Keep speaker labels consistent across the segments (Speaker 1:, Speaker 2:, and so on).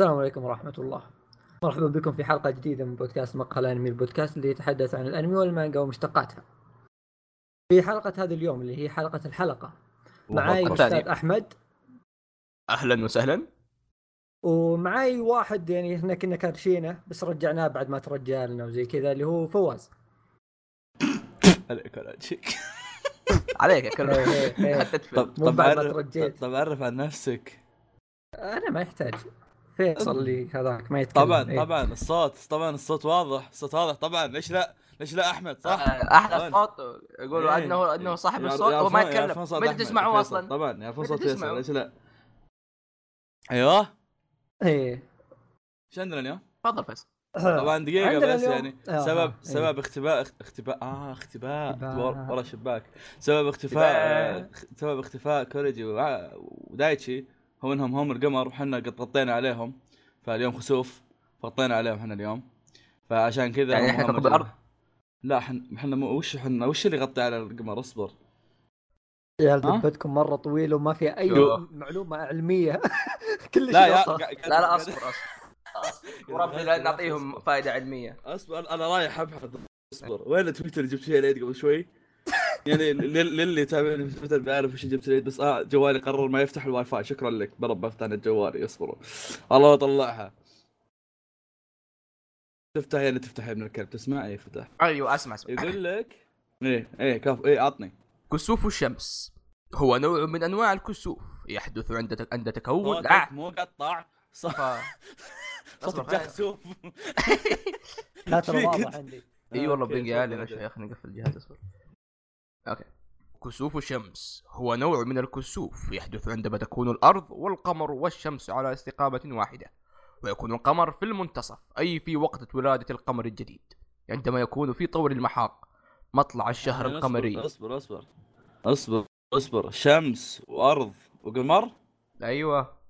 Speaker 1: السلام عليكم ورحمة الله مرحبا بكم في حلقة جديدة من بودكاست مقهى الأنمي البودكاست اللي يتحدث عن الأنمي والمانجا ومشتقاتها في حلقة هذا اليوم اللي هي حلقة الحلقة معاي
Speaker 2: أكبر.
Speaker 1: أستاذ
Speaker 2: ثانية.
Speaker 1: أحمد
Speaker 2: اهلا وسهلا
Speaker 1: ومعاي واحد يعني احنا كنا كارشينه بس رجعناه بعد ما ترجع لنا وزي كذا اللي هو فواز
Speaker 3: عليك ولا شيك
Speaker 2: عليك
Speaker 1: إيه،
Speaker 2: اكل
Speaker 1: إيه، إيه.
Speaker 2: حتى تفهم
Speaker 1: مو بعد ما
Speaker 3: عرف-
Speaker 1: ترجيت.
Speaker 3: طب عرف عن نفسك
Speaker 1: أنا ما يحتاج فيصل اللي هذاك ما يتكلم
Speaker 3: طبعا
Speaker 1: إيه.
Speaker 3: طبعا الصوت طبعا الصوت واضح الصوت واضح طبعا ليش لا ليش لا احمد صح
Speaker 2: احلى
Speaker 3: طبعاً.
Speaker 2: آه، صوت يقولوا
Speaker 3: إيه.
Speaker 2: انه انه صاحب
Speaker 3: يعرف-
Speaker 2: الصوت وما
Speaker 3: يعرفون-
Speaker 2: يتكلم
Speaker 3: يعرفون صوت
Speaker 2: ما
Speaker 3: أحمد
Speaker 2: تسمعه
Speaker 3: فيصل.
Speaker 2: اصلا
Speaker 3: طبعا يعرفون
Speaker 2: ما
Speaker 3: صوت
Speaker 2: تسمعه.
Speaker 3: فيصل ليش لا ايوه
Speaker 1: إيه.
Speaker 3: ايش عندنا اليوم؟
Speaker 2: تفضل فيصل
Speaker 3: طبعا دقيقة
Speaker 1: عندنا
Speaker 3: بس
Speaker 1: اليوم-
Speaker 3: يعني
Speaker 1: آه،
Speaker 3: سبب
Speaker 1: إيه.
Speaker 3: سبب اختباء اخت- اختباء اه اختباء
Speaker 1: اختباء.
Speaker 3: ورا ورا شباك سبب اختفاء آه، سبب اختفاء كوريجي وع- ودايتشي هو انهم هم القمر وحنا قد غطينا عليهم فاليوم خسوف غطينا عليهم احنا اليوم فعشان كذا
Speaker 2: يعني
Speaker 3: هم-
Speaker 2: إحنا
Speaker 3: هم
Speaker 2: كوكب
Speaker 3: الجمر.
Speaker 2: الأرض؟
Speaker 3: لا احنا احنا مو- وش احنا وش اللي غطى على القمر اصبر
Speaker 1: يا
Speaker 3: ها؟
Speaker 1: بدكم مرة طويل وما في أي
Speaker 2: شو؟
Speaker 1: معلومة علمية كل شيء
Speaker 3: لا يا
Speaker 1: يطلع.
Speaker 3: قاعد-
Speaker 2: لا لا
Speaker 3: قاعد-
Speaker 2: اصبر اصبر وربي لا نعطيهم فائدة علمية
Speaker 3: اصبر انا رايح ابحث اصبر وين التويتر اللي جبت فيه العيد قبل شوي؟ يعني لل- للي يتابعني في تويتر بيعرف وش جبت العيد بس اه جوالي قرر ما يفتح الواي فاي شكرا لك برب بفتح انا جوالي اصبروا الله يطلعها تفتح يعني تفتح يا ابن الكلب تسمع اي فتح
Speaker 2: ايوه اسمع اسمع
Speaker 3: يقول لك ايه ايه كاف ايه عطني
Speaker 2: كسوف الشمس هو نوع من انواع الكسوف يحدث عند تك- عند تكون
Speaker 3: صوتك
Speaker 2: عا-
Speaker 3: مو قطع صوت-
Speaker 2: ف...
Speaker 3: صوتك
Speaker 2: خلينا-
Speaker 3: جاسوف
Speaker 1: لا ترى
Speaker 3: فيك
Speaker 1: واضح
Speaker 3: أنت؟
Speaker 1: عندي
Speaker 2: اي إيه والله
Speaker 3: أوكي،
Speaker 2: بنقي عالي
Speaker 3: تفضل
Speaker 2: يا
Speaker 3: بعدين.
Speaker 2: شيخ نقفل الجهاز اصبر اوكي كسوف الشمس هو نوع من الكسوف يحدث عندما تكون الارض والقمر والشمس على استقامه واحده ويكون القمر في المنتصف اي في وقت ولاده القمر الجديد عندما يكون في طور المحاق مطلع الشهر
Speaker 3: يعني
Speaker 2: القمري
Speaker 3: اصبر اصبر اصبر اصبر شمس وارض وقمر
Speaker 2: ايوه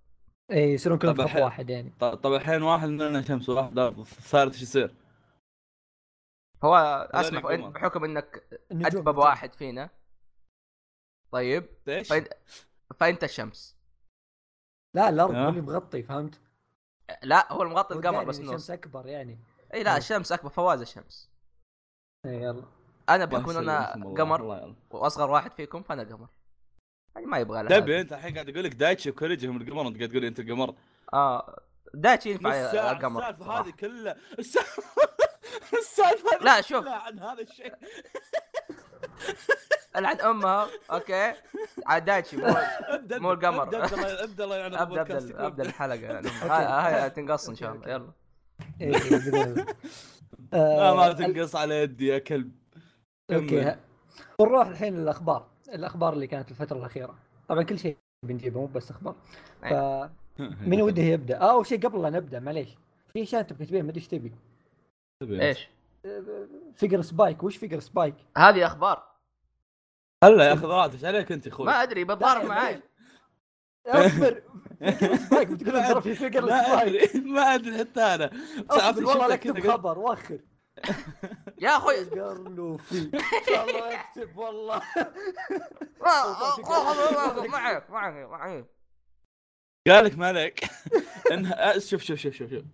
Speaker 1: اي إيه، يصيرون كلهم
Speaker 3: طب
Speaker 1: في خط
Speaker 3: الحين-
Speaker 1: واحد يعني
Speaker 3: ط- طب الحين واحد مننا شمس وواحد ارض الثالث ايش يصير؟
Speaker 2: هو اسمع
Speaker 3: القمر.
Speaker 2: فإن- بحكم انك
Speaker 1: النجوم
Speaker 2: ادبب
Speaker 1: النجوم.
Speaker 2: واحد فينا طيب
Speaker 3: ايش؟
Speaker 2: فإن- فانت الشمس
Speaker 1: لا الارض
Speaker 3: ها؟
Speaker 1: هو اللي مغطي فهمت؟
Speaker 2: لا هو المغطي القمر
Speaker 1: والدائري
Speaker 2: بس
Speaker 1: اللي
Speaker 2: نص
Speaker 1: الشمس اكبر يعني
Speaker 2: اي لا الشمس اكبر فواز الشمس
Speaker 1: اي يلا
Speaker 2: انا
Speaker 3: الله
Speaker 2: بكون
Speaker 3: يسلم،
Speaker 2: انا
Speaker 3: بسم الله،
Speaker 2: قمر
Speaker 3: الله يعلم.
Speaker 2: واصغر واحد فيكم فانا قمر يعني ما يبغى لها
Speaker 3: دبي انت الحين قاعد اقول لك دايتشي وكوريجي هم القمر انت قاعد تقول لي انت القمر
Speaker 2: اه داتشي ينفع
Speaker 3: الساعة-
Speaker 2: قمر
Speaker 3: السالفه
Speaker 2: صراحة.
Speaker 3: هذه كلها السالفه السالفه هذه
Speaker 2: لا، شوف.
Speaker 3: كلها عن هذا الشيء
Speaker 2: العن امها اوكي عاد آه، داتشي مو
Speaker 3: ابدا
Speaker 2: مو القمر.
Speaker 3: ابدا ابدا ابدا الله يعلن
Speaker 2: ابدا ابدا
Speaker 3: بودكاستك،
Speaker 2: ابدا, أبدأ الحلقه هاي هاي تنقص ان شاء الله يلا
Speaker 1: إي، إي، بدنا-
Speaker 3: لا
Speaker 1: إيه، آه،
Speaker 3: ما
Speaker 1: ال-
Speaker 3: تنقص على يدي يا كلب
Speaker 1: اوكي ها- بنروح الحين للاخبار الاخبار اللي كانت الفتره الاخيره طبعا كل شيء بنجيبه مو بس اخبار فمن
Speaker 3: من
Speaker 1: وده يبدا آه، اول شيء قبل لا نبدا معليش في اشياء انت بكتبين ما ادري ايش تبي
Speaker 2: ايش
Speaker 1: فيجر سبايك وش فيجر سبايك؟
Speaker 2: هذه اخبار
Speaker 3: هلا يا اخي ضرعت ايش عليك انت يا اخوي
Speaker 2: ما ادري بتضارب معاي
Speaker 1: اصبر فيجر سبايك بتقول ترى في فيجر
Speaker 3: ما
Speaker 1: سبايك
Speaker 3: ادري ما ادري حتى انا تعبت
Speaker 1: اصبر والله لا
Speaker 3: شفتك
Speaker 1: اكتب
Speaker 3: كذا قلت-
Speaker 1: خبر واخر
Speaker 2: يا اخوي
Speaker 1: قرنوفي ان شاء الله اكتب والله
Speaker 2: آه، آه، آه، آه، معك معك معك
Speaker 3: قال لك مالك انها شوف شوف شوف شوف شوف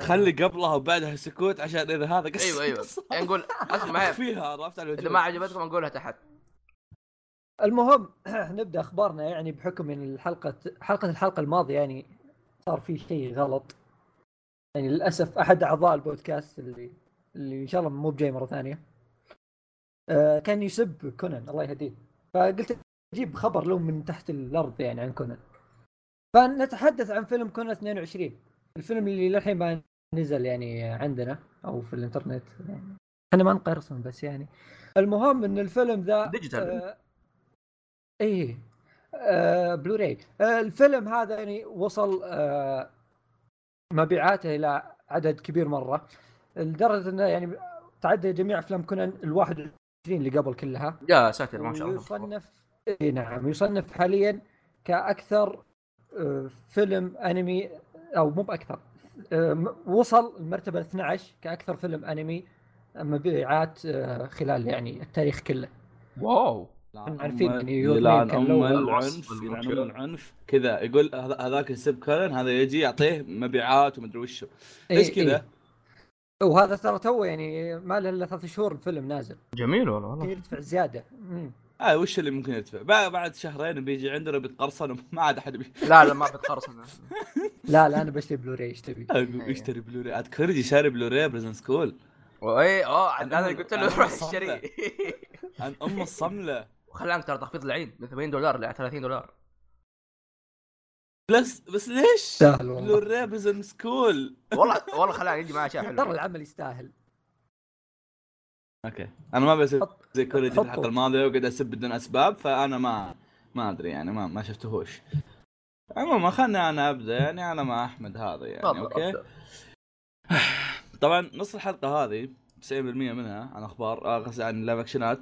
Speaker 3: خلي قبلها وبعدها سكوت عشان اذا هذا قص
Speaker 2: ايوه ايوه
Speaker 3: قص-
Speaker 2: يعني نقول اسمع هيك.
Speaker 3: فيها عرفت على
Speaker 2: اذا
Speaker 3: الوجوه
Speaker 2: ما عجبتكم نقولها تحت
Speaker 1: آه، المهم نبدا اخبارنا يعني بحكم ان الحلقه حلقه الحلقه الماضيه يعني صار في شيء غلط يعني للاسف احد اعضاء البودكاست اللي اللي ان شاء الله مو بجاي مره ثانيه آه كان يسب كونان الله يهديه فقلت اجيب خبر له من تحت الارض يعني عن كونان فنتحدث عن فيلم كونان 22 الفيلم اللي للحين ما نزل يعني عندنا او في الانترنت يعني احنا ما نقرص بس يعني المهم ان الفيلم ذا
Speaker 2: ديجيتال
Speaker 1: آه، ايه آه بلوراي آه الفيلم هذا يعني وصل آه مبيعاته الى عدد كبير مره لدرجه انه يعني تعدى جميع افلام كونان ال 21 اللي قبل كلها
Speaker 2: يا ساتر ما شاء الله
Speaker 1: يصنف اي نعم يصنف حاليا كاكثر آه، فيلم انمي او مو باكثر آه، م- وصل المرتبه 12 كاكثر فيلم انمي مبيعات آه، خلال يعني التاريخ كله
Speaker 2: واو
Speaker 1: عارفين
Speaker 3: أم-
Speaker 1: نيويورك
Speaker 3: يلعن
Speaker 1: يمكن
Speaker 3: أم
Speaker 1: لو-
Speaker 3: العنف يلعن أم العنف كذا يقول هذا- هذاك يسب كولن هذا يجي يعطيه مبيعات ومدري وش ليش
Speaker 1: إيه،
Speaker 3: كذا؟
Speaker 1: إيه. وهذا ترى تو يعني ما له الا ثلاث شهور الفيلم نازل
Speaker 2: جميل والله
Speaker 1: كان
Speaker 2: والله
Speaker 1: يدفع زياده مم.
Speaker 3: آه وش اللي ممكن يدفع؟ بعد, بعد شهرين بيجي عندنا بيتقرصن وما عاد احد بي-
Speaker 2: لا لا ما بتقرص انا
Speaker 1: لا لا انا بشتري بلوراي ايش تبي؟
Speaker 3: أقول يشتري بلوري عاد كوريجي شاري بلوري بريزن سكول
Speaker 2: اي اه عاد انا قلت له
Speaker 3: أنا
Speaker 2: روح
Speaker 3: صمت.
Speaker 2: اشتري
Speaker 3: عن ام الصمله
Speaker 2: وخلانك ترى تخفيض لعين من 80 دولار ل 30 دولار
Speaker 3: بس بس ليش؟
Speaker 1: يستاهل والله
Speaker 3: بلوري بريزن سكول
Speaker 2: والله والله خلاني يجي معاه شيء
Speaker 1: ترى
Speaker 2: حلو
Speaker 1: العمل يستاهل
Speaker 3: اوكي انا ما بسوي
Speaker 1: حط-
Speaker 3: زي كوريجي في
Speaker 1: حطه.
Speaker 3: الحلقه الماضيه وقعد اسب بدون اسباب فانا ما ما ادري يعني ما ما شفتهوش عموما خلني انا ابدا يعني على ما احمد هذا يعني
Speaker 2: تفضل،
Speaker 3: اوكي
Speaker 2: أبدأ.
Speaker 3: طبعا نص الحلقه هذه 90% منها عن اخبار آه، قصدي عن لايف اكشنات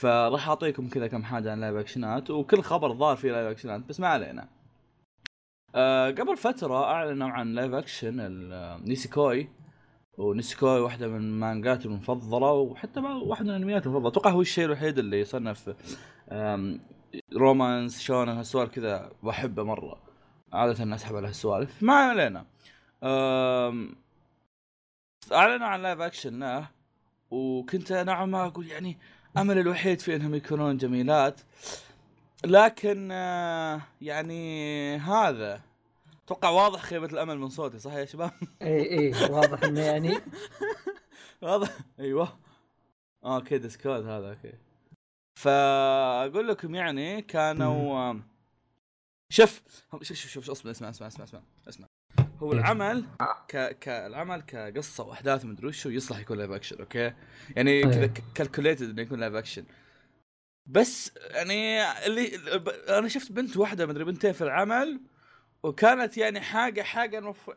Speaker 3: فراح اعطيكم كذا كم حاجه عن لايف اكشنات وكل خبر ظهر فيه لايف اكشنات بس ما علينا. آه قبل فتره اعلنوا عن لايف اكشن ال- آه، نيسيكوي ونيسيكوي واحده من مانجاتي المفضله وحتى ما- واحده من انمياتي المفضله اتوقع هو الشيء الوحيد اللي يصنف آم، رومانس شونن هالسوالف كذا واحبه مره عاده اسحب على هالسوالف ما علينا آم، اعلنوا عن لايف اكشن له وكنت نوعا ما اقول يعني امل الوحيد في انهم يكونون جميلات لكن آه، يعني هذا اتوقع واضح خيبه الامل من صوتي صح يا شباب؟
Speaker 1: اي اي إيه، واضح انه يعني
Speaker 3: واضح ايوه اه اوكي ديسكورد هذا اوكي فاقول لكم يعني كانوا شوف هم- شوف شوف شوف اصبر اسمع اسمع اسمع اسمع اسمع هو العمل ك كالعمل كقصه واحداث ومدري وش هو يصلح يكون لايف اكشن اوكي يعني
Speaker 1: أيوه.
Speaker 3: كذا كالكوليتد انه يكون لايف اكشن بس يعني اللي ب- انا شفت بنت واحده مدري بنتين في العمل وكانت يعني حاجه حاجه مف...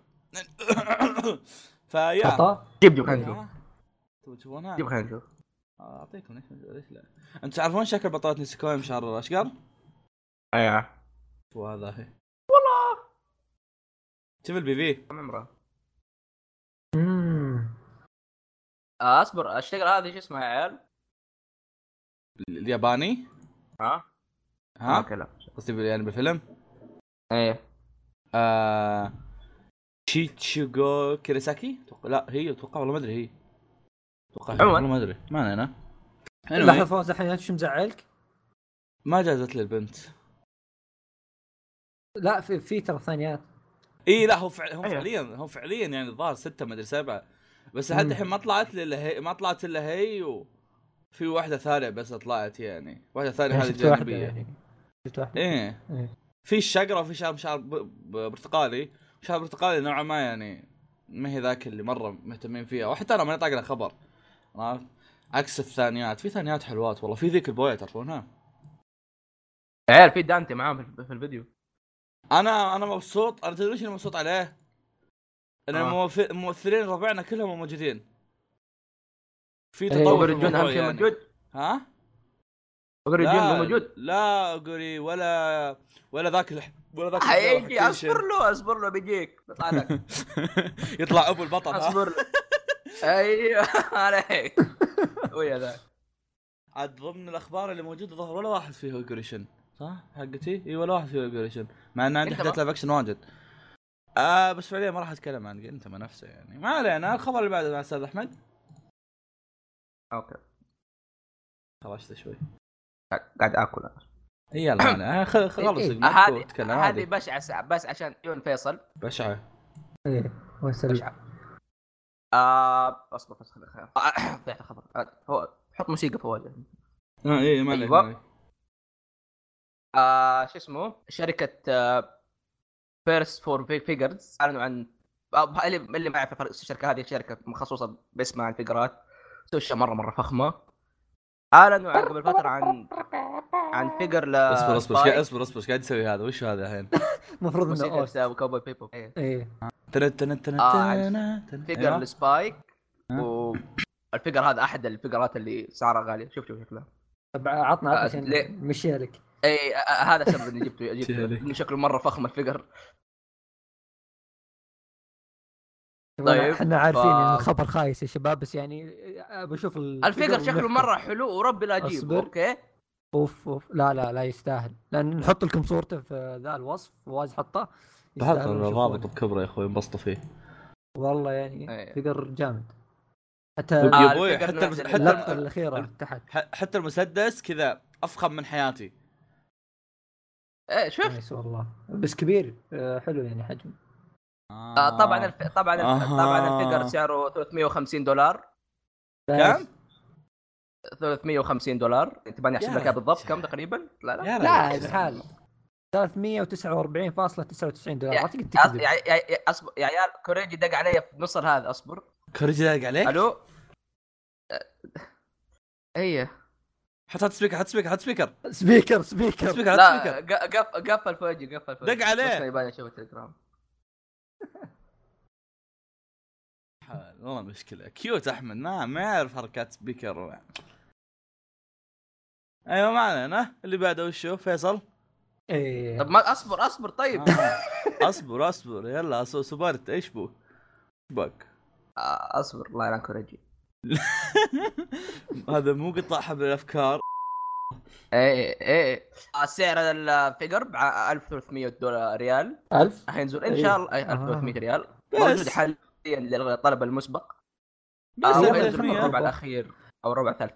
Speaker 3: فيا
Speaker 1: خطا
Speaker 2: جيب جيب خلينا نشوف
Speaker 3: آه. تبغى تشوفونها؟
Speaker 2: جيب خلينا نشوف
Speaker 3: آه، اعطيكم ليش ليش لا؟ انتم تعرفون شكل بطاطا نسيكوي مشعر الاشقر؟ أيوه.
Speaker 2: ايوه
Speaker 3: شو هذا هي؟ والله شوف البي في
Speaker 2: كم عمره؟
Speaker 1: مم.
Speaker 2: آه، اصبر الشجره هذه شو اسمها يا عيال؟
Speaker 3: الياباني
Speaker 2: ها؟
Speaker 3: ها؟
Speaker 2: اوكي لا
Speaker 3: قصدي بال- يعني بالفيلم
Speaker 2: ايه
Speaker 3: آه... تشيتشيغو كيريساكي؟ أتوقع- لا هي اتوقع والله ما ادري هي اتوقع هي،
Speaker 2: عموماً.
Speaker 3: والله ما ادري ما علينا
Speaker 1: لحظه
Speaker 3: anyway،
Speaker 1: فوز الحين شو مزعلك؟
Speaker 3: ما جازت لي البنت
Speaker 1: لا في في ترى ثانيات
Speaker 3: اي لا هو فعل... هم
Speaker 2: أيوه.
Speaker 3: فعليا هم فعليا يعني الظاهر ستة ما ادري سبعة بس
Speaker 1: مم.
Speaker 3: لحد الحين ما طلعت لي الا هي ما طلعت الا هي وفي واحدة ثانية بس طلعت يعني واحدة ثانية
Speaker 1: يعني
Speaker 3: هذه
Speaker 1: شفت واحده
Speaker 3: جانبية
Speaker 1: يعني شفت واحده
Speaker 3: ايه
Speaker 1: إيه.
Speaker 3: في الشقرة وفي شعر شعر ب... ب... برتقالي شعر برتقالي نوعا ما يعني ما هي ذاك اللي مرة مهتمين فيها وحتى انا ماني طاق له خبر عرفت عكس الثانيات في ثانيات حلوات والله في ذيك البوية تعرفونها
Speaker 2: يا عيال في دانتي معاهم في- في الفيديو
Speaker 3: طيب، انا انا مبسوط انا تدري ايش انا مبسوط عليه؟ ان
Speaker 2: آه.
Speaker 3: الممث- الممثلين ربعنا كلهم موجودين في
Speaker 1: إيه.
Speaker 3: تطور
Speaker 2: اوبر
Speaker 3: في
Speaker 2: جون
Speaker 3: الموضوع
Speaker 2: اهم شيء
Speaker 3: يعني.
Speaker 2: موجود
Speaker 3: ها؟
Speaker 2: اوبر جون مو موجود
Speaker 3: لا قري ولا ولا ذاك الح... ولا ذاك
Speaker 2: حيجي
Speaker 3: الحلوة حق كل شيء.
Speaker 2: اصبر له اصبر له بيجيك بيطلع لك
Speaker 3: يطلع ابو البطل ها؟
Speaker 2: اصبر له ايوه عليك ويا ذاك
Speaker 3: عاد ضمن الاخبار اللي موجوده ظهر ولا واحد فيه اوبريشن صح حقتي؟ اي ولا واحد فيه اوبريشن مع ان عندي
Speaker 2: أنت
Speaker 3: حاجات
Speaker 2: ما-
Speaker 3: لايف اكشن واجد آه بس فعليا ما راح اتكلم عن انت ما نفسه يعني ما علينا الخبر اللي بعده مع الاستاذ احمد
Speaker 2: اوكي
Speaker 3: خرجت شوي
Speaker 2: قاعد اكل أنا. إيه،
Speaker 3: يلا انا خ- خ- خلص
Speaker 1: إيه.
Speaker 3: سيجمنت
Speaker 2: هذه
Speaker 3: وتكلم
Speaker 2: هذه
Speaker 3: عادي
Speaker 2: بشعه بس عشان عيون فيصل
Speaker 3: بشعه
Speaker 1: ايه وسلم
Speaker 2: بشعه آه اصبر بس خلي خلي- آه، طلعت الخبر آه، هو حط موسيقى فوق
Speaker 3: اه اي ما عليك
Speaker 2: أيوة.
Speaker 3: ما عليك.
Speaker 2: آه شو اسمه شركه آه فيرست فور فيجرز اعلنوا عن آه، اللي اللي ما يعرف الفرق- الشركه هذه شركه مخصوصه باسمها عن فيجرات تسوي اشياء مره مره فخمه اعلنوا عن قبل فتره عن عن فيجر ل
Speaker 3: اصبر اصبر
Speaker 2: طيب.
Speaker 3: ايش قاعد- اصبر اصبر ايش قاعد تسوي هذا وش هذا الحين؟
Speaker 1: المفروض انه اوس
Speaker 2: كوبوي بيبو إيه.
Speaker 1: ايه
Speaker 3: تنت تنت تنت
Speaker 2: آه، عارف.
Speaker 3: تنت- تنت.
Speaker 2: فيجر
Speaker 3: أيوة.
Speaker 2: لسبايك
Speaker 3: ها؟
Speaker 2: والفيجر هذا احد الفيجرات اللي سعرها غالي شوف شوف شكله
Speaker 1: طب عطنا عطنا
Speaker 2: آه، ليه؟
Speaker 1: عشان نمشيها لك
Speaker 2: اي آه، آه، هذا السبب اني جبته جبته
Speaker 3: تهلك.
Speaker 2: إنه شكله مره فخم الفيجر طيب،
Speaker 1: احنا عارفين
Speaker 2: ف-
Speaker 1: ان الخبر خايس يا شباب بس يعني بشوف
Speaker 2: الفيجر شكله مره حلو وربي لا اجيبه
Speaker 1: أصبر.
Speaker 2: اوكي
Speaker 1: اوف اوف لا لا لا يستاهل لان نحط لكم صورته في ذا الوصف فواز حطه
Speaker 3: هذا
Speaker 1: يستاهلون
Speaker 3: رابط
Speaker 1: يشوفونه.
Speaker 3: بكبره يا اخوي انبسطوا فيه
Speaker 1: والله يعني
Speaker 2: أي.
Speaker 1: فقر جامد حتى
Speaker 2: آه،
Speaker 3: يا ابوي
Speaker 2: الفكرة
Speaker 3: حتى
Speaker 2: إنه
Speaker 3: المس-
Speaker 2: نزل
Speaker 3: حتى
Speaker 1: اللقطه
Speaker 3: الم-
Speaker 1: الاخيره تحت
Speaker 3: ح- حتى المسدس كذا افخم من حياتي
Speaker 2: إيه شوف
Speaker 1: نايس والله بس كبير آه، حلو يعني حجم
Speaker 2: آه، طبعا الف... طبعا الف... طبعا
Speaker 3: آه.
Speaker 2: الفيجر سعره 350 دولار
Speaker 1: دايس.
Speaker 2: 350 دولار انت ماني احسب
Speaker 3: يا
Speaker 2: لك إياها بالضبط
Speaker 3: رجال.
Speaker 2: كم تقريبا لا لا
Speaker 3: يا
Speaker 1: لا
Speaker 3: رجل.
Speaker 1: الحال 349.99 دولار ما تقدر
Speaker 2: أص-
Speaker 1: تكذب
Speaker 2: يا يا- يا- اصبر يا عيال كوريجي دق علي في نص هذا اصبر
Speaker 3: كوريجي داق عليك
Speaker 2: الو ايه
Speaker 3: حط هات سبيكر حط سبيكر حط سبيكر
Speaker 2: يعني
Speaker 1: سبيكر
Speaker 3: حط
Speaker 1: سبيكر
Speaker 3: سبيكر
Speaker 2: لا
Speaker 3: حط سبيكر
Speaker 2: ق- قف- قفل في وجهي قفل في وجهي
Speaker 3: دق عليه.
Speaker 2: بس يبان اشوف التليجرام
Speaker 3: حال، والله مشكله كيوت احمد ما ما يعرف حركات سبيكر ايوه معنا انا اللي بعده وشو فيصل
Speaker 1: إيه.
Speaker 2: طب ما اصبر اصبر طيب
Speaker 3: آه. اصبر اصبر يلا أص- صبرت ايش بو إيش بك
Speaker 2: آه، اصبر الله يلعن كوريجي
Speaker 3: هذا مو قطاع حبل الافكار
Speaker 2: ايه ايه آه، سعر الفيجر ب 1300 دولار ريال
Speaker 1: ألف
Speaker 2: حينزل ان
Speaker 1: إيه.
Speaker 2: شاء الله أي
Speaker 1: آه.
Speaker 2: 1300 ريال
Speaker 3: بس.
Speaker 2: موجود حاليا للطلب المسبق
Speaker 3: بس
Speaker 2: او
Speaker 1: ألف
Speaker 2: ينزل في
Speaker 1: وثلاثمية.
Speaker 2: الربع الاخير او الربع الثالث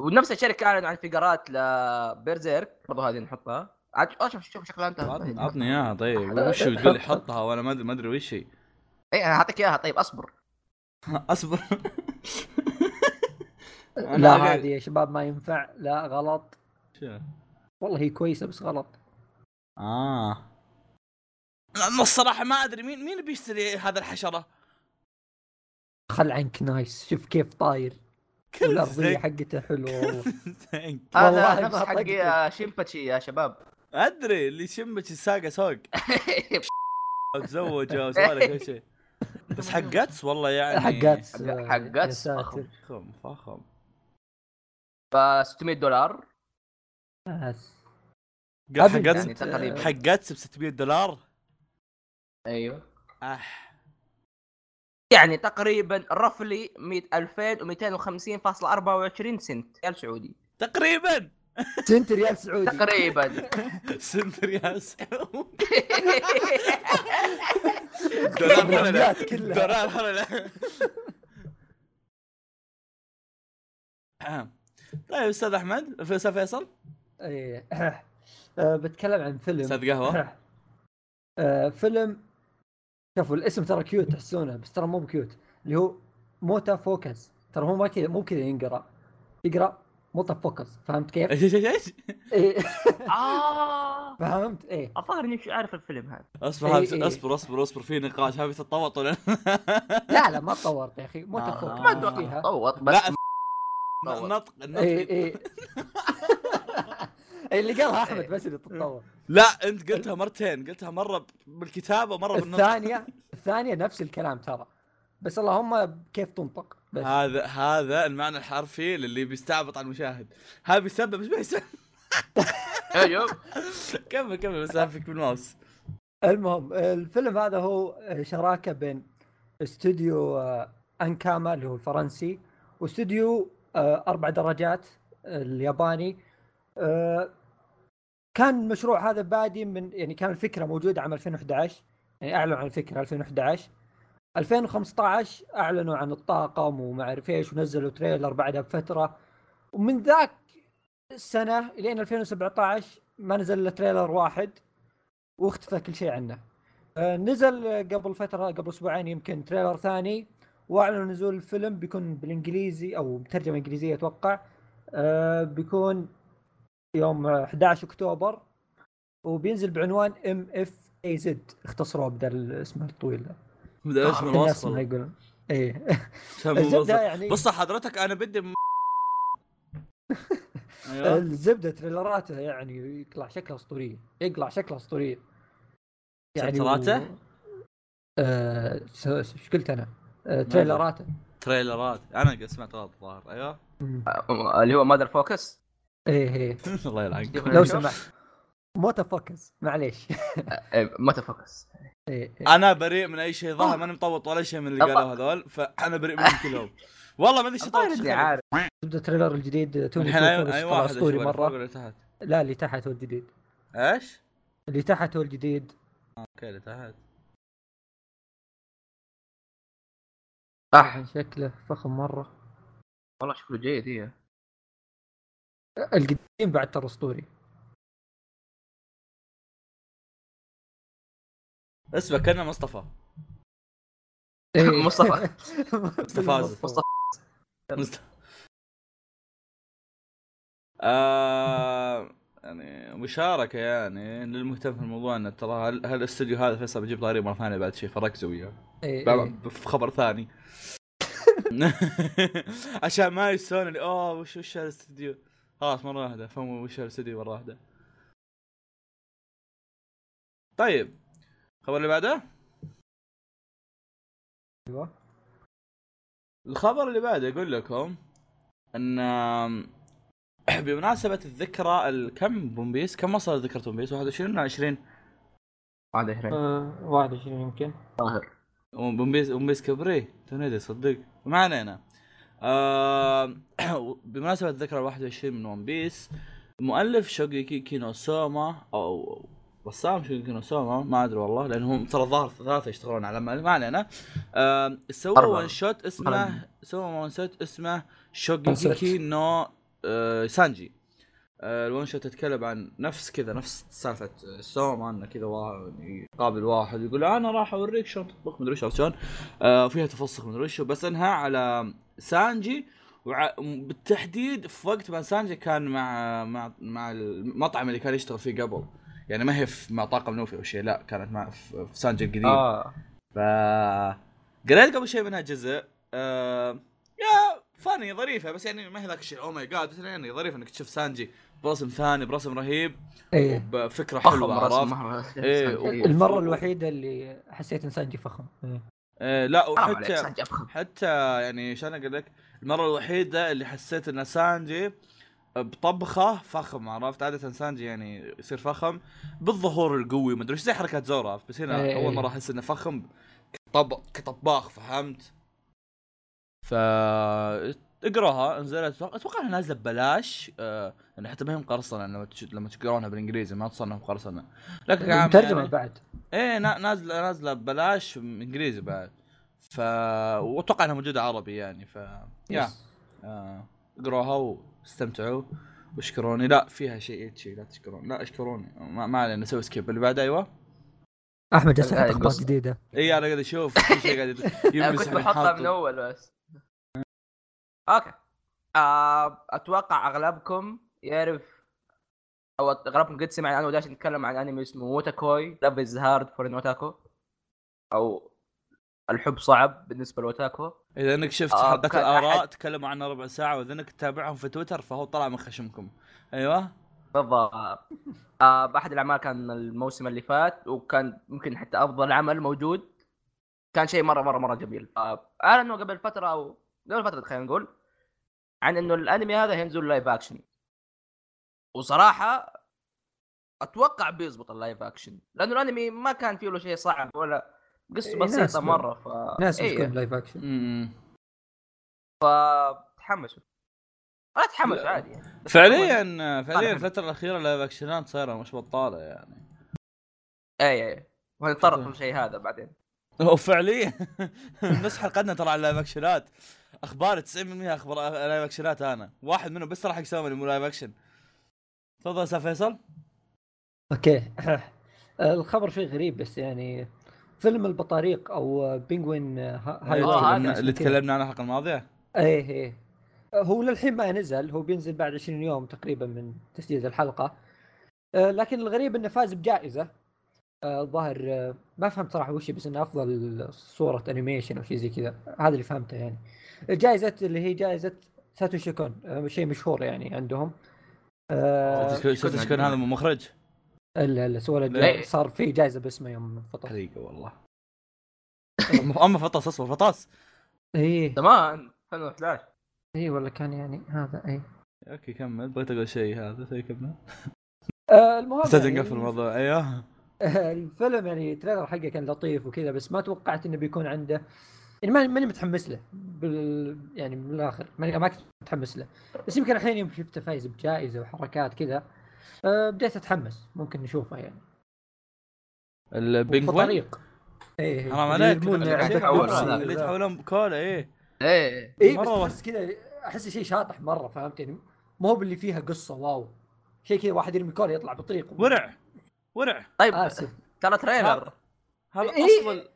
Speaker 2: ونفس الشركه اعلنوا عن فيجرات لبيرزيرك برضو هذه نحطها عاد شوف- شوف شوف شكلها انت
Speaker 3: عطني عطني اياها طيب وش هو تقول لي حطها وانا ما ادري ما ادري وش هي
Speaker 2: اي انا هعطيك اياها طيب اصبر
Speaker 3: اصبر أنا
Speaker 1: لا
Speaker 3: أقل-
Speaker 1: هذه يا شباب ما ينفع لا غلط
Speaker 3: شو؟
Speaker 1: والله هي كويسه بس غلط
Speaker 3: اه لأنه الصراحة ما ادري مين مين بيشتري هذا الحشرة؟
Speaker 1: خل عنك نايس شوف كيف طاير والارضيه حقته حلوه والله
Speaker 3: زنك.
Speaker 1: والله
Speaker 2: هذا نفس
Speaker 1: ما طقت.
Speaker 2: حق شيمباتشي يا شباب
Speaker 3: ادري اللي شمك الساقة سوق تزوج وسوالف كل شيء بس حقتس والله يعني
Speaker 1: حقات آه،
Speaker 2: حقات
Speaker 1: يا
Speaker 2: فخم.
Speaker 1: ساتر.
Speaker 3: فخم فخم
Speaker 2: ف 600 دولار
Speaker 1: ناس.
Speaker 3: قال
Speaker 1: أبل
Speaker 3: حقتس
Speaker 2: يعني تقريبا.
Speaker 3: حقتس ب 600 دولار آه.
Speaker 2: ايوه
Speaker 3: اح
Speaker 2: يعني تقريبا رفلي 100 2250.24 سنت ريال سعودي
Speaker 3: تقريبا
Speaker 1: سنت ريال آه، سعودي
Speaker 2: تقريبا
Speaker 3: سنت ريال سعودي
Speaker 1: دولار حرة لا. كلها.
Speaker 3: دولار حرة لا. أهم. طيب استاذ احمد في- استاذ فيصل
Speaker 1: إيه. آه، بتكلم عن فيلم
Speaker 3: استاذ قهوه
Speaker 1: آه، فيلم شوفوا الاسم ترى كيوت تحسونه بس ترى مو كيوت اللي هو موتا فوكس ترى هو ما كذا مو كذا ينقرا يقرا موتا فوكس فهمت كيف؟
Speaker 3: ايش ايش ايش ايش
Speaker 1: إيه.
Speaker 2: اه
Speaker 1: فهمت؟ ايه
Speaker 2: الظاهر اني مش عارف الفيلم هذا
Speaker 3: اصبر
Speaker 1: إيه،
Speaker 3: هذا-
Speaker 1: إيه.
Speaker 3: اصبر اصبر اصبر في نقاش هذه تتطوط ولا
Speaker 1: لا لا ما تطورت يا اخي موتا
Speaker 3: آه.
Speaker 1: فوكس
Speaker 2: ما
Speaker 3: ما
Speaker 1: أدري
Speaker 2: اتوقع
Speaker 1: فيها
Speaker 2: طوط بس
Speaker 3: لا
Speaker 2: تطور.
Speaker 3: نطق
Speaker 1: اي
Speaker 3: النطق
Speaker 1: اي إي، إيه، اللي قالها احمد بس اللي تتطور
Speaker 3: لا انت قلتها مرتين قلتها مره بالكتابه ومره بالنطق
Speaker 1: الثانيه الثانيه نفس الكلام ترى بس اللهم كيف تنطق بس
Speaker 3: هذا هذا المعنى الحرفي للي بيستعبط على المشاهد هذا بيسبب مش بيسبب
Speaker 2: ايوه
Speaker 3: كمل كمل بس افك بالماوس
Speaker 1: المهم الفيلم هذا هو شراكه بين استوديو آه، انكاما اللي هو الفرنسي واستوديو آه، اربع درجات الياباني آه، كان المشروع هذا بادي من يعني كان الفكره موجوده عام 2011 يعني اعلنوا عن الفكره 2011 2015 اعلنوا عن الطاقم وما اعرف ايش ونزلوا تريلر بعدها بفتره ومن ذاك السنه لين 2017 ما نزل إلا تريلر واحد واختفى كل شيء عنه آه، نزل آه، قبل فتره قبل اسبوعين يمكن تريلر ثاني واعلنوا نزول الفيلم بيكون بالانجليزي او بترجمه انجليزيه اتوقع آه، بيكون يوم آه، 11 اكتوبر وبينزل بعنوان ام اف اي زد اختصروه بدل الاسم الطويل ده
Speaker 3: بدأ اسم
Speaker 1: عشان الناس ما
Speaker 3: الوصل
Speaker 1: يقولون ايه
Speaker 3: كم
Speaker 1: الزبده
Speaker 3: وصل.
Speaker 1: يعني
Speaker 3: بص حضرتك انا بدي م... ايوه
Speaker 1: الزبده تريلراته يعني يطلع شكلها اسطوريه يقلع شكلها اسطوريه
Speaker 3: تريلراته؟
Speaker 1: و... آه... س- س- ايش قلت انا؟ آه... تريلراته
Speaker 3: تريلرات انا قد سمعت غلط الظاهر ايوه
Speaker 1: مم.
Speaker 2: اللي هو مادر فوكس
Speaker 1: ايه ايه
Speaker 3: الله يلعنك
Speaker 1: لو سمحت موتا فوكس معليش
Speaker 2: متى فوكس
Speaker 1: إيه، إيه.
Speaker 3: آه. انا بريء من اي شيء ظاهر ماني مطوط ولا شيء من اللي قالوه هذول فانا بريء منهم كلهم والله ما ادري ايش
Speaker 2: الظاهر اني عارف
Speaker 1: تبدا التريلر الجديد توني
Speaker 3: الحين
Speaker 1: أشوفه، بس
Speaker 3: اي أي
Speaker 1: طلع
Speaker 3: واحد
Speaker 1: اسطوري
Speaker 3: أشوفه، الفوق
Speaker 1: مره
Speaker 3: ولا تحت
Speaker 1: لا اللي تحت هو الجديد
Speaker 3: ايش؟
Speaker 1: اللي تحت هو الجديد
Speaker 3: اوكي اللي تحت
Speaker 2: صح
Speaker 1: يعني شكله فخم مره
Speaker 2: والله شكله جيد إيه. هي
Speaker 1: القديم بعد ترى اسطوري
Speaker 3: اسمه كان مصطفى
Speaker 1: إيه.
Speaker 2: مصطفى.
Speaker 3: مصطفى عزت.
Speaker 1: مصطفى.
Speaker 3: مصطفى آه يعني مشاركة يعني للمهتم في الموضوع انه ترى هال- هالاستوديو هذا فيصل بيجيب طاري مرة ثانية بعد شيء فركزوا وياه
Speaker 1: إيه،
Speaker 3: بعد-
Speaker 1: إيه.
Speaker 3: في خبر ثاني عشان ما يسون اللي اوه وش وش هالاستوديو خلاص مره واحده فهموا وش هالاستوديو مره واحده طيب الخبر اللي بعده
Speaker 1: ايوه
Speaker 3: الخبر اللي بعده يقول لكم ان بمناسبه الذكرى ال- كم ون بيس كم وصل ذكرى ون بيس 21 ولا 20
Speaker 2: هذا هنا
Speaker 1: آه، 21 يمكن
Speaker 2: ظاهر
Speaker 3: ون بيس ون بيس كبري تونيدي صدق ما علينا آه بمناسبة الذكرى 21 من ون بيس مؤلف شوغيكي كينوسوما او رسام شوغيكي كينوسوما ما ادري والله لانهم ترى ظهر ثلاثة يشتغلون على ما ما علينا آه سووا
Speaker 2: أربعة.
Speaker 3: ون شوت
Speaker 2: أربعة.
Speaker 3: اسمه سووا ون شوت اسمه
Speaker 1: كونسبت.
Speaker 3: شوغيكي نو آه سانجي آه، الون شوت تتكلم عن نفس كذا نفس سالفه سوما انه كذا وا- يقابل واحد يقول انا راح اوريك شلون تطبخ مدري ايش عرفت شلون آه، فيها تفسخ مدري ايش بس انها على سانجي وع- بالتحديد في وقت ما سانجي كان مع مع مع المطعم اللي كان يشتغل فيه قبل يعني ما هي في مع طاقم نوفي او شيء لا كانت مع في في سانجي القديم
Speaker 2: اه
Speaker 3: ف قريت قبل شيء منها جزء آه... يا فاني ظريفه بس يعني ما هي ذاك الشيء او ماي جاد بس يعني ظريفه انك تشوف سانجي برسم ثاني برسم رهيب
Speaker 1: ايه
Speaker 3: وبفكره
Speaker 2: فخم
Speaker 3: حلوه عرفت؟
Speaker 2: إيه.
Speaker 3: إيه،
Speaker 2: رسمه
Speaker 3: و-
Speaker 1: المره الوحيده اللي حسيت ان سانجي فخم إيه.
Speaker 3: آه لا
Speaker 2: حرام عليك
Speaker 3: وحتى
Speaker 2: سانجي افخم
Speaker 3: حتى يعني شلون اقول لك المره الوحيده اللي حسيت ان سانجي بطبخه فخم عرفت عاده سانجي يعني يصير فخم بالظهور القوي مدري ايش زي حركات زورا عرفت؟ بس هنا
Speaker 1: إيه.
Speaker 3: اول مره احس انه فخم كطب... كطباخ فهمت ف اقراها نزلت اتوقع انها نازله ببلاش آه، يعني حتى ما هي مقرصنه لما تش- لما تقرونها بالانجليزي ما تصنف مقرصنه لكن كعامة
Speaker 1: مترجمه
Speaker 3: يعني-
Speaker 1: بعد
Speaker 3: ايه نا- نازله نازله ببلاش انجليزي بعد ف واتوقع انها موجوده عربي يعني ف يا
Speaker 1: يس.
Speaker 3: آه، اقروها واستمتعوا واشكروني لا فيها شيء شيء لا تشكرون لا اشكروني ما, ما علينا نسوي سكيب اللي بعد ايوه
Speaker 1: احمد جالس
Speaker 2: الآن
Speaker 1: يحط اخبار
Speaker 2: قصة.
Speaker 1: جديده
Speaker 3: اي انا إيه، قاعد اشوف كل شيء قاعد
Speaker 2: انا
Speaker 3: يلمس
Speaker 2: كنت بحطها من اول بس اوكي آه، اتوقع اغلبكم يعرف او اغلبكم قد سمع عنه وداش نتكلم عن انمي اسمه ووتاكوي لاف از هارد فور ان اوتاكو او الحب صعب بالنسبه لوتاكو
Speaker 3: اذا انك شفت
Speaker 2: آه،
Speaker 3: حلقه
Speaker 2: كان
Speaker 3: الاراء
Speaker 2: أحد-
Speaker 3: تكلموا عنها ربع ساعه واذا انك تتابعهم في تويتر فهو طلع من خشمكم ايوه
Speaker 2: بالضبط آه، احد الاعمال كان الموسم اللي فات وكان يمكن حتى افضل عمل موجود كان شيء مره مره مره جميل آه، اعلنوا قبل فتره او قبل فتره خلينا نقول عن انه الانمي هذا هينزل لايف اكشن وصراحه اتوقع بيزبط اللايف اكشن لانه الانمي ما كان فيه له شيء صعب ولا قصه
Speaker 1: إيه،
Speaker 2: بسيطه
Speaker 1: ناس-
Speaker 2: مره
Speaker 3: آه،
Speaker 2: ف
Speaker 1: ناس
Speaker 2: إيه،
Speaker 1: تكون لايف اكشن
Speaker 3: م- م.
Speaker 2: تحمسوا انا اتحمس عادي يعني بس أتحمس.
Speaker 3: فعليا فعليا
Speaker 2: أنا-
Speaker 3: الفتره الاخيره لايف اكشنات صايره مش بطاله يعني
Speaker 2: اي اي إيه، وهنتطرق للشيء هذا بعدين
Speaker 3: هو فعليا نص حلقتنا ترى على اللايف اكشنات اخبار 90% اخبار لايف اكشنات انا واحد منهم بس راح يسوي لي مو لايف اكشن تفضل استاذ فيصل
Speaker 1: اوكي آه، الخبر شيء غريب بس يعني فيلم البطاريق او بينجوين هاي
Speaker 2: آه، هذا
Speaker 3: اللي اللي تكلمنا عنه الحلقه الماضيه
Speaker 1: ايه ايه هو للحين ما نزل هو بينزل بعد 20 يوم تقريبا من تسجيل الحلقه آه، لكن الغريب انه فاز بجائزه آه، الظاهر آه، ما فهمت صراحه وش هي، بس انه افضل صوره انيميشن او شيء زي كذا هذا اللي فهمته يعني جائزه اللي هي جائزه ساتوشي كون آه، شيء مشهور يعني عندهم آه،
Speaker 3: كنت تكون هذا مو مخرج
Speaker 1: الا الا سوى له
Speaker 3: لا.
Speaker 1: جائزة. صار في جائزه باسمه يوم فطر
Speaker 3: حقيقه والله اما فطس اصبر فطاس
Speaker 1: ايه
Speaker 2: زمان 2011
Speaker 1: ايه والله كان يعني هذا ايه
Speaker 3: اوكي كمل بغيت اقول شيء هذا شيء كمل
Speaker 1: آه، المهم
Speaker 3: استاذ
Speaker 1: يعني
Speaker 3: نقفل الموضوع ايوه
Speaker 1: الفيلم يعني التريلر حقه كان لطيف وكذا بس ما توقعت انه بيكون عنده يعني ما- ماني متحمس له بال يعني من الاخر ماني ما كنت متحمس له بس يمكن الحين يوم شفته فايز بجائزه وحركات كذا آه، بديت اتحمس ممكن نشوفه يعني
Speaker 3: البينج بون
Speaker 1: بطريق ايه
Speaker 4: حرام عليك
Speaker 1: يرمون
Speaker 4: اللي
Speaker 1: عندك
Speaker 2: تحول.
Speaker 1: بيبسي.
Speaker 4: يتحولون- اللي يتحولون بكولا
Speaker 3: إيه.
Speaker 4: ايه
Speaker 2: ايه
Speaker 1: ايه بس
Speaker 4: مرة
Speaker 1: تحس كذا احس شيء شاطح مره فهمت يعني مو هو باللي فيها قصه واو شيء كذا واحد يرمي كوره يطلع بطريق
Speaker 4: ورع ورع
Speaker 2: طيب
Speaker 3: آه،
Speaker 1: اسف
Speaker 2: ترى تريلر
Speaker 4: هذا
Speaker 1: إيه.
Speaker 4: اصلا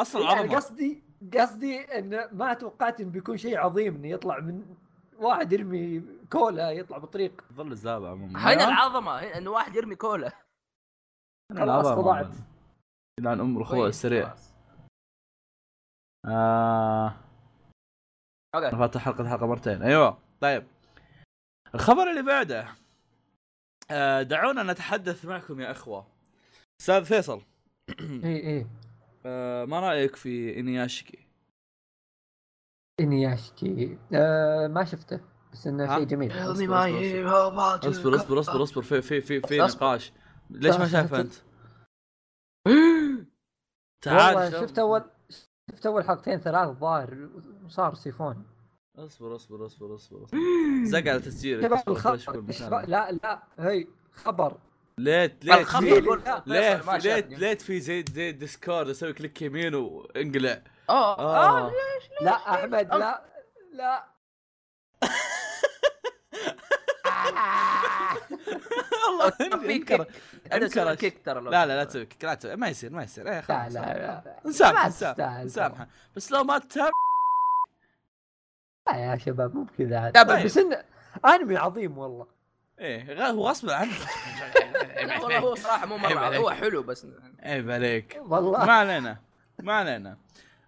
Speaker 4: اصلا
Speaker 1: يعني
Speaker 4: عرضه
Speaker 1: قصدي قصدي ان ما توقعت انه بيكون شيء عظيم انه يطلع من واحد يرمي كولا يطلع بطريق
Speaker 4: ظل الزابع عموما
Speaker 3: نعم.
Speaker 2: هنا العظمه هنا انه واحد يرمي كولا
Speaker 1: خلاص خضعت
Speaker 3: لعن ام الخضوع
Speaker 2: كويس،
Speaker 3: السريع
Speaker 2: خلاص.
Speaker 3: آه
Speaker 2: اوكي
Speaker 3: انا فاتح حلقه الحلقه مرتين ايوه طيب الخبر اللي بعده آه دعونا نتحدث معكم يا اخوه استاذ فيصل
Speaker 1: اي اي
Speaker 3: آه ما رايك في انياشكي
Speaker 1: انياشكي آه ما شفته بس انه
Speaker 3: ها؟
Speaker 1: شيء جميل
Speaker 2: Tell
Speaker 3: أصبر،
Speaker 2: me my
Speaker 3: أصبر.
Speaker 2: hero about you.
Speaker 3: اصبر اصبر اصبر اصبر في في في في
Speaker 2: أصبر.
Speaker 3: نقاش ليش ما شايفه انت؟
Speaker 1: والله
Speaker 3: تعال شوف.
Speaker 1: شفت اول شفت اول حلقتين ثلاث ظاهر وصار سيفون
Speaker 3: اصبر اصبر اصبر اصبر أصبر. زق على تسجيلك
Speaker 1: شباب
Speaker 3: أصبر، خليني أشوف
Speaker 1: الخبر شباب-
Speaker 3: المكان.
Speaker 1: لا لا هي خبر
Speaker 3: ليت ليت
Speaker 2: الخبر
Speaker 1: ليه-
Speaker 2: يقول
Speaker 1: ليه-
Speaker 3: ليت
Speaker 2: ما
Speaker 3: ليت
Speaker 2: شافني.
Speaker 3: ليت في زي زي ديسكورد اسوي كليك يمين وانقلع
Speaker 2: اه
Speaker 3: آه.
Speaker 2: آه.
Speaker 1: لا احمد لا لا
Speaker 3: والله
Speaker 2: في
Speaker 3: انكر
Speaker 2: كيك انا اسوي
Speaker 3: انكرش.
Speaker 2: كيك ترى لو
Speaker 3: لا لا لا تسوي كيك، لا تسوي ما يصير ما يصير ايه
Speaker 1: لا
Speaker 3: خلاص
Speaker 1: لا لا
Speaker 3: نسامح
Speaker 1: ما
Speaker 3: نسامح-
Speaker 1: تستاهل.
Speaker 3: نسامحه بس لو ما تتابع
Speaker 1: لا آه يا شباب مو بكذا عاد.
Speaker 2: لا، طيب.
Speaker 1: بس انه انمي عظيم والله
Speaker 3: ايه غ- هو غصب عنك عيب
Speaker 2: لا، والله هو
Speaker 3: عليك.
Speaker 2: صراحه مو
Speaker 3: عيب
Speaker 2: مره
Speaker 3: عليك.
Speaker 2: هو حلو بس
Speaker 3: عيب عليك
Speaker 1: والله
Speaker 3: ما علينا ما علينا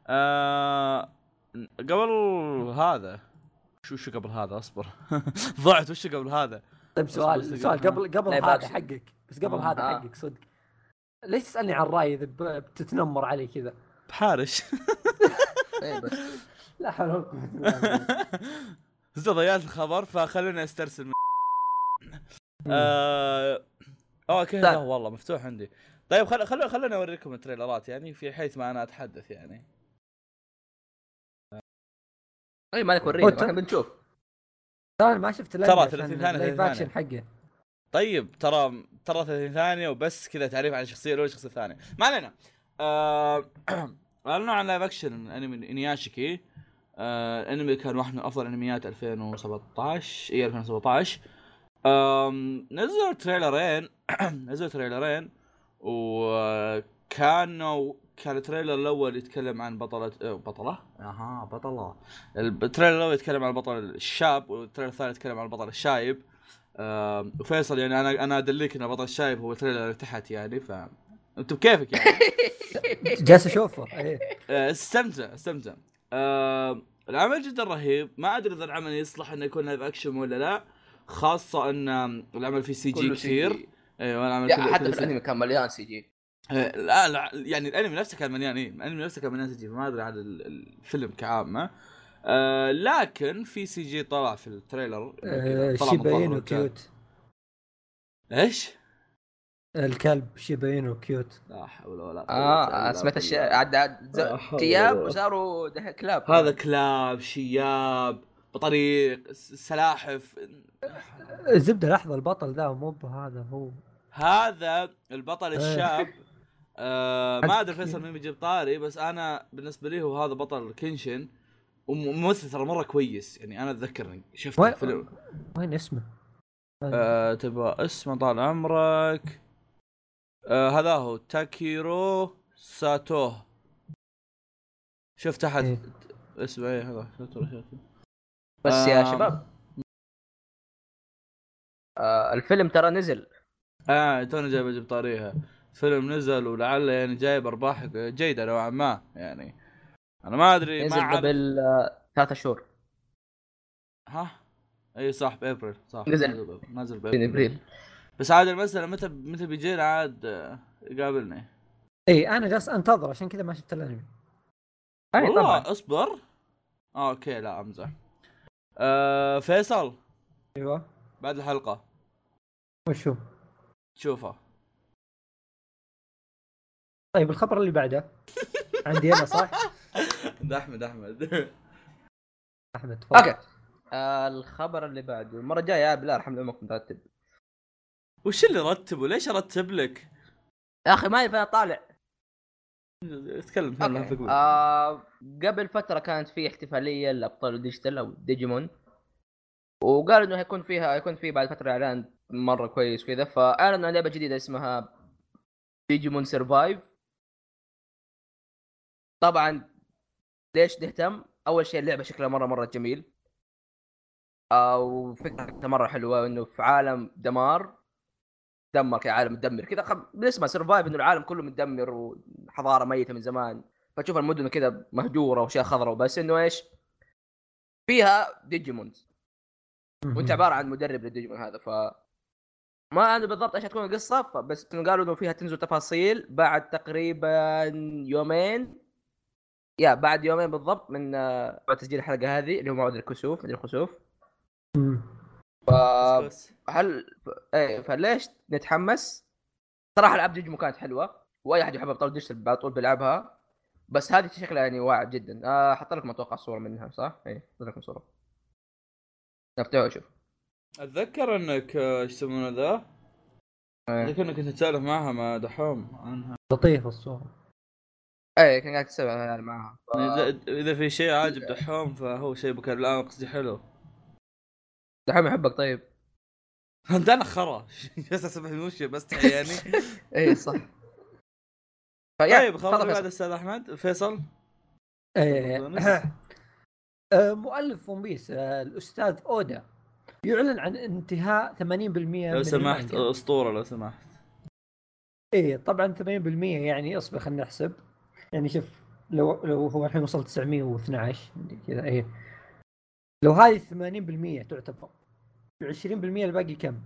Speaker 3: آه قبل هذا شو شو قبل هذا اصبر ضعت وش قبل هذا
Speaker 1: طيب سؤال
Speaker 3: بس-
Speaker 1: سؤال قبل قبل
Speaker 2: لا،
Speaker 1: هذا
Speaker 2: باكشن.
Speaker 1: حقك بس قبل
Speaker 3: آه.
Speaker 1: هذا حقك صدق ليش تسالني عن رايي اذا ب- بتتنمر علي كذا؟
Speaker 3: بحارش
Speaker 2: إيه بس
Speaker 1: لا حول ولا قوة إلا بالله.
Speaker 3: زين ضيعت الخبر فخليني استرسل من آه اوكي لا والله مفتوح عندي طيب خل خل خليني اوريكم التريلرات يعني في حيث ما انا اتحدث يعني
Speaker 2: اي طيب، مالك ورينا
Speaker 1: قلت-
Speaker 2: احنا بنشوف
Speaker 1: ترى انا ما شفت
Speaker 3: ترى 30 ثانية، 30
Speaker 1: لايف
Speaker 3: ثانية.
Speaker 1: اكشن حقه
Speaker 3: طيب ترى ترى 30 ثانيه وبس كذا تعريف عن الشخصيه الاولى والشخصيه الثانيه ما علينا آه، اعلنوا عن لايف اكشن من انمي انياشيكي آه، الانمي كان واحد من افضل انميات 2017 اي 2017 إيه، آم، نزلوا تريلرين نزلوا تريلرين وكانوا كان التريلر الاول يتكلم عن بطلة آه، بطلة؟ اها بطلة التريلر الاول يتكلم عن البطل الشاب والتريلر الثاني يتكلم عن البطل الشايب آم، وفيصل يعني انا انا ادليك ان البطل الشايب هو التريلر اللي تحت يعني ف انت بكيفك يعني
Speaker 1: جالس اشوفه إيه.
Speaker 3: آه، استمتع استمتع آه، العمل جدا رهيب ما ادري اذا العمل يصلح انه يكون لايف اكشن ولا لا خاصه ان آم، العمل فيه سي جي
Speaker 2: كله سي
Speaker 3: كثير
Speaker 2: جي.
Speaker 3: ايوه العمل
Speaker 2: لا،
Speaker 3: كله-
Speaker 2: حتى
Speaker 3: كله
Speaker 2: في
Speaker 3: سي-
Speaker 2: الانمي كان مليان سي جي
Speaker 3: آه، لا لا يعني الانمي نفسه كان مليان ايه الانمي نفسه كان مليان سي جي ما ادري عن ال- الفيلم كعامه آه، لكن في سي جي طلع في التريلر
Speaker 1: آه،
Speaker 3: طلع من ظهر
Speaker 1: شيباينو
Speaker 3: الرجال.
Speaker 1: كيوت
Speaker 3: ايش؟
Speaker 1: الكلب شيباينو كيوت
Speaker 3: لا حول ولا قوة إلا
Speaker 2: اه سمعت
Speaker 3: بالله.
Speaker 2: الشيء عاد عاد
Speaker 3: لا آه، حول ولا
Speaker 2: ز- تياب
Speaker 3: قوة.
Speaker 2: وصاروا دحين كلاب
Speaker 3: هذا كلاب شياب بطريق س- سلاحف
Speaker 1: الزبده لحظه البطل ذا مو بهذا هو
Speaker 3: هذا البطل
Speaker 1: إيه.
Speaker 3: الشاب آه ما ادري
Speaker 1: عندك-
Speaker 3: فيصل مين بيجيب طاري بس انا بالنسبه لي هو هذا بطل كنشن وممثل ترى مره كويس يعني انا اتذكر شفت
Speaker 1: وين-
Speaker 3: الفيلم
Speaker 1: وين اسمه؟
Speaker 3: آه تبغى اسمه طال عمرك آه هذا هو تاكيرو ساتوه شفت احد
Speaker 1: إيه.
Speaker 3: اسمه ايه هذا شفته شفته
Speaker 2: بس يا
Speaker 3: آه.
Speaker 2: شباب آه الفيلم ترى نزل
Speaker 3: اه توني جاي بجيب طاريها فيلم نزل ولعله يعني جايب ارباح جيده نوعا ما يعني انا ما ادري ما
Speaker 2: نزل
Speaker 3: عاد-
Speaker 2: قبل آه، ثلاثة شهور
Speaker 3: ها اي صح بابريل صح
Speaker 2: نزل.
Speaker 3: بأبريل. نزل
Speaker 2: من
Speaker 3: بابريل
Speaker 2: ابريل
Speaker 3: بس عاد المساله متى متى بيجينا عاد آه، يقابلني
Speaker 1: اي انا إيه، جالس انتظر عشان كذا ما شفت الانمي
Speaker 2: اي طبعا
Speaker 3: والله اصبر آه، اوكي لا امزح آه فيصل
Speaker 2: أيوة.
Speaker 1: ايوه
Speaker 3: بعد الحلقه
Speaker 1: وشو؟
Speaker 3: تشوفه
Speaker 1: طيب الخبر اللي بعده عندي انا صح؟
Speaker 3: ده احمد احمد
Speaker 1: احمد تفضل
Speaker 2: اوكي آه الخبر اللي بعده المره الجايه يا بالله ارحم امك مرتب
Speaker 3: وش اللي رتبه؟ ليش ارتب لك؟
Speaker 2: يا اخي ما أعرف انا طالع
Speaker 3: اتكلم تكلم
Speaker 2: اوكي
Speaker 3: أوكي.
Speaker 2: آه قبل فتره كانت في احتفاليه لابطال ديجيتال او ديجيمون وقالوا انه هيكون فيها هيكون في بعد فتره اعلان مره كويس وكذا فاعلنوا عن لعبه جديده اسمها ديجيمون سرفايف طبعا ليش نهتم؟ اول شيء اللعبه شكلها مره مره جميل آه، وفكرتها مره حلوه انه في عالم دمار دمر كذا عالم مدمر كذا خب... اسمها سرفايف انه العالم كله متدمر وحضاره ميته من زمان فتشوف المدن كذا مهجوره واشياء خضراء وبس انه ايش؟ فيها ديجيمونز وانت عباره عن مدرب للديجيمون هذا ف ما ادري بالضبط ايش حتكون القصه بس قالوا انه فيها تنزل تفاصيل بعد تقريبا يومين يا بعد يومين بالضبط من آه، بعد تسجيل الحلقه هذه اللي هو موعد الكسوف مدري الخسوف
Speaker 1: مم.
Speaker 2: ف...
Speaker 3: بس- بس.
Speaker 2: هل ف- ايه فليش نتحمس؟ صراحه العاب ديجمو كانت حلوه واي احد يحب ابطال ديجيتال على طول بيلعبها بس هذه شكلها يعني واعد جدا آه حط لكم اتوقع صوره منها صح؟ إيه، اي حط لكم صوره نفتحها وشوف
Speaker 3: اتذكر انك آه، ايش يسمونه ذا؟ اتذكر انك كنت تسولف معها مع دحوم عنها
Speaker 1: لطيفه الصوره
Speaker 2: اي إيه، كان قاعد تسوي انا معاها ف...
Speaker 3: يعني إذا- اذا في شيء عاجب دحوم فهو شيء بكر الان قصدي حلو
Speaker 2: دحوم يحبك طيب
Speaker 3: انت انا خرا جالس اسبح المشي بس يعني
Speaker 2: اي إيه، صح فيا،
Speaker 3: طيب خبر
Speaker 2: تفضل
Speaker 3: اللي
Speaker 2: فيصل.
Speaker 3: بعد استاذ احمد فيصل
Speaker 1: إيه. آه، مؤلف ون بيس آه، الاستاذ اودا يعلن عن انتهاء 80%
Speaker 3: لو
Speaker 1: من
Speaker 3: سمحت
Speaker 1: المانجا.
Speaker 3: اسطوره لو سمحت
Speaker 1: ايه طبعا 80% يعني اصبر خلينا نحسب يعني شوف لو لو هو الحين وصل 912 مدري كذا ايه لو هذه 80% تعتبر 20% الباقي كم؟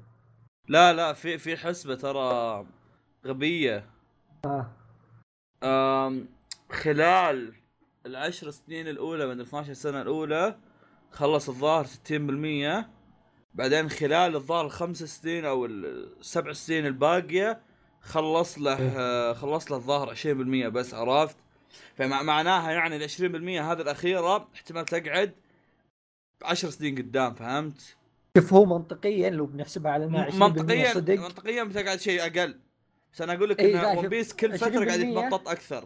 Speaker 3: لا لا في في حسبه ترى غبيه
Speaker 1: اه
Speaker 3: أم خلال العشر سنين الاولى من 12 سنه الاولى خلص الظاهر 60% بعدين خلال الظاهر الخمس سنين او السبع سنين الباقيه خلص له خلص له الظاهر 20% بس عرفت فمع معناها يعني ال 20% هذه الاخيره احتمال تقعد 10 سنين قدام فهمت؟
Speaker 1: شوف هو منطقيا لو بنحسبها على انها 20%
Speaker 3: منطقيا
Speaker 1: صدق
Speaker 3: منطقيا بتقعد شيء اقل بس انا اقول لك
Speaker 1: إيه،
Speaker 3: ان
Speaker 1: لا، شوف،
Speaker 3: ون بيس كل فتره قاعد
Speaker 1: 20%
Speaker 3: يتمطط اكثر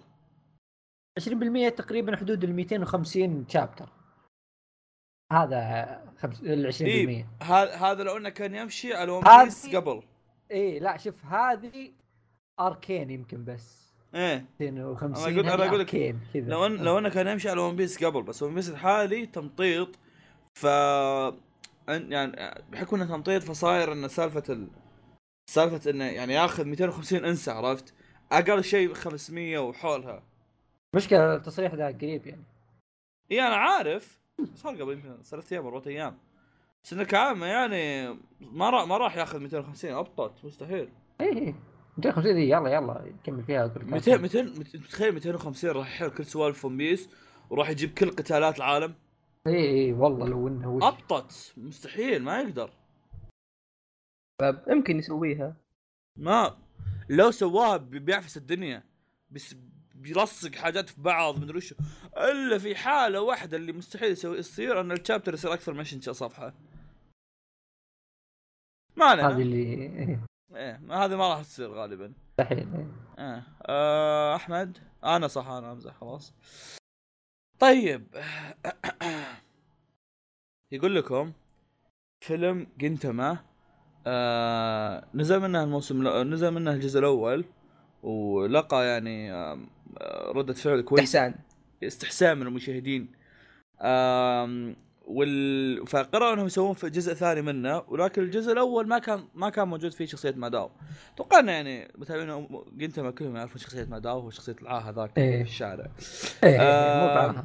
Speaker 1: 20% تقريبا حدود ال 250 شابتر هذا خمس... ال 20%
Speaker 3: إيه. ه- هذا لو انه كان يمشي على ون
Speaker 1: هذه-
Speaker 3: بيس قبل
Speaker 1: ايه لا شوف هذه اركين يمكن بس
Speaker 3: ايه
Speaker 1: 250
Speaker 3: أنا أقول- أنا
Speaker 1: هذه
Speaker 3: أقول لك،
Speaker 1: أركين كذا
Speaker 3: لو ان لو انه كان يمشي على ون بيس قبل بس ون بيس الحالي تمطيط ف أن- يعني بحكم انه تمطيط فصاير انه سالفه ال... سالفه انه يعني ياخذ 250 انسى عرفت؟ اقل شيء 500 وحولها
Speaker 1: مشكله التصريح ذا قريب يعني
Speaker 3: اي انا إيه، عارف صار قبل يمكن ثلاث ايام اربع ايام بس انه كعامه يعني ما راح ما راح ياخذ 250 ابطت مستحيل
Speaker 1: ايه ايه 250 دي يلا يلا كمل فيها اقول لك
Speaker 3: 200 200 متخيل 250 راح يحل كل سوالف ون بيس وراح يجيب كل قتالات العالم
Speaker 1: ايه ايه والله لو انه وش
Speaker 3: ابطت مستحيل ما يقدر
Speaker 2: طب يمكن يسويها
Speaker 3: ما لو سواها بي- بيعفس الدنيا بس بيلصق حاجات في بعض مدري وش الا في حاله واحده اللي مستحيل يسوي يصير ان الشابتر يصير اكثر من 20 صفحه ما
Speaker 1: هذه
Speaker 3: علينا
Speaker 1: اللي إيه،
Speaker 3: ايه ما- هذه ما راح تصير غالبا
Speaker 1: مستحيل إيه.
Speaker 3: آه. آه احمد انا صح انا امزح خلاص طيب يقول لكم فيلم جنتما آه نزل منه الموسم الأ- نزل منه الجزء الاول ولقى يعني آم، آه ردة فعل كويسة
Speaker 2: احسان
Speaker 3: استحسان من المشاهدين آم وال... فقرروا انهم يسوون في جزء ثاني منه ولكن الجزء الاول ما كان ما كان موجود فيه شخصيه ماداو اتوقع انه يعني متابعين جنتما كلهم يعرفون شخصيه ماداو وشخصيه العاهه ذاك
Speaker 1: إيه.
Speaker 3: في الشارع
Speaker 1: ايه
Speaker 3: آه،
Speaker 1: ايه مو بعضها.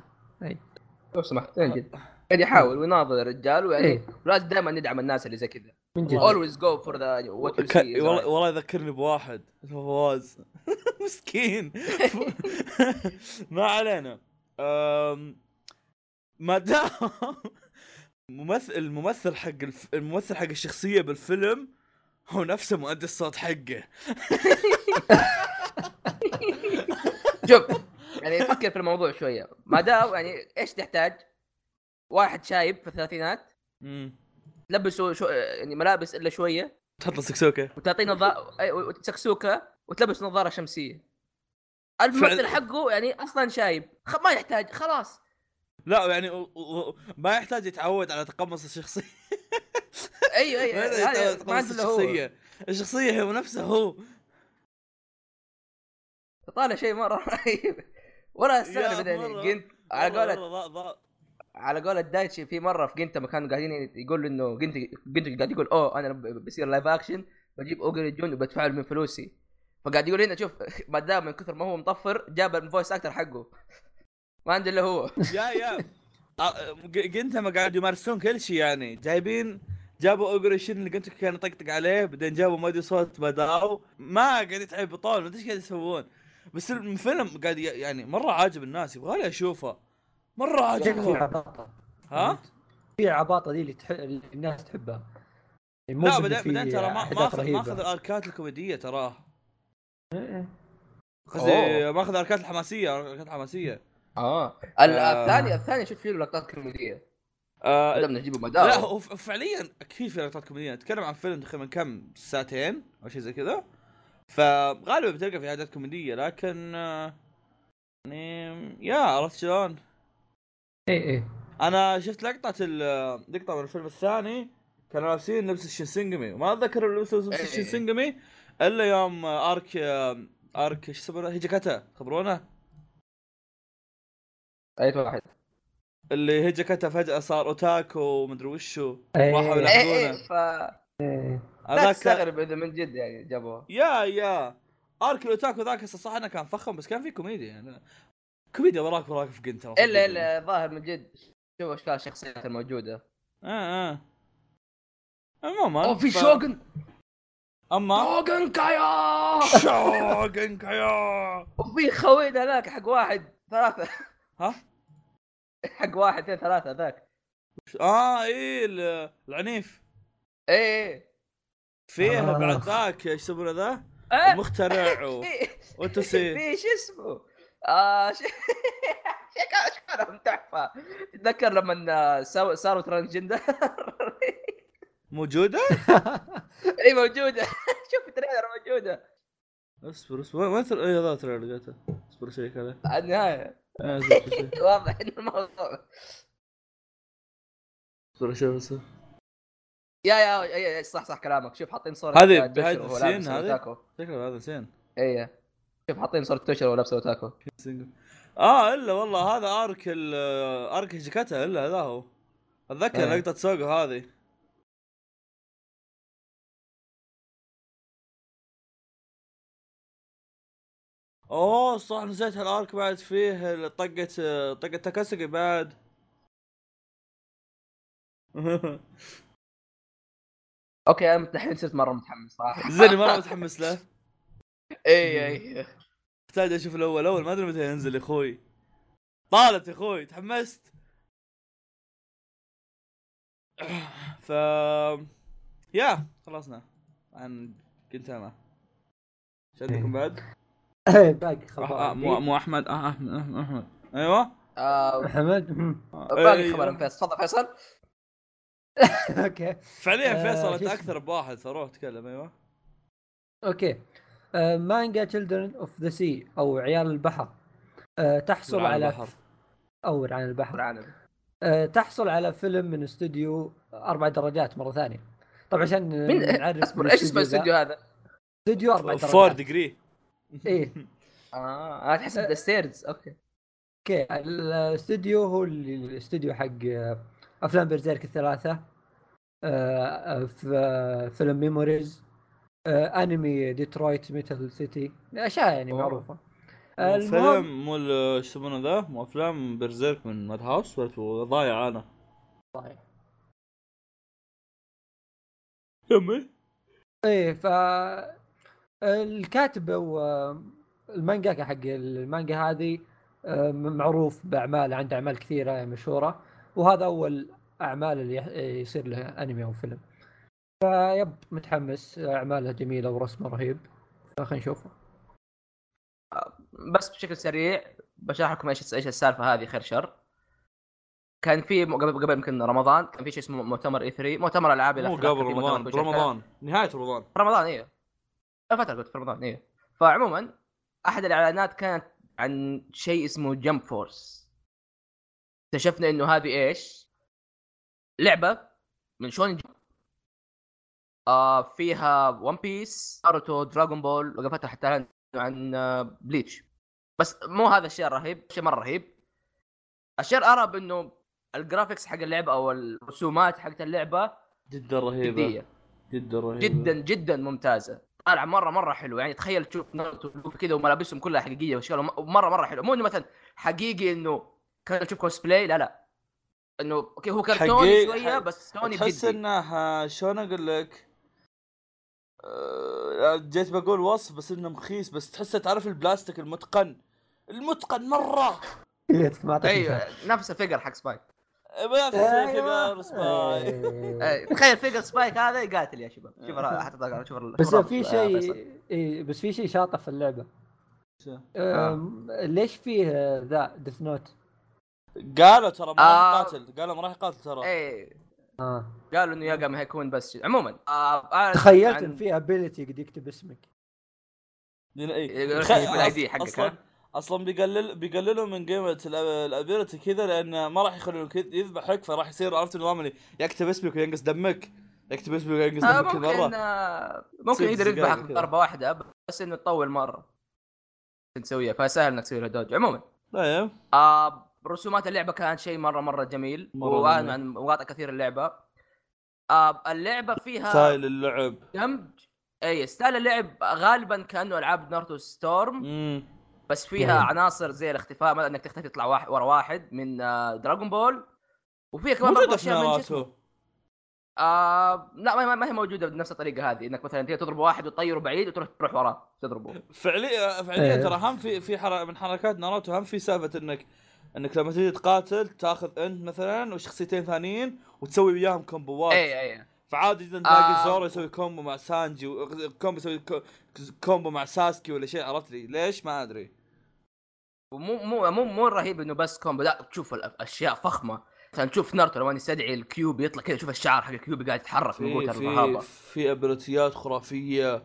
Speaker 2: لو سمحت إيه جد قاعد يحاول ويناظر الرجال ويعني
Speaker 1: إيه.
Speaker 2: لازم دائما ندعم الناس اللي زي كذا
Speaker 1: من جد
Speaker 2: always go for the what you
Speaker 3: ك...
Speaker 2: see is right.
Speaker 3: والله والله يذكرني بواحد اسمه فواز مسكين ما علينا أم... ما دام ممثل الممثل حق الف... الممثل حق الشخصيه بالفيلم هو نفسه مؤدي الصوت حقه
Speaker 2: شوف يعني فكر في الموضوع شويه ما دام يعني ايش تحتاج؟ واحد شايب في الثلاثينات
Speaker 5: مم.
Speaker 2: تلبسه شو يعني ملابس الا شويه
Speaker 3: تحط لك سكسوكه
Speaker 2: وتعطيه نظاره سكسوكه وتلبس نظاره شمسيه الممثل
Speaker 3: فعل-
Speaker 2: حقه يعني اصلا شايب خ- ما يحتاج خلاص
Speaker 3: لا يعني و- و- ما يحتاج يتعود على تقمص الشخصيه ما
Speaker 2: ايوه ايوه
Speaker 3: يحتاج
Speaker 2: هذا
Speaker 3: يتقمص
Speaker 2: ما عنده إلا هو
Speaker 3: الشخصيه الشخصيه هي نفسها هو
Speaker 2: طالع شيء مره رهيب ولا استغرب
Speaker 3: يا
Speaker 2: يعني
Speaker 3: مرة.
Speaker 2: جنت على
Speaker 3: والله-
Speaker 2: قولة
Speaker 3: والله ضا- ضا-
Speaker 2: على قول دايتشي في مره في جنتا مكان قاعدين يقول انه جنتا جنتا قاعد يقول اوه انا ب- بصير لايف اكشن بجيب اوجري جون وبدفع له من فلوسي فقاعد يقول هنا شوف ما دام من كثر ما هو مطفر جاب الفويس اكتر حقه ما عنده الا هو
Speaker 3: يا يا آه، ج- جنتما قاعد يمارسون كل شيء يعني جايبين جابوا اوجريشن اللي قلت كان يطقطق عليه بعدين جابوا ما ادري صوت بداو ما قاعد يتعبطون ما ادري ايش قاعد يسوون بس الفيلم قاعد ي- يعني مره عاجب الناس يبغى لي اشوفه مره
Speaker 1: شكله في
Speaker 3: عاجبهم
Speaker 1: عباطه
Speaker 3: ها
Speaker 1: في عباطه دي اللي, تح... اللي الناس تحبها يعني
Speaker 3: لا بعدين بعدين ترى ما ما اخذ ما اخذ الاركات الكوميديه تراه قصدي
Speaker 2: أوه.
Speaker 3: ما اخذ الاركات الحماسيه الاركات الحماسيه
Speaker 2: اه
Speaker 3: آه.
Speaker 2: الثاني الثاني شفت فيه له لقطات كوميديه
Speaker 3: آه،
Speaker 2: قدرنا نجيبه ما
Speaker 3: لا
Speaker 2: دام
Speaker 3: هو ف- فعليا اكيد في لقطات كوميديه نتكلم عن فيلم تقريبا كم ساعتين او شيء زي كذا فغالبا بتلقى في عادات كوميديه لكن آه، يعني يا عرفت شلون؟
Speaker 1: اي اي
Speaker 3: انا شفت لقطه ال- لقطه من الفيلم الثاني كانوا لابسين لبس الشنسنجمي وما اتذكر لبسوا لبس
Speaker 2: إيه.
Speaker 3: الشنسنجمي الا يوم آه، ارك آه، ارك ايش يسمونه هيجاكاتا خبرونا
Speaker 2: اي واحد
Speaker 3: آه، اللي هيجاكاتا فجاه صار اوتاكو ومدري وشو راحوا
Speaker 1: إيه.
Speaker 2: اي
Speaker 3: يلعبونه
Speaker 2: اي ف لا
Speaker 3: هذاك
Speaker 2: تستغرب اذا من جد يعني جابوه
Speaker 3: يا يا ارك الاوتاكو ذاك صح انه كان فخم بس كان في كوميديا يعني كوميديا وراك وراك في جنتا
Speaker 2: الا الا ظاهر من جد شوف اشكال الشخصيات الموجوده
Speaker 3: اه اه عموما ف- اما
Speaker 2: شوغن
Speaker 3: آه،
Speaker 2: كايا
Speaker 3: شوغن كايا
Speaker 2: وفي خوينا هذاك حق واحد ثلاثة
Speaker 3: ها؟
Speaker 2: حق واحد اثنين ثلاثة ذاك
Speaker 3: اه ايه ال- العنيف
Speaker 2: ايه
Speaker 3: فيها
Speaker 1: آه.
Speaker 3: بعد ذاك ايش يسمونه ذا؟
Speaker 2: إيه.
Speaker 3: المخترع و...
Speaker 2: في-
Speaker 3: وتسي
Speaker 2: في شو اسمه؟ آه ش- شكل اشكالهم تحفة تتذكر لما سو- صاروا ترانجندر
Speaker 3: موجوده؟
Speaker 2: اي إيه، موجودة شوف التريلر موجودة
Speaker 3: اصبر اصبر وين- وين تر- إيه، ذا ترى لقيته اصبر شيك عليه
Speaker 2: على النهاية
Speaker 3: آه، اصبر شيك.
Speaker 2: واضح ان الموضوع
Speaker 3: اصبر شوف اصبر
Speaker 2: يا يا- يا يا- صح صح كلامك شوف حاطين صورة
Speaker 3: هذه-
Speaker 2: توشر
Speaker 3: هذه
Speaker 2: وهو لابس
Speaker 3: السين هذه؟
Speaker 2: الأوتاكو.
Speaker 3: شكله هذا زين
Speaker 2: ايه شوف حاطين صورة توشر ولابسه اوتاكو
Speaker 3: سنجل. اه الا والله هذا ارك ال ارك جكتها الا هذا هو اتذكر
Speaker 2: إيه.
Speaker 3: لقطه سوقو هذه اوه صح نسيت الارك بعد فيه ال- طقه طقه تاكاسكي بعد
Speaker 2: اوكي انا الحين صرت مره متحمس صراحه
Speaker 3: زين مره متحمس له
Speaker 2: اي اي
Speaker 3: احتاج اشوف الاول اول ما ادري متى ينزل يا اخوي طالت يا اخوي تحمست ف يا خلصنا عن كنت انا ايش عندكم بعد؟
Speaker 1: إيه، باقي إيه.
Speaker 3: آه، آه،
Speaker 1: خبر
Speaker 3: مو مو احمد آه، احمد احمد أحمد. ايوه
Speaker 2: آه،
Speaker 1: محمد
Speaker 3: آه،
Speaker 2: باقي
Speaker 6: إيه.
Speaker 3: أيوة.
Speaker 2: خبر من فيصل تفضل فيصل
Speaker 1: اوكي
Speaker 3: فعليا
Speaker 1: آه،
Speaker 3: فيصل
Speaker 1: شو
Speaker 3: انت
Speaker 1: اسمه؟
Speaker 3: اكثر بواحد فروح تكلم ايوه
Speaker 1: اوكي آه، مانجا تشيلدرن اوف ذا سي او عيال البحر آه، تحصل
Speaker 3: رعاة
Speaker 1: على
Speaker 3: البحر.
Speaker 1: او رعاة البحر
Speaker 2: عنب
Speaker 1: آه، تحصل على فيلم من استوديو اربع درجات مره ثانيه طبعا عشان
Speaker 2: مين-
Speaker 1: نعرف
Speaker 2: اصبر ايش اسم
Speaker 1: ذا.
Speaker 2: الاستوديو هذا؟
Speaker 1: استوديو اربع درجات
Speaker 3: فور ديجري
Speaker 1: ايه
Speaker 2: اه انا تحسب ذا ستيرز اوكي
Speaker 1: اوكي الاستوديو هو ال- الاستوديو حق آه، افلام بيرزيرك الثلاثه آه، آه، ف- آه، فيلم ميموريز آه، انمي ديترويت ميتال سيتي اشياء يعني
Speaker 2: أوه.
Speaker 1: معروفه آه، المهم
Speaker 3: فيلم مو ال- ايش يسمونه ذا مو افلام برزيرك من ماد هاوس ولا ضايع انا
Speaker 1: صحيح.
Speaker 3: كمل
Speaker 1: ايه ف الكاتب والمانجاكا حق المانجا هذه آه، معروف باعمال عنده اعمال كثيره مشهوره وهذا اول اعمال اللي يح- يصير له انمي او فيلم فيب متحمس اعماله جميله ورسمه رهيب فخلينا نشوفه
Speaker 2: بس بشكل سريع بشرح لكم ايش ايش السالفه هذه خير شر كان في م- قبل قبل يمكن رمضان كان في شيء اسمه مؤتمر اي 3 مؤتمر العاب
Speaker 6: مو
Speaker 2: الأخلاق،
Speaker 6: قبل
Speaker 2: في مؤتمر
Speaker 6: رمضان
Speaker 2: كل شيء.
Speaker 6: برمضان نهايه رمضان
Speaker 2: رمضان ايوه الفترة قلت في رمضان ايوه فعموما احد الاعلانات كانت عن شيء اسمه جمب فورس اكتشفنا انه هذه ايش؟ لعبة من شون جمب آه فيها ون بيس ناروتو دراغون بول وقفتها حتى الآن عن آه، بليتش بس مو هذا الشيء الرهيب شيء مره رهيب الشيء الارهب انه الجرافيكس حق اللعبه او الرسومات حقت اللعبه
Speaker 6: جدا رهيبه
Speaker 2: جديه
Speaker 6: جدا رهيبه
Speaker 2: جدا جدا ممتازه طالعه مره مره حلوه يعني تخيل تشوف ناروتو ولوفي كذا وملابسهم كلها حقيقيه واشكالهم مره مره حلوه مو انه مثلا حقيقي انه كان تشوف كوسبلاي لا لا انه اوكي هو كرتوني
Speaker 3: حقيقي-
Speaker 2: شويه
Speaker 3: حق-
Speaker 2: بس كرتوني
Speaker 3: تحس
Speaker 2: جدي
Speaker 3: انها شلون اقول لك آه، جيت بقول وصف بس انه مخيس بس تحسه تعرف البلاستيك المتقن المتقن مره
Speaker 1: يا ليتك إيه، ما أعطيتني
Speaker 2: ايوه
Speaker 1: مثال.
Speaker 2: نفس الفيجر حق سبايك
Speaker 3: ما
Speaker 2: أيوه.
Speaker 3: تحسه فيجر سباي
Speaker 1: أيوة.
Speaker 2: أي، تخيل فيجر سبايك هذا يقاتل يا شباب شوف را- حتى طلع- شوف ال-
Speaker 1: بس
Speaker 2: شوف
Speaker 1: في
Speaker 2: الرابط، آه، فيصل.
Speaker 1: شيء إيه، بس في شيء شاطح في اللعبه
Speaker 3: شو؟
Speaker 2: آه.
Speaker 1: أم، ليش فيه آه، ذا ديث نوت؟
Speaker 3: قالوا ترى ما
Speaker 2: آه.
Speaker 3: راح يقاتل قالوا ما راح يقاتل ترى
Speaker 2: اي
Speaker 1: آه.
Speaker 2: قالوا انه ياقا ما هيكون بس عموما آه، أعلن
Speaker 1: تخيلت
Speaker 2: عن-
Speaker 1: ان في ابيلتي قد يكتب اسمك
Speaker 3: لأن إيه.
Speaker 2: يقول لك
Speaker 3: خ-
Speaker 2: يجيب ال ID حقك،
Speaker 3: اصلا
Speaker 2: ها؟
Speaker 3: اصلا بيقلل بيقللوا من قيمه ال- الابيلتي كذا لان ما راح يخلونك يذبحك فراح يصير عرفت النظام اللي يكتب اسمك وينقص دمك يكتب اسمك وينقص
Speaker 2: آه،
Speaker 3: دمك كل
Speaker 2: ممكن
Speaker 3: مره
Speaker 2: آه، ممكن
Speaker 3: ست
Speaker 2: يقدر
Speaker 3: دقايق
Speaker 2: يذبحك
Speaker 3: كذا.
Speaker 2: بضربه واحده بس انه تطول مره عشان تسويها فسهل انك تسوي له دوج عموما
Speaker 3: طيب
Speaker 2: آه رسومات اللعبه كانت شيء مره مره جميل
Speaker 3: مرة
Speaker 2: وانا
Speaker 3: جميل.
Speaker 2: عن مقاطع كثير اللعبه آه اللعبه فيها
Speaker 3: ستايل اللعب
Speaker 2: دمج اي ستايل اللعب غالبا كانه العاب ناروتو ستورم
Speaker 3: امم
Speaker 2: بس فيها
Speaker 1: مم.
Speaker 2: عناصر زي الاختفاء مثلا انك تختفي تطلع واحد ورا واحد من آه دراغون بول وفيها كمان برضه
Speaker 3: موجوده في
Speaker 2: اشياء من شو اسمه؟
Speaker 3: ناروتو
Speaker 2: آه لا ما- ما ما هي موجوده بنفس الطريقه هذه انك مثلا تيجي تضرب واحد وتطيره بعيد وتروح تروح وراه تضربه
Speaker 3: فعليا
Speaker 1: إيه.
Speaker 3: فعليا ترى هم في في حر... من حركات ناروتو هم في سالفه انك انك لما تيجي تقاتل تاخذ انت مثلا وشخصيتين ثانيين وتسوي وياهم كومبوات
Speaker 2: اي اي
Speaker 3: فعادي جدا تلاقي
Speaker 2: آه.
Speaker 3: زورو يسوي كومبو مع سانجي و- كومبو يسوي كو- كومبو مع ساسكي ولا شيء عرفت لي ليش ما ادري
Speaker 2: ومو مو مو مو رهيب انه بس كومبو لا تشوف الأ- اشياء فخمه مثلا تشوف ناruto لما يستدعي الكيوب يطلع كذا تشوف الشعر حق الكيوب قاعد يتحرك من قوه
Speaker 3: في في
Speaker 2: الرهابه
Speaker 3: في ابيلتيات خرافيه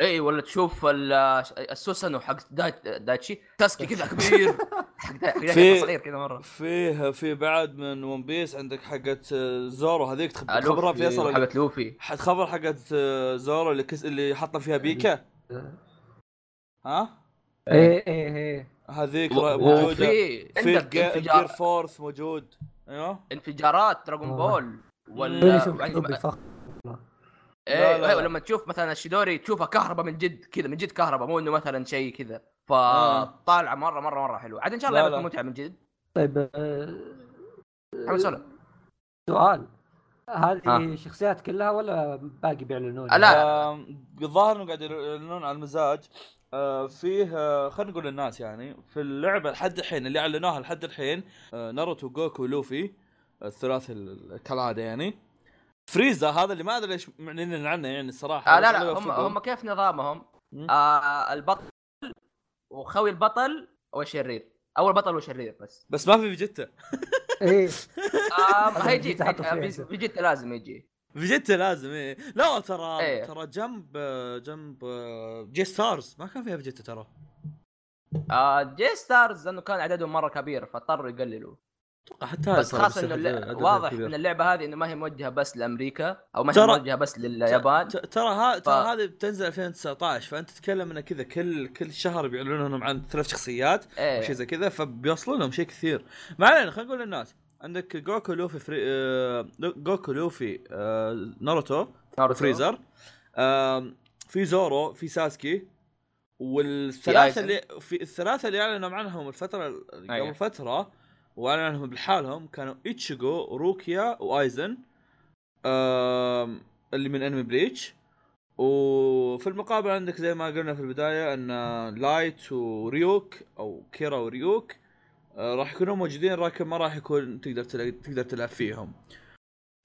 Speaker 2: اي إيه، ولا تشوف ال- آه، السوسنو حق دا- دايتشي تاسكي كذا كبير حق دا- حق دايتشي
Speaker 3: في-
Speaker 2: صغير كذا مره
Speaker 3: فيه في بعد من ون بيس عندك حقت آه، زورو هذيك تخب- تخبرها
Speaker 2: لوفي
Speaker 3: فيصل
Speaker 2: حقت لوفي
Speaker 3: حتخبر حقت آه، زورو اللي كس... اللي حطنا فيها بيكا ها
Speaker 2: إيه.
Speaker 1: ايه ايه ايه
Speaker 3: هذيك را- موجوده
Speaker 2: وفي
Speaker 3: في
Speaker 2: عندك
Speaker 3: جير
Speaker 2: انفجار
Speaker 3: فورث موجود ايوه
Speaker 2: انفجارات دراغون
Speaker 1: آه.
Speaker 2: بول
Speaker 1: فين
Speaker 2: ولا
Speaker 1: يشوف كتب فخ
Speaker 2: ايه
Speaker 3: لا، لا،
Speaker 2: لا
Speaker 3: لا.
Speaker 2: لما تشوف مثلا الشيدوري تشوفها كهرباء من جد كذا من جد كهرباء مو انه مثلا شيء كذا
Speaker 3: آه.
Speaker 2: فطالعه مره مره مره حلوه عاد ان شاء الله
Speaker 3: لا،
Speaker 2: تكون
Speaker 3: لا.
Speaker 2: ممتعه من جد
Speaker 1: طيب آه،
Speaker 2: حمس ولا
Speaker 1: سؤال هذه
Speaker 2: ها.
Speaker 1: شخصيات كلها ولا باقي بيعلنون؟
Speaker 2: لا، لا.
Speaker 3: آم، الظاهر انه قاعد يعلنون على المزاج آه، فيه آه، خلينا نقول للناس يعني في اللعبه لحد الحين اللي اعلنوها لحد الحين آه، ناروتو جوكو لوفي الثلاث ال- كالعاده يعني فريزا هذا اللي ما ادري ليش معلنين عنه يعني الصراحه
Speaker 2: آه لا
Speaker 3: خليه
Speaker 2: لا هم
Speaker 3: يوفقهم.
Speaker 2: هم كيف نظامهم؟
Speaker 3: مم.
Speaker 2: آه البطل وخوي البطل والشرير او البطل والشرير بس
Speaker 3: بس ما في فيجيتا
Speaker 1: ايه
Speaker 2: آه هيجي
Speaker 1: فيجيتا حطوا فيه عشان.
Speaker 2: بيجيتا لازم يجي
Speaker 3: فيجيتا لازم ايه لا ترى
Speaker 2: إيه.
Speaker 3: ترى جنب آه، جنب جي ستارز ما كان فيها فيجيتا ترى
Speaker 2: آه جي ستارز لانه كان عددهم مره كبير فاضطروا يقللوا
Speaker 3: اتوقع حتى هذا
Speaker 2: بس
Speaker 3: صار
Speaker 2: خاصه انه
Speaker 3: بالسحب،
Speaker 2: اللع-
Speaker 3: عددها
Speaker 2: واضح
Speaker 3: كبير.
Speaker 2: ان اللعبه هذه انه ما هي موجهه بس لامريكا او ما هي
Speaker 3: ترى-
Speaker 2: موجهه بس لليابان
Speaker 3: ت- ترى ها ترى
Speaker 2: ف-
Speaker 3: هذه بتنزل 2019 فانت تتكلم انه كذا كل كل شهر بيعلنون لهم عن ثلاث شخصيات
Speaker 2: ايه
Speaker 3: وشي زي كذا فبيوصلوا لهم شيء كثير ما علينا خلينا نقول للناس عندك جوكو لوفي فري... آه... جوكو لوفي آه... ناروتو
Speaker 2: ناروتو.
Speaker 3: فريزر آم، في زورو في ساسكي والثلاثه
Speaker 2: في
Speaker 3: اللي في الثلاثه اللي اعلنوا عنهم الفتره ال-
Speaker 2: أيوة.
Speaker 3: قبل فتره واعلنوا عنهم لحالهم كانوا ايتشيجو روكيا وايزن آم، اللي من انمي بليتش وفي المقابل عندك زي ما قلنا في البدايه ان لايت وريوك او كيرا وريوك آه، راح يكونوا موجودين لكن ما راح يكون تقدر تلع- تقدر تلعب فيهم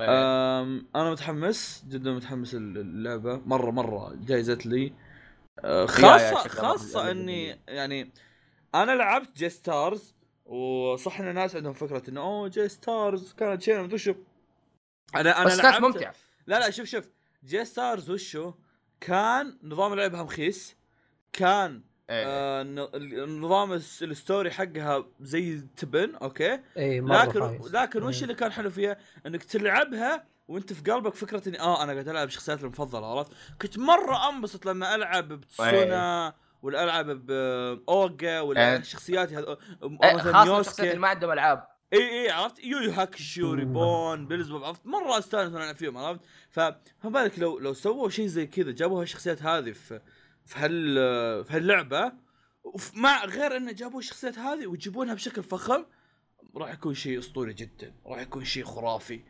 Speaker 2: طيب.
Speaker 3: أم، انا متحمس جدا متحمس اللعبه مره مره جايزت لي آه،
Speaker 2: يا
Speaker 3: خاصة
Speaker 2: شكرا.
Speaker 3: خاصة اني يعني انا لعبت جي ستارز وصح ان الناس عندهم فكرة انه اوه جي ستارز كانت شيء مدري شو انا انا
Speaker 2: بس كانت
Speaker 3: لعبت-
Speaker 2: ممتعه
Speaker 3: لا لا شوف شوف جي ستارز وشو كان نظام لعبها مخيس كان
Speaker 2: إيه.
Speaker 3: آه ن- نظام الس- الستوري حقها زي التبن اوكي
Speaker 1: اي مره
Speaker 3: لكن
Speaker 1: خايس.
Speaker 3: لكن وش
Speaker 1: إيه.
Speaker 3: اللي كان حلو فيها؟ انك تلعبها وانت في قلبك فكره اني اه انا قاعد العب شخصياتي المفضله عرفت؟ كنت مره انبسط لما العب بتسونا ولا العب باوجا
Speaker 2: إيه.
Speaker 3: ولا شخصياتي هذ...
Speaker 2: إيه،
Speaker 3: مثلا
Speaker 2: خاصه الشخصيات اللي
Speaker 3: يوسكي
Speaker 2: ما عندهم العاب
Speaker 3: اي اي عرفت؟ يويو هاكشيو
Speaker 1: مم.
Speaker 3: ريبون بيلزبوب عرفت؟ مره استانس وانا العب فيهم عرفت؟ ف- فما بالك لو لو سووا شيء زي كذا جابوا هالشخصيات هذه في في هال في هاللعبه وف- مع غير انه جابوا الشخصيات هذه ويجيبونها بشكل فخم راح يكون شيء اسطوري جدا راح يكون شيء خرافي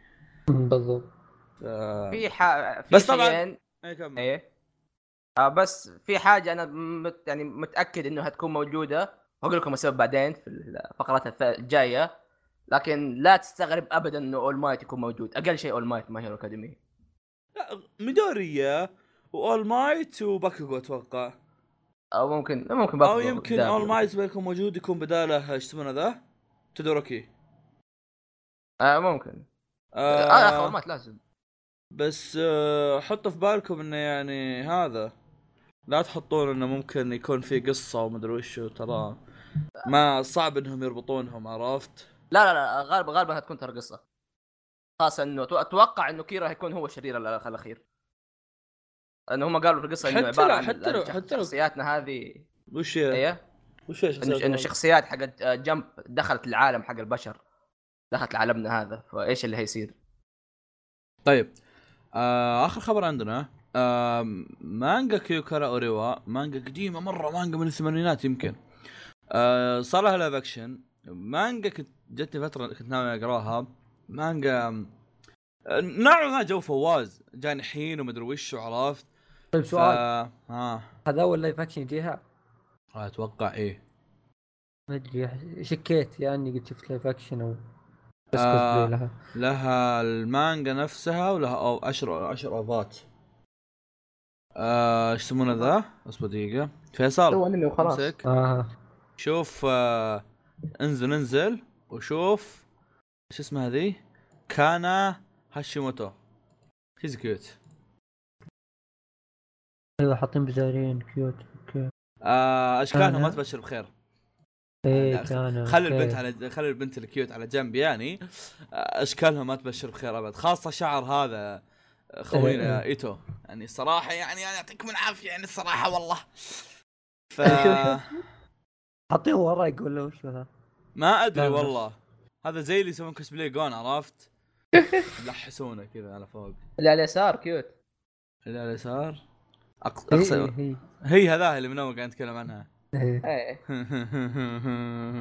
Speaker 1: مم، بالضبط
Speaker 3: ف... آه.
Speaker 2: في ح... في
Speaker 3: بس طبعاً-
Speaker 2: شيئين
Speaker 3: إيه كمل.
Speaker 2: ايه آه بس في حاجه انا مت يعني متاكد انه هتكون موجوده واقول لكم السبب بعدين في الفقرات الث- الجايه لكن لا تستغرب ابدا انه اول مايت يكون موجود اقل شيء اول مايت ما هيرو اكاديمي
Speaker 3: لا ميدوريا واول مايت وباكوغو اتوقع
Speaker 2: او ممكن ممكن
Speaker 3: او
Speaker 2: باكو-
Speaker 3: يمكن
Speaker 2: دابو.
Speaker 3: اول مايت بيكون موجود يكون بداله ايش يسمونه ذا؟ تودوروكي
Speaker 2: آه ممكن اه, آه
Speaker 3: آه
Speaker 2: اول مايت لازم
Speaker 3: بس آه حطوا في بالكم انه يعني هذا لا تحطون انه ممكن يكون في قصه ومدري وش ترى ما صعب انهم يربطونهم عرفت؟
Speaker 2: لا لا لا غالبا غالبا هتكون ترى قصه خاصه انه أتو- اتوقع انه كيرا هيكون هو الشرير ال- الاخير لانه هم قالوا في القصه انه
Speaker 3: حتى
Speaker 2: عباره
Speaker 3: لو-
Speaker 2: عن
Speaker 3: حتى لو-
Speaker 2: الشخ-
Speaker 3: حتى لو-
Speaker 2: شخصياتنا هذه
Speaker 3: وش هي؟
Speaker 2: ايه
Speaker 3: وش هي
Speaker 2: انه انه الشخصيات حقت جمب دخلت العالم حق البشر دخلت عالمنا هذا فايش اللي هيصير؟
Speaker 3: طيب آه اخر خبر عندنا آه مانجا كيوكارا اوريوا مانجا قديمه مره مانجا من الثمانينات يمكن آه صار لها لايف اكشن مانجا كنت جتني فتره كنت ناوي اقراها مانجا آه، نوعا ما جو فواز جاني حين ومدري وش وعرفت
Speaker 1: طيب
Speaker 3: ف... آه،
Speaker 1: سؤال
Speaker 3: ها
Speaker 1: هذا اول لايف اكشن يجيها
Speaker 3: اتوقع ايه
Speaker 1: ما ادري شكيت يا اني قد شفت لايف اكشن او بس
Speaker 3: آه.
Speaker 1: كوسبلاي لها
Speaker 3: لها المانجا نفسها ولها أو عشر عشر اوفات آه، ايش يسمونه ذا؟ اصبر دقيقة فيصل
Speaker 2: انمي
Speaker 3: امسك
Speaker 1: اه
Speaker 3: شوف آه انزل انزل وشوف شو اسمها هذي كانا هاشيموتو شيز كيوت
Speaker 1: ايوه حاطين بزارين كيوت اوكي
Speaker 3: آه اشكالها ما
Speaker 1: كانا.
Speaker 3: تبشر بخير
Speaker 1: ايه
Speaker 3: لا،
Speaker 1: كان
Speaker 3: خلي البنت
Speaker 1: إيه.
Speaker 3: على خلي البنت الكيوت على جنب يعني آه، اشكالها ما تبشر بخير ابد خاصه شعر هذا آه، خوينا
Speaker 1: إيه.
Speaker 3: ايتو يعني صراحه يعني انا يعطيكم العافيه يعني الصراحه والله ف
Speaker 1: حاطين ورق ولا وش هذا؟
Speaker 3: ما ادري
Speaker 1: لا، لا.
Speaker 3: والله هذا زي اللي يسوون كوسبلاي جون عرفت لحسونه كذا على فوق
Speaker 2: اللي على اليسار كيوت
Speaker 3: الى اليسار أقص-
Speaker 1: إيه،
Speaker 3: اقصد
Speaker 1: إيه،
Speaker 3: هي هذا اللي من اول قاعد نتكلم عنها
Speaker 1: إيه.
Speaker 2: ايه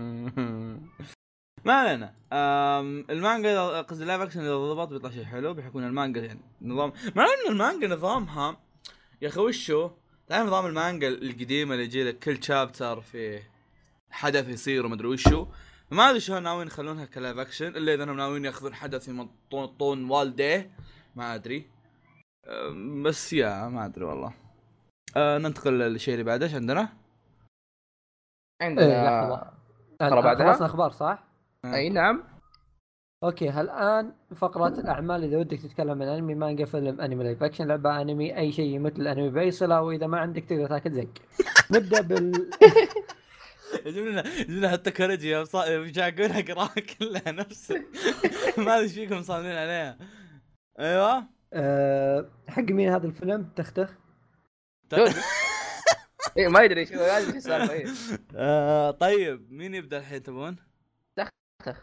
Speaker 3: ما علينا أم، المانجا إذا- قصدي اللايف اكشن اذا ضبط بيطلع شيء حلو بيكون المانجا يعني نظام مع ان المانجا نظامها يا اخي وشو تعرف نظام المانجا القديمه اللي يجي لك كل شابتر فيه حدث يصير ومدري وشو ما ادري شلون ناويين يخلونها كلايف اكشن الا اذا انهم ناويين ياخذون حدث يمطون والديه ما ادري أم، بس يا ما ادري والله أه ننتقل للشيء اللي بعده ايش عندنا؟
Speaker 2: عندنا
Speaker 1: إيه، لحظة.
Speaker 2: ترى بعدها؟
Speaker 1: آه، خلصنا اخبار صح؟
Speaker 2: اي نعم
Speaker 1: اوكي الان فقرات الاعمال اذا ودك تتكلم عن انمي مانجا فيلم انمي لايف اكشن لعبه انمي اي شيء مثل الانمي باي صله واذا ما عندك تقدر تاكل زق نبدا بال
Speaker 3: يجيب لنا يجيب لنا حتى كوريجي يا صا- يا جاكون اقراها كلها نفسه ما ادري ايش فيكم صاملين عليها ايوه
Speaker 1: آه، حق مين هذا الفيلم تختخ؟
Speaker 2: إيه ما ادري شو ما ادري شو السالفه إيه.
Speaker 3: آه طيب مين يبدا الحين تبون؟
Speaker 2: تختخ.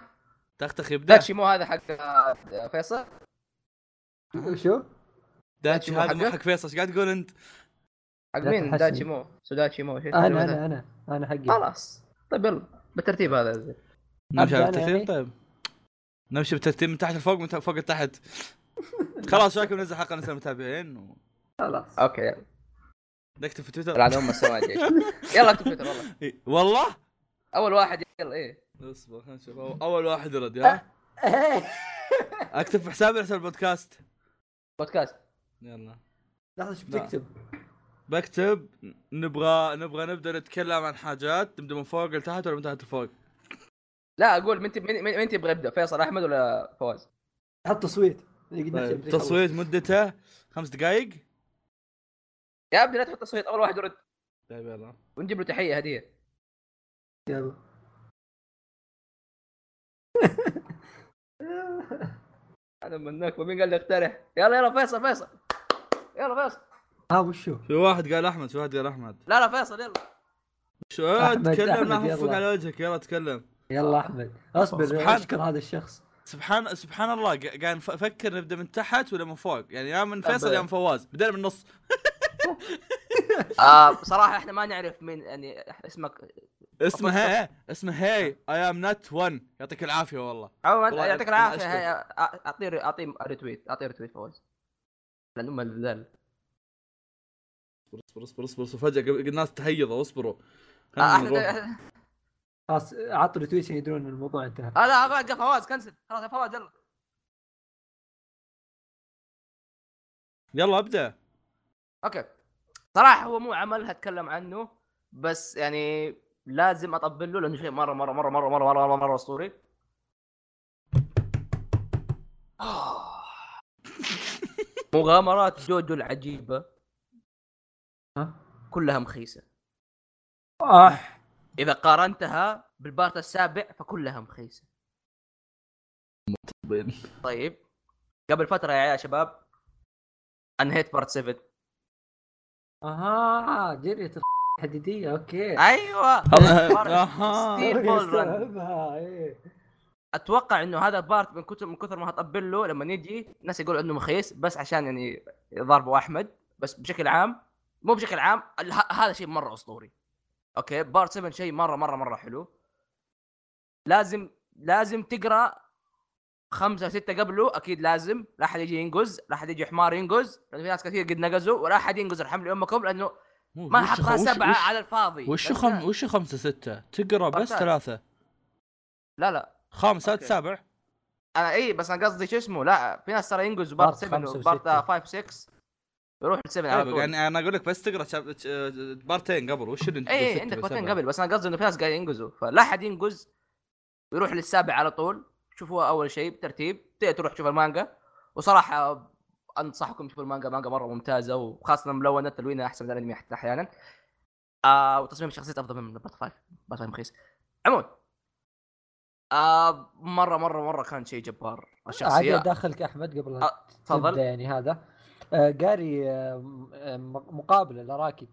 Speaker 3: تختخ يبدا
Speaker 2: داتشي مو هذا حق آه، فيصل
Speaker 1: شو؟
Speaker 3: داتشي
Speaker 2: مو
Speaker 3: هذا مو
Speaker 2: حقه؟
Speaker 3: حق فيصل ايش قاعد تقول انت؟
Speaker 2: حق
Speaker 1: لا
Speaker 2: مين
Speaker 1: تحسن.
Speaker 2: داتشي مو سوداتشي مو شو
Speaker 1: انا
Speaker 2: اسمه
Speaker 1: انا
Speaker 2: ذا؟
Speaker 1: انا انا حقي
Speaker 2: خلاص طيب يلا بالترتيب هذا زين.
Speaker 3: نمشي على
Speaker 1: أبدأ أنا
Speaker 3: الترتيب
Speaker 1: يعني؟
Speaker 3: طيب نمشي بالترتيب من تحت لفوق من ت- فوق لتحت خلاص شاكر ننزل حلقه نسال المتابعين و...
Speaker 1: خلاص
Speaker 2: اوكي يلا
Speaker 3: نكتب في تويتر
Speaker 2: العاده هم السواد يلا اكتب تويتر والله
Speaker 3: إي، والله
Speaker 2: اول واحد يلا ايه
Speaker 3: اصبر خلينا نشوف أول- اول واحد يرد ها اكتب في حسابي حساب البودكاست
Speaker 2: بودكاست
Speaker 3: يلا
Speaker 1: لحظه شو
Speaker 3: لا.
Speaker 1: بتكتب؟
Speaker 3: بكتب نبغى نبغى نبدا نتكلم عن حاجات نبدا من فوق لتحت ولا من تحت لفوق؟
Speaker 2: لا اقول من تب- من من- من تبغى يبدا فيصل احمد ولا فواز؟
Speaker 1: حط تصويت اللي قد نفسي
Speaker 3: طيب.
Speaker 1: بدي خلص.
Speaker 3: تصويت مدته خمس دقائق
Speaker 2: يا ابني لا تحط تصويت اول واحد يرد
Speaker 3: طيب يلا
Speaker 2: ونجيب له تحيه هديه
Speaker 1: يلا
Speaker 2: انا منك ومين قال لي اقترح؟ يلا يلا فيصل فيصل يلا فيصل
Speaker 1: ها وشو
Speaker 3: في واحد قال احمد في واحد قال احمد
Speaker 2: لا لا فيصل يلا
Speaker 3: شو آه،
Speaker 1: أحمد،
Speaker 3: تكلم
Speaker 1: أحمد،
Speaker 3: لا حفك
Speaker 1: يلا.
Speaker 3: على وجهك يلا تكلم
Speaker 1: يلا احمد اصبر
Speaker 3: سبحان-
Speaker 1: اشكر هذا الشخص
Speaker 3: سبحان سبحان الله قا- قاعد نف- افكر نبدا من تحت ولا من فوق يعني يا من فيصل
Speaker 2: أبا.
Speaker 3: يا من فواز بدينا من النص
Speaker 2: آه بصراحه احنا ما نعرف مين يعني اسمك
Speaker 3: اسمها هي اسمها هي اي ام نت 1 يعطيك العافيه والله
Speaker 2: عموما
Speaker 3: والله
Speaker 2: يعطيك
Speaker 3: أنا
Speaker 2: العافيه
Speaker 3: أشكر.
Speaker 2: هي- أ- اعطيه اعطيه ريتويت اعطيه ريتويت فواز لان ام الذل
Speaker 3: اصبر اصبر اصبر اصبر فجاه قبل- الناس تهيضوا اصبروا
Speaker 2: آه،
Speaker 3: خلينا
Speaker 2: احنا
Speaker 3: نروح.
Speaker 2: آه،
Speaker 1: خلاص عطوا لي تويت عشان يدرون ان الموضوع انتهى
Speaker 2: لا فواز قال فواز كنسل خلاص يا فواز يلا
Speaker 3: يلا ابدا
Speaker 2: اوكي صراحه هو مو عمل هتكلم عنه بس يعني لازم اطبل له لانه شيء مره مره مره مره مره مره مره, مرة اسطوري آه. مغامرات جوجو العجيبه
Speaker 1: ها؟
Speaker 2: كلها مخيسه
Speaker 3: أه.
Speaker 1: اح
Speaker 2: اذا قارنتها بالبارت السابع فكلها مخيسه
Speaker 3: مطبين.
Speaker 2: طيب قبل فتره يا عيال شباب انهيت بارت 7
Speaker 1: اها جرية الحديدية اوكي
Speaker 2: ايوه
Speaker 3: آها.
Speaker 2: ستيل
Speaker 1: أوكي،
Speaker 2: بول رن
Speaker 1: استوعبها، إيه.
Speaker 2: اتوقع انه هذا بارت من كثر من كثر ما هطبل له لما يجي الناس يقولوا انه مخيس بس عشان يعني ضربوا احمد بس بشكل عام مو بشكل عام ال- ه- هذا شيء مره اسطوري اوكي بارت 7 شيء مره مره مره حلو لازم لازم تقرا خمسة ستة قبله أكيد لازم لا أحد يجي ينقز لا أحد يجي حمار ينقز لأن في ناس كثير قد نقزوا ولا أحد ينقز الحمل أمكم لأنه ما
Speaker 3: وش-
Speaker 2: حطها
Speaker 3: وش-
Speaker 2: سبعة
Speaker 3: وش-
Speaker 2: على الفاضي
Speaker 3: وش
Speaker 2: بس
Speaker 3: خم
Speaker 2: لا-
Speaker 3: وش خمسة ستة تقرا بس
Speaker 2: بطل.
Speaker 3: ثلاثة
Speaker 2: لا لا
Speaker 3: خامس سادس
Speaker 2: أوكي.
Speaker 3: سابع
Speaker 2: انا اي آه، إيه، بس انا قصدي شو اسمه لا في ناس ترى ينقزوا
Speaker 1: بارت
Speaker 2: بارت 7
Speaker 1: خمسة
Speaker 2: وبارت
Speaker 1: وستة.
Speaker 2: 5 6 يروح ل 7 على
Speaker 3: طيب
Speaker 2: طول يعني
Speaker 3: يعني انا اقول لك بس تقرا شاب- ش- بارتين قبل وش اللي انت
Speaker 2: اي
Speaker 3: ستة
Speaker 2: إيه، عندك
Speaker 3: وسبعة؟
Speaker 2: بارتين قبل بس انا قصدي انه في ناس قاعد ينقزوا فلا حد ينقز يروح للسابع على طول شوفوها اول شيء بترتيب تقدر تروح تشوف المانجا وصراحه انصحكم تشوفوا المانجا مانجا مره ممتازه وخاصه ملونه تلوينها احسن من الانمي حتى احيانا آه وتصميم الشخصيات افضل من بارت 5 بارت 5 مخيس عموما آه مره مره مره كان شيء جبار
Speaker 1: عادي
Speaker 2: الشخصيه
Speaker 1: داخلك احمد قبل لا
Speaker 2: آه، تفضل
Speaker 1: تبدا يعني هذا آه، قاري آه، م- آه، مقابله لاراكي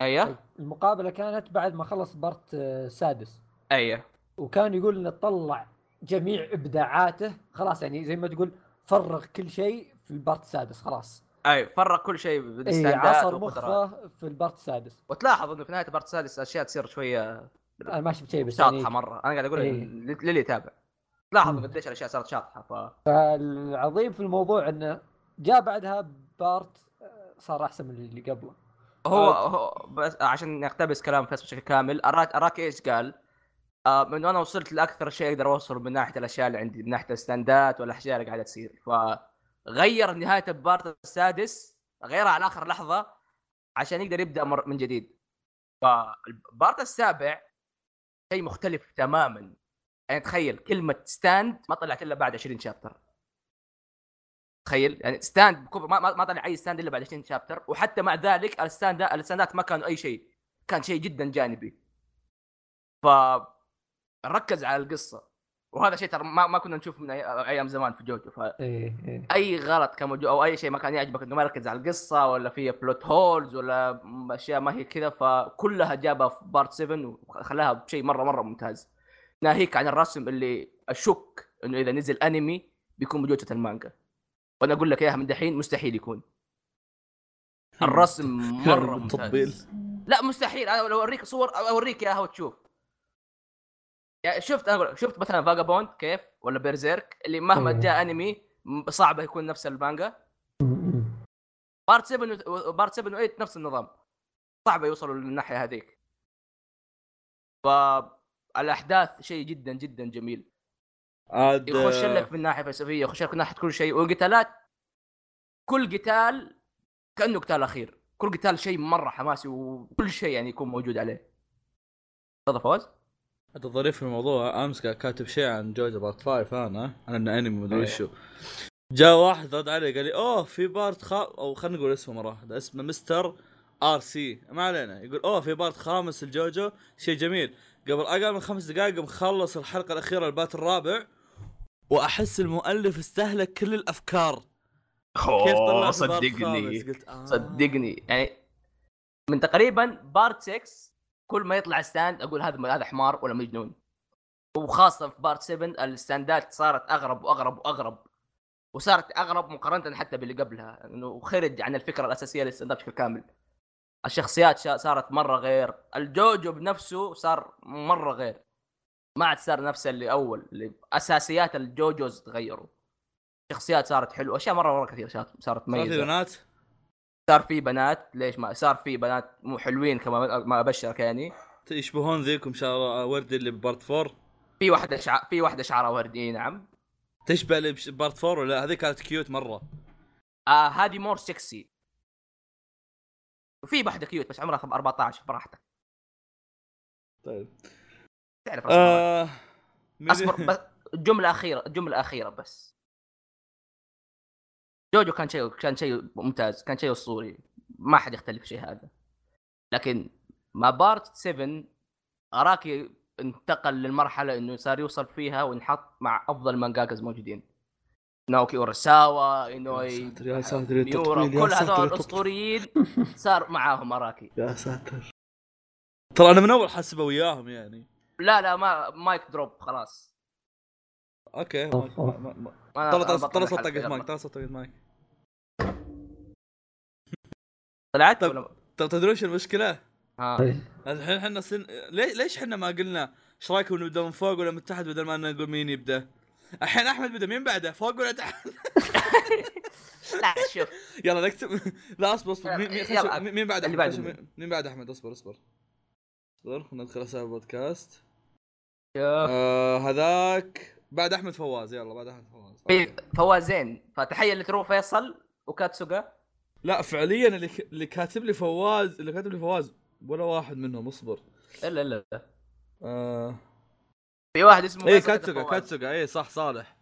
Speaker 2: ايوه
Speaker 1: المقابله كانت بعد ما خلص بارت آه، سادس
Speaker 2: ايوه
Speaker 1: وكان يقول انه طلع جميع ابداعاته خلاص يعني زي ما تقول فرغ كل شيء في البارت السادس خلاص
Speaker 2: اي فرق كل شيء
Speaker 1: اي
Speaker 2: بالستاندات
Speaker 1: إيه، عصر
Speaker 2: والقدرات.
Speaker 1: مخه في البارت السادس
Speaker 2: وتلاحظ انه في نهايه البارت السادس اشياء تصير شويه
Speaker 1: انا ما شفت شيء بس يعني
Speaker 2: شاطحه مره انا قاعد اقول
Speaker 1: إيه.
Speaker 2: لل- للي يتابع تلاحظ
Speaker 1: مم.
Speaker 2: قديش الاشياء صارت شاطحه ف
Speaker 1: العظيم في الموضوع انه جاء بعدها بارت آه، صار احسن من اللي قبله
Speaker 2: هو هو بس عشان نقتبس كلام فيصل بشكل كامل اراك اراك ايش قال؟ آه من وانا وصلت لاكثر شيء اقدر اوصل من ناحيه الاشياء اللي عندي من ناحيه الستاندات والاشياء اللي قاعده تصير فغير نهايه البارت السادس غيرها على اخر لحظه عشان يقدر يبدا مر من جديد فالبارت السابع شيء مختلف تماما يعني تخيل كلمه ستاند ما طلعت الا بعد 20 شابتر تخيل يعني ستاند بكبر ما, ما ما طلع اي ستاند الا بعد 20 شابتر وحتى مع ذلك الستاند الستاندات ما كانوا اي شيء كان شيء جدا جانبي ف ركز على القصه وهذا شيء ترى ما, ما كنا نشوفه من أي- ايام زمان في جوجو فاي
Speaker 1: اي اي
Speaker 2: غلط كان موجود او اي شيء ما كان يعجبك انه ما يركز على القصه ولا فيها بلوت هولز ولا م- اشياء ما هي كذا فكلها جابها في بارت 7 وخلاها بشيء مره مره ممتاز ناهيك عن الرسم اللي اشك انه اذا نزل انمي بيكون بجوده المانجا وانا اقول لك اياها من دحين مستحيل يكون الرسم مره
Speaker 3: بالتطبيل.
Speaker 2: ممتاز لا مستحيل انا لو اوريك صور أو- اوريك اياها وتشوف يعني شفت انا أقول لك، شفت مثلا فاجابوند كيف ولا بيرزيرك اللي مهما
Speaker 1: مم.
Speaker 2: جاء انمي م- صعب يكون نفس المانجا بارت 7 و- بارت 7 و8 نفس النظام صعب يوصلوا للناحيه هذيك فالاحداث شيء جدا جدا جميل
Speaker 3: عاد
Speaker 2: يخش لك من ناحيه فلسفيه يخش لك من ناحيه كل شيء والقتالات كل قتال كانه قتال اخير كل قتال شيء مره حماسي وكل شيء يعني يكون موجود عليه هذا فوز
Speaker 3: هذا الظريف في الموضوع امس قاعد كاتب شيء عن جوجو بارت 5 انا عن انه انمي مدري
Speaker 2: إيه.
Speaker 3: شو جاء واحد رد علي قال لي اوه في بارت خا او خلينا نقول اسمه مره واحده اسمه مستر ار سي ما علينا يقول اوه في بارت خامس الجوجو شيء جميل قبل اقل من خمس دقائق مخلص الحلقه الاخيره البات الرابع واحس المؤلف استهلك كل الافكار كيف طلع في بارت خامس؟
Speaker 2: صدقني
Speaker 3: قلت آه.
Speaker 2: صدقني يعني من تقريبا بارت 6 كل ما يطلع ستاند اقول هذا هذا حمار ولا مجنون وخاصه في بارت 7 الستاندات صارت اغرب واغرب واغرب وصارت اغرب مقارنه حتى باللي قبلها انه خرج عن الفكره الاساسيه للستاندات بشكل كامل الشخصيات شا- صارت مره غير الجوجو بنفسه صار مره غير ما عاد صار نفس اللي اول اللي اساسيات الجوجوز تغيروا شخصيات صارت حلوه اشياء مره مره كثير صارت- صارت
Speaker 3: صار في
Speaker 2: مميزه
Speaker 3: بنات
Speaker 2: صار في بنات ليش ما صار في بنات مو حلوين كما ما ابشرك يعني
Speaker 3: يشبهون ذيك شعر آه، وردي اللي ببارت 4
Speaker 2: في واحده شع... في واحده شعرها وردي إي نعم
Speaker 3: تشبه اللي بش- ببارت 4 ولا لا؟ هذيك كانت كيوت مره
Speaker 2: آه هذه مور سكسي وفي واحده كيوت بس عمرها 14 براحتك
Speaker 6: طيب.
Speaker 2: تعرف أصبر.
Speaker 3: آه مين-
Speaker 2: اصبر بس جمله اخيره جمله اخيره بس جوجو كان شيء كان شيء ممتاز كان شيء اسطوري ما حد يختلف في شيء هذا لكن مع بارت 7 اراكي انتقل للمرحله انه صار يوصل فيها وينحط مع افضل مانجاكاز موجودين ناوكي اوراساوا
Speaker 6: يا
Speaker 2: انوي
Speaker 6: ساتر، يا ساتر، يا تطويل، يا
Speaker 2: ميورا كل
Speaker 6: ساتر، يا
Speaker 2: هذول
Speaker 6: تطويل.
Speaker 2: الاسطوريين صار معاهم اراكي
Speaker 6: يا ساتر
Speaker 3: ترى انا من اول حاسبه وياهم يعني
Speaker 2: لا لا ما مايك دروب خلاص
Speaker 3: اوكي
Speaker 1: أوف، أوف.
Speaker 3: ترى
Speaker 6: آه،
Speaker 2: ما- أنا
Speaker 3: ترى
Speaker 2: بطلع
Speaker 3: ترى
Speaker 2: الحلقة،
Speaker 3: طقت
Speaker 2: يلا.
Speaker 3: مايك ترى طقت مايك
Speaker 2: طلعت
Speaker 3: طب.
Speaker 2: ولا-
Speaker 3: ترى تدري ايش المشكله؟
Speaker 6: طيب.
Speaker 2: ها
Speaker 3: الحين احنا سن... ليش ليش احنا ما قلنا ايش رايكم نبدا من فوق ولا من تحت بدل ما نقول مين يبدا؟ الحين احمد بدا مين بعده فوق ولا تحت؟
Speaker 2: لا شوف
Speaker 3: يلا نكتب لا اصبر اصبر مين مين,
Speaker 2: يلا،
Speaker 3: خش- مين- مين بعد
Speaker 2: اللي
Speaker 3: احمد
Speaker 2: بعده.
Speaker 3: خش- مين- مين بعد احمد اصبر اصبر اصبر خلنا ندخل حساب البودكاست آه هذاك بعد احمد فواز يلا بعد احمد فواز
Speaker 2: في
Speaker 3: أوكي.
Speaker 2: فوازين فتحيه اللي تروح فيصل وكاتسوغا
Speaker 3: لا فعليا اللي ك- اللي كاتب لي فواز اللي كاتب لي فواز ولا واحد منهم اصبر
Speaker 2: الا الا لا.
Speaker 3: آه
Speaker 2: في واحد اسمه
Speaker 3: اي
Speaker 2: فيصل كتب
Speaker 3: كاتسوكا
Speaker 2: فواز.
Speaker 3: كاتسوكا اي صح صالح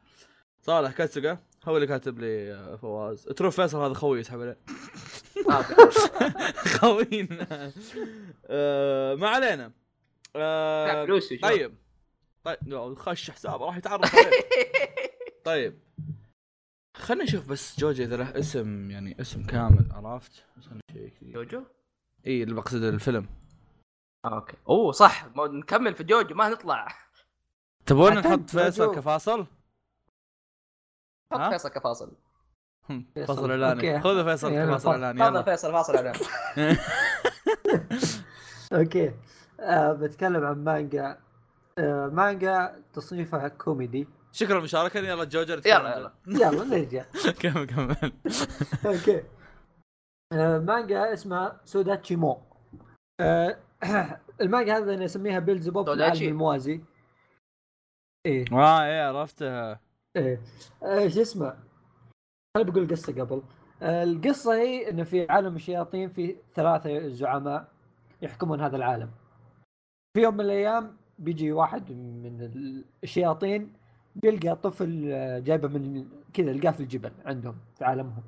Speaker 3: صالح كاتسوكا هو اللي كاتب لي آه، فواز ترو فيصل هذا خوي يسحب عليه
Speaker 2: آه،
Speaker 3: خوينا آه ما علينا
Speaker 2: آه،
Speaker 3: آه
Speaker 2: فلوس وشو.
Speaker 3: طيب طيب لو خش حسابه راح يتعرف عليه طيب خلنا نشوف بس جوجو اذا له اسم يعني اسم كامل عرفت بس خلنا نشيك دقيقة.
Speaker 2: جوجو
Speaker 3: اي اللي بقصد الفيلم
Speaker 2: آه، اوكي اوه صح ما نكمل في جوجو ما نطلع
Speaker 3: تبون
Speaker 1: أعتقد
Speaker 3: نحط فيصل
Speaker 1: جوجو.
Speaker 3: كفاصل؟
Speaker 2: حط
Speaker 3: ها؟
Speaker 2: فيصل كفاصل
Speaker 3: فاصل اعلاني
Speaker 1: أوكي.
Speaker 3: خذوا فيصل
Speaker 1: يلا،
Speaker 3: كفاصل
Speaker 1: فاصل.
Speaker 3: اعلاني
Speaker 2: تفضل
Speaker 3: يلا
Speaker 2: فيصل فاصل علينا
Speaker 1: اوكي آه بتكلم عن مانجا آه مانجا تصنيفها كوميدي
Speaker 3: شكرا لمشاركة يلا جوجر
Speaker 2: يلا، يلا.
Speaker 1: يلا نرجع
Speaker 3: كمل كمل
Speaker 1: اوكي آه، مانجا اسمها سوداتشي مو آه، المانجا هذا انا اسميها بيلزبوب في العالم
Speaker 2: سوداتشي.
Speaker 1: الموازي ايه
Speaker 3: اه ايه عرفتها
Speaker 1: ايه آه، شو اسمه انا بقول قصه قبل آه، القصه هي انه في عالم الشياطين في ثلاثه زعماء يحكمون هذا العالم في يوم من الايام بيجي واحد من الشياطين بيلقى طفل آه، جايبه من كذا لقاه في الجبل عندهم في عالمهم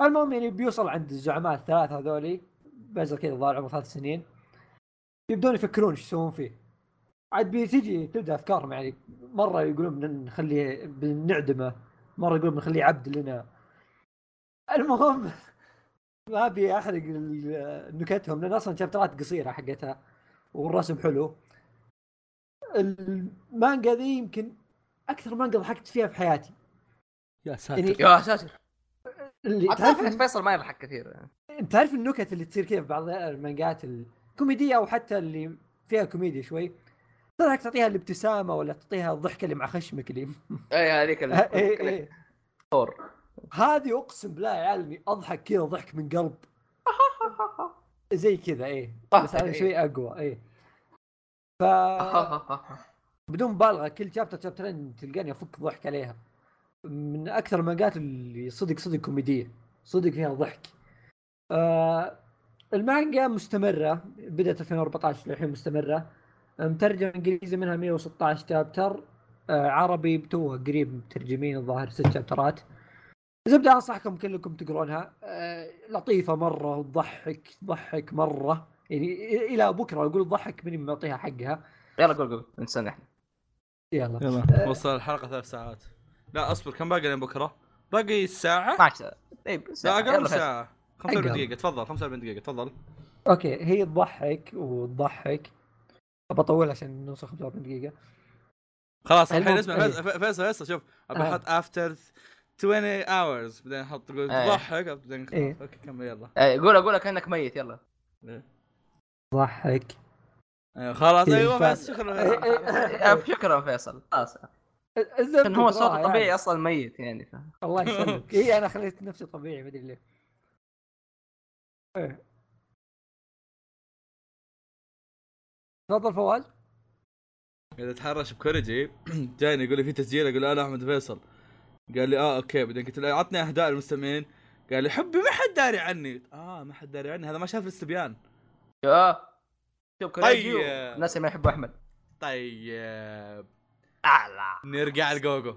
Speaker 1: المهم يعني بيوصل عند الزعماء الثلاثه هذولي بزر كذا ظهر عمره ثلاث سنين يبدون يفكرون ايش يسوون فيه عاد بتجي تبدا افكارهم يعني مره يقولون بن- نخليه بنعدمه مره يقولون بنخليه عبد لنا المهم ما ابي احرق ال- نكتهم لان اصلا شابترات قصيره حقتها والرسم حلو المانجا ذي يمكن اكثر مانجا ضحكت فيها في حياتي
Speaker 3: يا
Speaker 1: يعني
Speaker 3: ساتر
Speaker 2: يا ساتر
Speaker 1: اللي
Speaker 2: تعرف
Speaker 1: تعرف
Speaker 2: فيصل ما يضحك كثير
Speaker 1: انت تعرف النكت اللي تصير كذا في بعض المانجات الكوميديه او حتى اللي فيها كوميديا شوي تضحك تعطيها الابتسامه ولا تعطيها الضحكه اللي مع خشمك اللي
Speaker 2: اي إيه، هذيك ال-
Speaker 1: ايه ايه
Speaker 2: الثور
Speaker 1: هذه اقسم بالله يا عالمي اضحك كذا ضحك من قلب زي كذا ايه بس
Speaker 2: إيه.
Speaker 1: هذا شوي اقوى ايه ف بدون مبالغه كل شابتر شابترين تلقاني افك ضحك عليها من اكثر المانجات اللي صدق صدق كوميديه صدق فيها ضحك آه المانجا مستمره بدات 2014 للحين مستمره مترجم انجليزي منها 116 شابتر آه عربي توه قريب مترجمين الظاهر ست شابترات زبده انصحكم كلكم تقرونها آه لطيفه مره وتضحك تضحك مره يعني الى بكره اقول تضحك من معطيها حقها
Speaker 2: يلا قول قول انسان احنا
Speaker 1: يلا آه،
Speaker 6: يلا
Speaker 3: وصل الحلقه ثلاث ساعات لا اصبر كم باقي لين بكره؟ باقي ساعه
Speaker 2: 12 طيب
Speaker 3: لا
Speaker 2: ساعة.
Speaker 3: اقل من
Speaker 2: يلا خير.
Speaker 3: ساعه 45
Speaker 1: أقل.
Speaker 3: دقيقه تفضل 45 دقيقه تفضل
Speaker 1: اوكي هي تضحك وتضحك بطول عشان نوصل 45 دقيقه
Speaker 3: خلاص
Speaker 1: المهم-
Speaker 3: الحين اسمع
Speaker 1: إيه.
Speaker 3: فيصل- فيصل فيصل شوف ابي
Speaker 1: آه.
Speaker 3: احط افتر 20 hours بعدين احط تقول
Speaker 2: إيه.
Speaker 3: تضحك بعدين خلاص.
Speaker 1: إيه.
Speaker 3: اوكي كمل يلا
Speaker 2: إيه، قول اقول كانك ميت يلا
Speaker 1: تضحك
Speaker 3: أيوة، خلاص
Speaker 1: إيه،
Speaker 3: ايوه
Speaker 1: ف-
Speaker 3: بس شكرا فيصل.
Speaker 1: إيه،
Speaker 2: آه، شكرا فيصل خلاص
Speaker 1: الزبد
Speaker 2: عشان هو صوته
Speaker 1: تقراها
Speaker 2: طبيعي
Speaker 1: يعني.
Speaker 2: اصلا ميت يعني ف...
Speaker 1: الله يسلمك اي انا خليت نفسي طبيعي ما ادري ليه إيه. تفضل فواز
Speaker 3: اذا تحرش بكوريجي جاني يقول لي في تسجيل اقول له انا احمد فيصل قال لي اه اوكي بعدين قلت له عطني اهداء المستمعين قال لي حبي ما حد داري عني اه ما حد داري عني هذا ما شاف الاستبيان
Speaker 2: آه. شوف كوريجي
Speaker 3: طيب.
Speaker 2: الناس اللي ما يحبوا احمد
Speaker 3: طيب
Speaker 2: اعلى
Speaker 3: نرجع لجوجو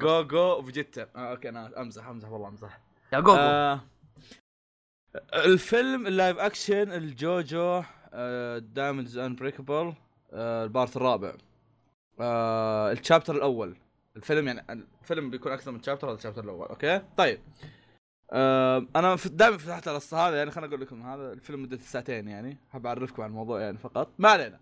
Speaker 3: جوجو وفيجيتا آه اوكي انا امزح امزح والله امزح
Speaker 2: يا جوجو
Speaker 3: آه الفيلم اللايف اكشن الجوجو آه دايموندز انبريكبل آه البارت الرابع آه الشابتر الاول الفيلم يعني الفيلم بيكون اكثر من شابتر هذا الشابتر الاول اوكي طيب آه انا دائما فتحت القصه هذا يعني خليني اقول لكم هذا الفيلم مدته ساعتين يعني حاب اعرفكم عن الموضوع يعني فقط ما علينا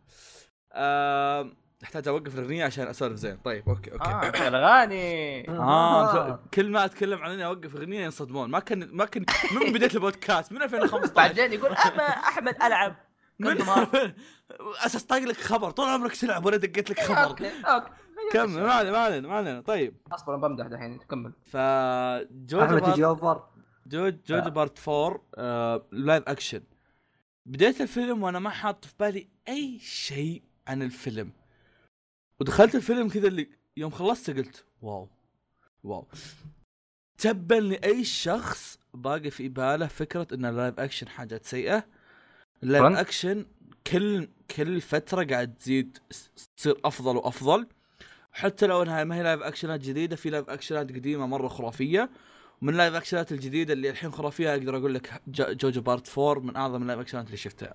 Speaker 3: آه احتاج اوقف الاغنيه عشان اسولف زين طيب اوكي اوكي
Speaker 2: آه، الاغاني آه.
Speaker 3: اه ف- كل ما اتكلم عن اني اوقف اغنيه ينصدمون ما كان ما كان من بدايه البودكاست من 2015
Speaker 2: بعدين يقول اما احمد العب
Speaker 3: من
Speaker 2: ما-
Speaker 3: اساس طاق لك خبر طول عمرك تلعب ولا دقيت لك خبر
Speaker 2: اوكي اوكي
Speaker 3: كمل ما علينا ما علينا ما علينا طيب
Speaker 2: اصبر انا بمدح دحين كمل
Speaker 3: ف
Speaker 1: احمد
Speaker 3: جوجو بارت-
Speaker 1: تجي اوفر
Speaker 3: جوج جوجو بارت 4 آه، لايف اكشن بديت الفيلم وانا ما حاط في بالي اي شيء عن الفيلم ودخلت الفيلم كذا اللي يوم خلصت قلت واو واو تبا لاي شخص باقي في باله فكره ان اللايف اكشن حاجات سيئه اللايف
Speaker 2: فرن؟
Speaker 3: اكشن كل كل فتره قاعد تزيد تصير افضل وافضل حتى لو انها ما هي لايف اكشنات جديده في لايف اكشنات قديمه مره خرافيه من لايف اكشنات الجديده اللي الحين خرافيه اقدر اقول لك ج- جوجو بارت 4 من اعظم اللايف اكشنات اللي شفتها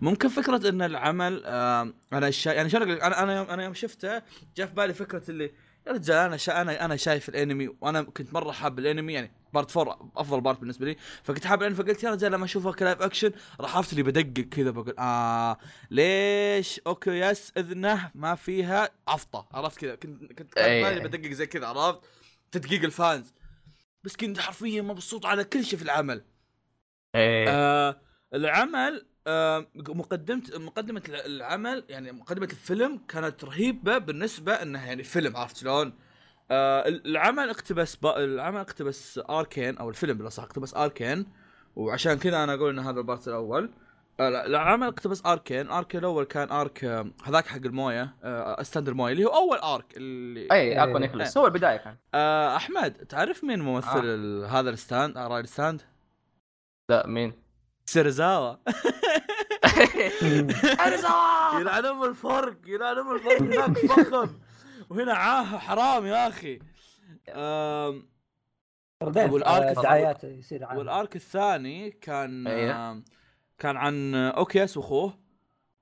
Speaker 3: ممكن فكره ان العمل آم، انا شا... يعني شلون اقول لك؟ انا انا يوم انا يوم شفته جاء في بالي فكره اللي يا رجال انا شا... انا انا شايف الانمي وانا كنت مره حاب الانمي يعني بارت 4 افضل بارت بالنسبه لي فكنت حاب الانمي فقلت يا رجال لما اشوفها كلايف اكشن راح عرفت اللي بدقق كذا بقول اه ليش اوكي يس اذنه ما فيها عفطه عرفت كذا كنت كنت كان
Speaker 2: إيه.
Speaker 3: بالي بدقق زي كذا عرفت تدقيق الفانز بس كنت حرفيا مبسوط على كل شيء في العمل
Speaker 2: ايه
Speaker 3: آه العمل آه مقدمة مقدمة العمل يعني مقدمة الفيلم كانت رهيبة بالنسبة انها يعني فيلم عرفت شلون؟ آه العمل اقتبس با العمل اقتبس اركين او الفيلم بالاصح اقتبس اركين وعشان كذا انا اقول ان هذا البارت الاول آه لا، العمل اقتبس اركين ارك الاول كان ارك آه، هذاك حق المويه آه ستاند المويه اللي هو اول ارك اللي
Speaker 2: اي اكو نيكلس هو البدايه كان
Speaker 3: آه احمد تعرف مين ممثل
Speaker 2: آه.
Speaker 3: آه. هذا الستاند آه، راي الستاند؟
Speaker 2: لا مين
Speaker 3: سيرزاوا
Speaker 2: ارزا
Speaker 3: يلعن ام نعم الفرق يلعن ام الفرق هناك فخم وهنا عاهه حرام يا اخي أم والآرك-
Speaker 1: دعايات آه، يصير عنه.
Speaker 3: والارك الثاني كان
Speaker 2: أيوه.
Speaker 3: أم، كان عن اوكياس واخوه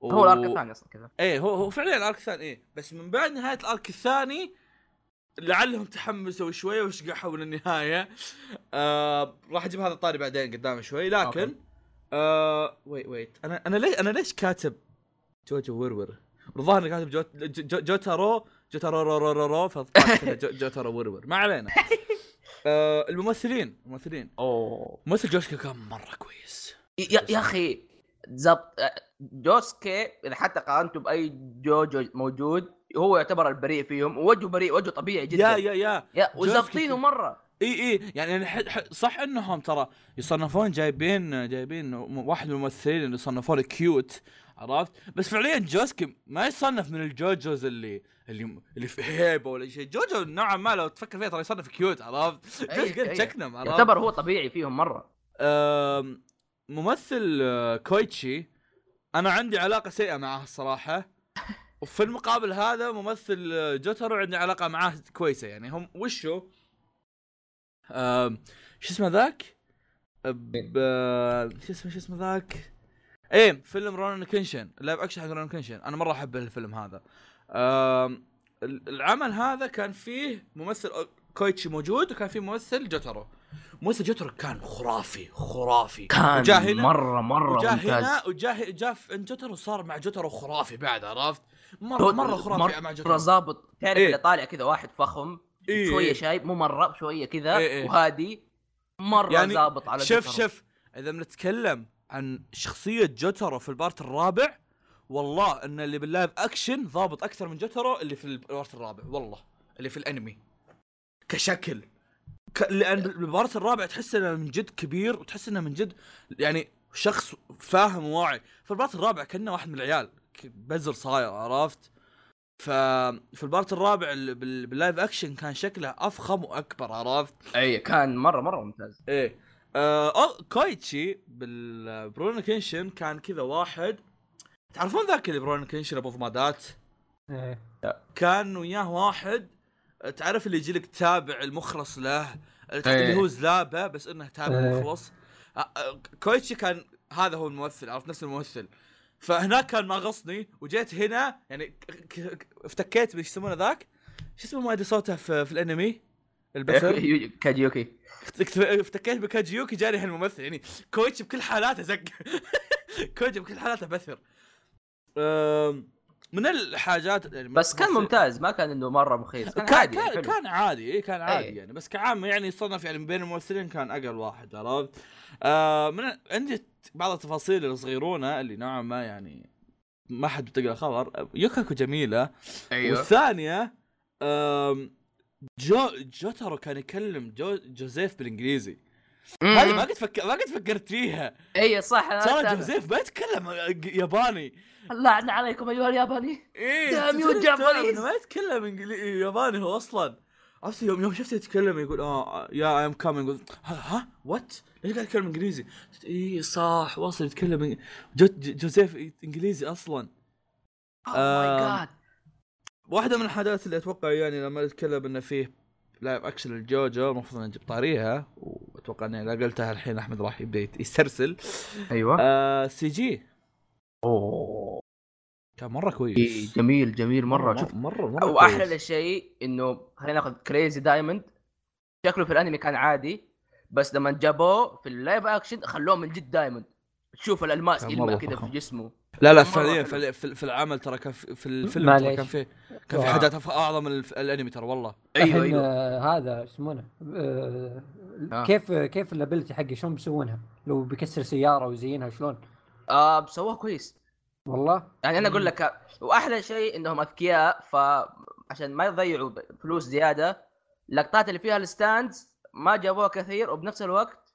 Speaker 3: و-
Speaker 2: هو الارك الثاني اصلا كذا
Speaker 3: ايه هو هو فعليا الارك الثاني ايه بس من بعد نهايه الارك الثاني لعلهم تحمسوا شوي وشقحوا للنهايه آه راح اجيب هذا الطاري بعدين قدام شوي لكن
Speaker 2: أوكي.
Speaker 3: آه ويت ويت انا انا ليش انا ليش كاتب جوجو ورور الظاهر اني كاتب جو جو- جو- جوتارو جوتارو رو رو رو رو فطلعت كذا جو- جوتارو ورور ما علينا آه الممثلين الممثلين
Speaker 2: اوه
Speaker 3: ممثل جوشكا كان مره كويس
Speaker 2: يا يا اخي زبط آه، جوسكي اذا حتى قارنته باي جوجو موجود هو يعتبر البريء فيهم ووجهه بريء وجهه طبيعي
Speaker 3: يا
Speaker 2: جدا
Speaker 3: يا يا
Speaker 2: يا
Speaker 3: جوسكي
Speaker 2: وزبطينه
Speaker 3: كي-
Speaker 2: مره
Speaker 3: اي اي يعني أنا ح- ح- صح انهم ترى يصنفون جايبين جايبين م- واحد من الممثلين اللي صنفوه كيوت عرفت بس فعليا جوسكي ما يصنف من الجوجوز اللي اللي اللي في هيبه ولا شيء جوجو نوعا ما لو تفكر فيها ترى يصنف كيوت عرفت
Speaker 2: أي-
Speaker 3: جوجو
Speaker 2: أي.
Speaker 3: تشكنم عرفت
Speaker 2: يعتبر هو طبيعي فيهم مره
Speaker 3: آم، ممثل آه، كويتشي انا عندي علاقه سيئه معاه الصراحه وفي المقابل هذا ممثل آه، جوترو عندي علاقه معاه كويسه يعني هم وشو آم، شو اسمه ذاك ب... شو اسمه شو اسمه ذاك ايه فيلم رونن كنشن اللايف اكشن حق رونن كنشن انا مره احب الفيلم هذا آم، ال- العمل هذا كان فيه ممثل آه، كويتشي موجود وكان فيه ممثل جوترو ممثل جوترو كان خرافي خرافي
Speaker 2: كان
Speaker 3: وجا هنا-
Speaker 2: مره مره
Speaker 3: وجا
Speaker 2: ممتاز
Speaker 3: هنا وجا ه- جا في إن جوترو صار مع جوترو خرافي بعد عرفت مره مره خرافي مع
Speaker 2: مره
Speaker 3: جوترو
Speaker 2: ظابط تعرف
Speaker 3: إيه.
Speaker 2: اللي طالع كذا واحد فخم
Speaker 3: إيه،
Speaker 2: شويه
Speaker 3: إيه.
Speaker 2: شايب مو مره شويه كذا
Speaker 3: إيه، إيه.
Speaker 2: وهادي مره
Speaker 3: يعني
Speaker 2: ظابط على
Speaker 3: شف
Speaker 2: جسره.
Speaker 3: شف اذا بنتكلم عن شخصيه جوترو في البارت الرابع والله ان اللي باللايف اكشن ضابط اكثر من جوترو اللي في البارت الرابع والله اللي في الانمي كشكل ك... لان بالبارت الرابع تحس انه من جد كبير وتحس انه من جد يعني شخص فاهم وواعي في البارت الرابع كانه واحد من العيال ك- بزر صاير عرفت ففي البارت الرابع ال- بال- باللايف اكشن كان شكله افخم واكبر عرفت
Speaker 2: اي إيه، كان مره مره ممتاز
Speaker 3: ايه آه أو- كويتشي بالبرون كنشن كان كذا واحد تعرفون ذاك اللي برون كنشن ابو ضمادات
Speaker 1: إيه.
Speaker 3: كان وياه واحد آه، تعرف اللي يجي لك تابع المخلص له اللي تع-
Speaker 2: إيه.
Speaker 3: اللي هو زلابه بس انه تابع
Speaker 1: إيه.
Speaker 3: المخلص آه، آه، كويتشي كان هذا هو الممثل عرفت نفس الممثل فهناك كان ما غصني وجيت هنا يعني ك- ك- ك- افتكيت بش يسمونه ذاك شو اسمه ما ادري صوته في, في الانمي
Speaker 2: إيه،
Speaker 3: البثر
Speaker 2: كاجيوكي
Speaker 3: اكتف- افتكيت بكاجيوكي جاني الحين الممثل يعني كويتش بكل حالاته زق كويتش بكل حالاته بثر أم، من الحاجات يعني
Speaker 2: بس كان
Speaker 3: ممثل-
Speaker 2: ممتاز ما كان انه مره مخيس كان
Speaker 3: كان
Speaker 2: عادي يعني،
Speaker 3: كان,
Speaker 2: حلو.
Speaker 3: كان عادي إيه، كان عادي
Speaker 2: إيه.
Speaker 3: يعني بس كعام يعني يصنف يعني من بين الممثلين كان اقل واحد عرفت؟ آه من عندي بعض التفاصيل الصغيرونه اللي نوعا ما يعني ما حد بتقرا خبر يوكاكو جميله
Speaker 2: أيوه.
Speaker 3: والثانيه آم، جو جوترو كان يكلم جو جوزيف بالانجليزي هذه ما
Speaker 2: ايوه
Speaker 3: قد فك... ما قد فكرت فيها
Speaker 2: اي إيه، صح أنا
Speaker 3: ترى
Speaker 2: أتابع.
Speaker 3: جوزيف ما يتكلم ياباني
Speaker 2: اللعن عليكم ايها الياباني
Speaker 3: ايه
Speaker 2: Damn you,
Speaker 3: تدري تعرف
Speaker 2: Japanese.
Speaker 3: إنه ما يتكلم انجليزي ياباني هو اصلا عرفت يوم يوم شفته يتكلم يقول اه يا اي ام كامينج ها وات ليش قاعد يتكلم انجليزي؟ اي صح واصل يتكلم إنج- جو... جو- جوزيف انجليزي اصلا
Speaker 2: اوه
Speaker 3: آم.
Speaker 2: ماي جاد
Speaker 3: واحدة من الحاجات اللي اتوقع يعني لما نتكلم انه فيه لايف اكشن الجوجو المفروض اني جبت طاريها واتوقع اني اذا قلتها الحين احمد راح يبدا يت- يسترسل
Speaker 2: ايوه
Speaker 3: آه سي جي
Speaker 2: اوه
Speaker 3: كان مره
Speaker 2: إي،
Speaker 3: كويس
Speaker 2: جميل جميل
Speaker 3: آه.
Speaker 2: مره شوف
Speaker 3: مره مره كويس.
Speaker 2: واحلى شيء انه خلينا ناخذ كريزي دايموند شكله في الانمي كان عادي بس لما جابوه في اللايف اكشن خلوه من جد دايموند تشوف الالماس
Speaker 3: كان
Speaker 2: يلمع
Speaker 3: مرة
Speaker 2: كذا
Speaker 3: فخم.
Speaker 2: في جسمه
Speaker 3: لا لا
Speaker 2: مرة
Speaker 3: فعليا
Speaker 2: حلو.
Speaker 3: فعليا في, في العمل ترى كان في, في الفيلم
Speaker 1: معليش.
Speaker 3: ترى كان فيه كان في
Speaker 1: آه.
Speaker 3: حاجات أف- اعظم من الف- الانمي ترى والله
Speaker 2: ايوه
Speaker 1: الحين،
Speaker 2: ايوه
Speaker 1: آه، هذا شو يسمونه آه،
Speaker 2: آه.
Speaker 1: كيف كيف الابيلتي حقه شلون بيسوونها؟ لو بيكسر سياره ويزينها شلون؟
Speaker 2: آه سووه كويس
Speaker 1: والله
Speaker 2: يعني انا اقول
Speaker 1: مم.
Speaker 2: لك واحلى شيء انهم اذكياء فعشان ما يضيعوا ب- فلوس زياده اللقطات اللي فيها الستاندز ما جابوها كثير وبنفس الوقت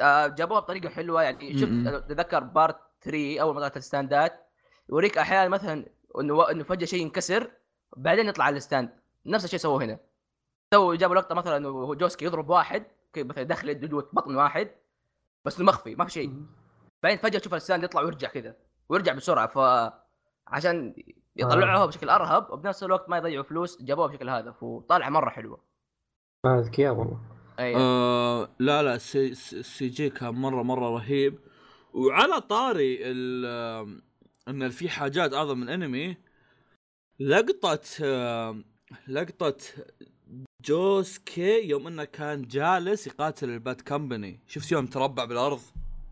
Speaker 2: آه، جابوها بطريقه حلوه يعني شفت
Speaker 3: مم.
Speaker 2: أنا اتذكر بارت 3 اول ما طلعت الستاندات يوريك احيانا مثلا انه و- انه فجاه شيء ينكسر بعدين يطلع الستاند نفس الشيء سووه هنا سووا جابوا لقطه مثلا انه جوسكي يضرب واحد كي- مثلا دخل يده جوه بطن واحد بس انه مخفي ما في شيء
Speaker 1: آه،
Speaker 2: بعدين فجاه تشوف الساند يطلع ويرجع كذا ويرجع بسرعه ف عشان
Speaker 3: آه.
Speaker 2: يطلعوها بشكل ارهب وبنفس الوقت ما يضيعوا فلوس جابوها بشكل هذا فطالعه مره حلوه
Speaker 1: آه، اذكياء والله
Speaker 2: ايوه
Speaker 3: آه لا لا السي, السي جي كان مره مره رهيب وعلى طاري ال آم، ان في حاجات اعظم من آه، انمي لقطه آم، لقطه جوسكي يوم انه كان جالس يقاتل الباد كمباني شفت يوم تربع بالارض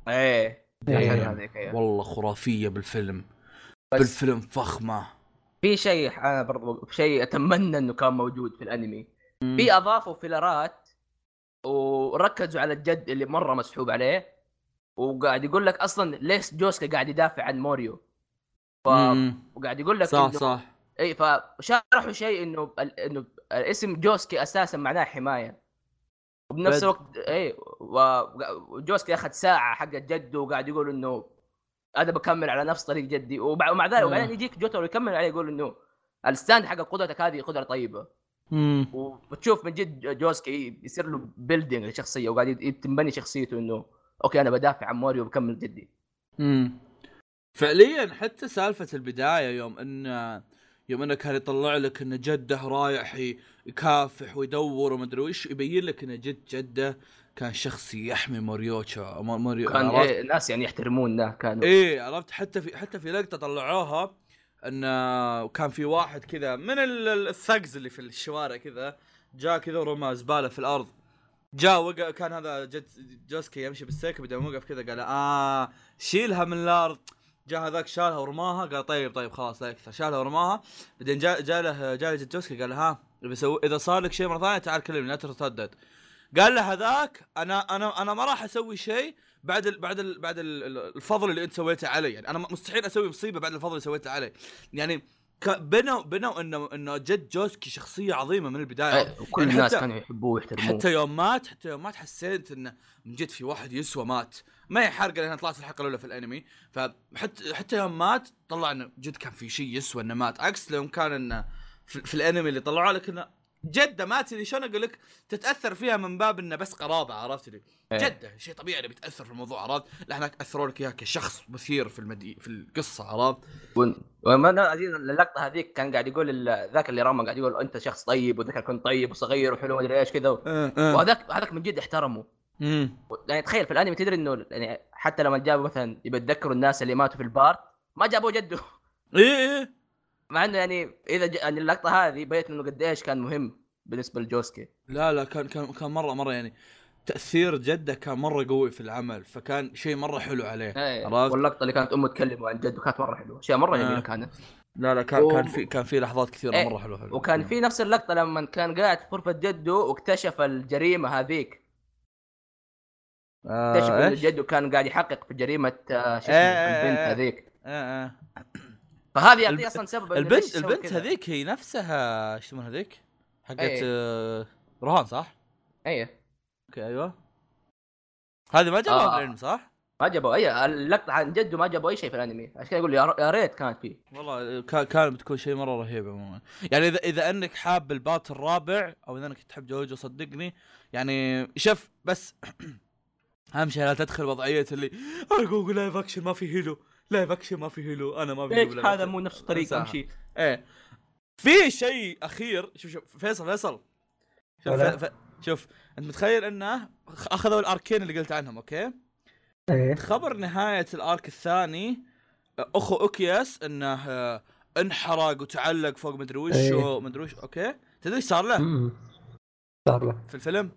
Speaker 2: ايه كان
Speaker 1: إيه.
Speaker 2: هذيك إيه.
Speaker 3: والله خرافيه بالفيلم
Speaker 2: بس-
Speaker 3: بالفيلم فخمه
Speaker 2: في شيء انا برضو شيء اتمنى انه كان موجود في الانمي في اضافوا فيلرات وركزوا على الجد اللي مره مسحوب عليه وقاعد يقول لك اصلا ليش جوسكا قاعد يدافع عن موريو ف...
Speaker 3: مم.
Speaker 2: وقاعد يقول لك
Speaker 3: صح
Speaker 2: إنه-
Speaker 3: صح
Speaker 2: اي إيه، فشرحوا شيء انه ال- انه الاسم جوسكي اساسا معناه حمايه وبنفس
Speaker 3: بد-
Speaker 2: الوقت اي و- وجوسكي اخذ ساعه حق جده وقاعد يقول انه انا بكمل على نفس طريق جدي وبع- ومع ذلك
Speaker 3: آه.
Speaker 2: وبعدين يجيك جوتر يكمل عليه يقول انه الستاند حق قدرتك هذه قدره طيبه
Speaker 3: مم.
Speaker 2: وبتشوف من جد جوسكي يصير له بيلدينج لشخصيه وقاعد يت- تنبني شخصيته انه اوكي انا بدافع عن موريو وبكمل جدي
Speaker 3: امم فعليا حتى سالفه البدايه يوم ان يوم انه كان يطلع لك ان جده رايح ي- يكافح ويدور وما ادري وش يبين لك ان جد جده كان شخص يحمي موريوتشا مو- موريو
Speaker 2: كان
Speaker 3: عرفت؟
Speaker 2: إيه ناس يعني يحترمونه كانوا
Speaker 3: ايه عرفت حتى في حتى في لقطه طلعوها ان كان في واحد كذا من ال- ال- الثقز اللي في الشوارع كذا جاء كذا ورمى زباله في الارض جاء وقع كان هذا جت جوسكي يمشي بالسيكل بدل ما وقف كذا قال اه شيلها من الارض جاء هذاك شالها ورماها قال طيب طيب خلاص لا يكثر شالها ورماها بعدين جاء جاء له جاء له جت جوسكي قال ها إذا سو- اذا صار لك شيء مره ثانيه تعال كلمني لا تتردد قال له هذاك انا انا انا ما راح اسوي شيء بعد ال بعد ال بعد ال- ال- الفضل اللي انت سويته علي يعني انا مستحيل اسوي مصيبه بعد الفضل اللي سويته علي يعني ك- بنوا بنوا انه انه جد جوسكي شخصيه عظيمه من البدايه
Speaker 2: إيه، وكل
Speaker 3: يعني
Speaker 2: الناس
Speaker 3: حتى-
Speaker 2: كانوا يحبوه ويحترموه
Speaker 3: حتى يوم مات حتى يوم مات حسيت انه من جد في واحد يسوى مات ما هي حرقه لانها طلعت في الحلقه الاولى في الانمي فحتى حتى يوم مات طلع انه جد كان في شيء يسوى انه مات عكس لو كان انه في, في الانمي اللي طلعوا لك انه جده مات اللي شلون اقول لك تتاثر فيها من باب انه بس قرابه عرفت لي جده شيء طبيعي انه بيتاثر في الموضوع عرفت لا هناك اثروا لك اياها كشخص مثير في المدي في القصه عرفت
Speaker 2: وما أنا عزيز اللقطه هذيك كان قاعد يقول ال- ذاك اللي رمى قاعد يقول انت شخص طيب وذاك كنت طيب وصغير وحلو ومدري ايش كذا
Speaker 3: آه.
Speaker 2: وهذاك هذاك من جد احترمه
Speaker 3: امم
Speaker 2: يعني تخيل في الانمي تدري انه يعني حتى لما جابوا مثلا يبي يتذكروا الناس اللي ماتوا في البار ما جابوا جده
Speaker 3: اي اي
Speaker 2: مع انه يعني اذا ج... يعني اللقطه هذه بيت انه قديش كان مهم بالنسبه لجوسكي
Speaker 3: لا لا كان كان كان مره مره يعني تاثير جده كان مره قوي في العمل فكان شيء مره حلو عليه عرفت
Speaker 2: واللقطه اللي كانت امه تكلموا عن جده كانت مره حلوه اشياء مره
Speaker 3: آه.
Speaker 2: جميله كانت
Speaker 3: لا لا كان
Speaker 2: و-
Speaker 3: كان في كان في لحظات كثيره
Speaker 2: إيه،
Speaker 3: مره حلوه حلوة.
Speaker 2: وكان في نفس اللقطه لما كان قاعد في غرفه جده واكتشف الجريمه هذيك
Speaker 3: آه،
Speaker 2: اكتشف ان
Speaker 3: إيش؟
Speaker 2: جده كان قاعد يحقق في جريمه آه، شو اسمه
Speaker 3: إيه، إيه،
Speaker 2: البنت
Speaker 3: إيه.
Speaker 2: هذيك
Speaker 3: آه، آه.
Speaker 2: فهذه
Speaker 3: الب-
Speaker 2: يعطيه اصلا سبب إنه
Speaker 3: البنت
Speaker 2: ليش سوى
Speaker 3: البنت
Speaker 2: كذا.
Speaker 3: هذيك هي نفسها ايش يسمونها هذيك؟ حقت
Speaker 2: إيه.
Speaker 3: آه، رهان صح؟
Speaker 2: ايه
Speaker 3: اوكي ايوه هذه ما جابها
Speaker 2: آه.
Speaker 3: بالعلم صح؟
Speaker 2: ما جابوا اي اللقطه عن جده ما جابوا اي شيء في الانمي عشان كذا اقول يا ر- يا ريت كانت فيه
Speaker 3: والله كا- كان بتكون شيء مره رهيب عموما يعني اذا اذا انك حاب البات الرابع او اذا انك تحب جوجو صدقني يعني شف بس اهم شيء لا تدخل وضعيه اللي ارجوك لايف اكشن ما في هيلو لايف اكشن ما في هيلو انا ما في هيلو
Speaker 2: ليش
Speaker 3: بلايف
Speaker 2: هذا
Speaker 3: أكشن.
Speaker 2: مو نفس طريق
Speaker 3: انساها.
Speaker 2: امشي
Speaker 3: ايه في شيء اخير شوف شوف فيصل فيصل شوف,
Speaker 1: ولا.
Speaker 3: ف... ف... شوف انت متخيل انه خ- اخذوا الاركين اللي قلت عنهم اوكي
Speaker 1: ايه
Speaker 3: خبر نهاية الارك الثاني اخو اوكياس انه آه، انحرق وتعلق فوق مدري وش
Speaker 1: إيه.
Speaker 3: ومدري وش اوكي تدري ايش صار له
Speaker 1: م-م. صار له
Speaker 3: في الفيلم؟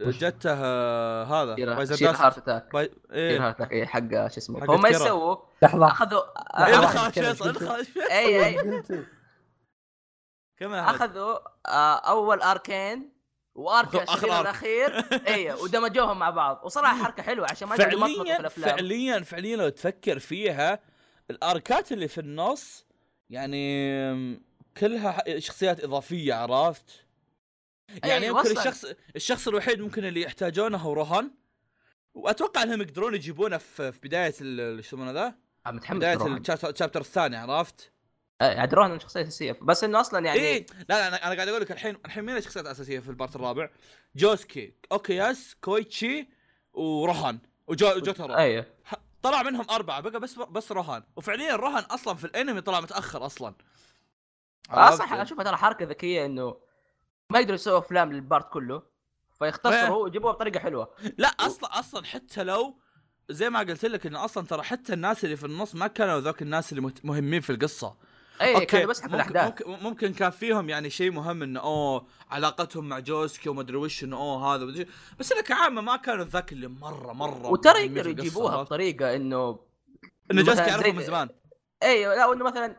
Speaker 3: جته آه، هذا بايزن
Speaker 2: شيل
Speaker 3: داس-
Speaker 2: هارت اتاك
Speaker 3: باي...
Speaker 2: شيل
Speaker 3: ايه
Speaker 2: هارت اتاك إيه، حق شو اسمه
Speaker 3: حق آه.
Speaker 2: فهم ما
Speaker 3: كيرا.
Speaker 2: يسووا
Speaker 1: لحظه
Speaker 2: اخذوا
Speaker 1: إيه،
Speaker 2: أخذوا- إيه،
Speaker 3: انخرج
Speaker 1: كذا،
Speaker 3: فيصل
Speaker 1: شو
Speaker 3: انخرج فيصل
Speaker 1: إيه،
Speaker 2: اي اي
Speaker 1: قلت
Speaker 3: كمل أحمد.
Speaker 2: اخذوا آه، اول اركين وارك
Speaker 3: أخذوا آخر
Speaker 2: الشرير
Speaker 3: آرك.
Speaker 2: الاخير اي ودمجوهم مع بعض وصراحه حركه حلوه عشان ما يجي مطلق في
Speaker 3: فعليا
Speaker 2: الافلام
Speaker 3: فعليا فعليا لو تفكر فيها الاركات اللي في النص يعني كلها ح- شخصيات اضافيه عرفت؟ يعني
Speaker 2: أي،
Speaker 3: يمكن
Speaker 2: وصل.
Speaker 3: الشخص الشخص الوحيد ممكن اللي يحتاجونه هو روهان واتوقع انهم يقدرون يجيبونه في في بدايه ال- ال- شو يسمونه ذا؟
Speaker 2: آه، متحمس
Speaker 3: بدايه
Speaker 2: بدايه
Speaker 3: الشابتر الثاني عرفت؟
Speaker 2: عاد آه، يعني روحنا من شخصيه اساسيه بس انه اصلا يعني
Speaker 3: اي لا لا انا أنا قاعد اقول لك الحين الحين مين الشخصيات الاساسيه في البارت الرابع؟ جوسكي، اوكياس، كويتشي وروهان وجو جوتارو
Speaker 2: ايوه
Speaker 3: ح- طلع منهم اربعه بقى بس بس روهان وفعليا روهان اصلا في الانمي طلع متاخر اصلا
Speaker 2: آه، صح اشوفها ترى حركه ذكيه انه ما يقدروا يسووا افلام للبارت كله
Speaker 3: إيه.
Speaker 2: فيختصروا ويجيبوها بطريقه حلوه
Speaker 3: لا اصلا اصلا حتى لو زي ما قلت لك انه اصلا ترى حتى الناس اللي في النص ما كانوا ذوك الناس اللي مهت- مهمين في القصه
Speaker 2: اي إيه، كانوا بس حق
Speaker 3: ممكن,
Speaker 2: الاحداث
Speaker 3: ممكن ممكن كان فيهم يعني شيء مهم انه اوه علاقتهم مع جوسكي وما ادري وش انه اوه هذا ومدري وش. بس انا كعامه ما كانوا ذاك اللي مره مره
Speaker 2: وترى
Speaker 3: مهمين في
Speaker 2: يقدروا
Speaker 3: القصة،
Speaker 2: يجيبوها
Speaker 3: عرفت؟
Speaker 2: بطريقه انه
Speaker 3: انه جوسكي
Speaker 2: مثلاً زي-
Speaker 3: يعرفه من زمان
Speaker 2: ايوه لا وانه مثلا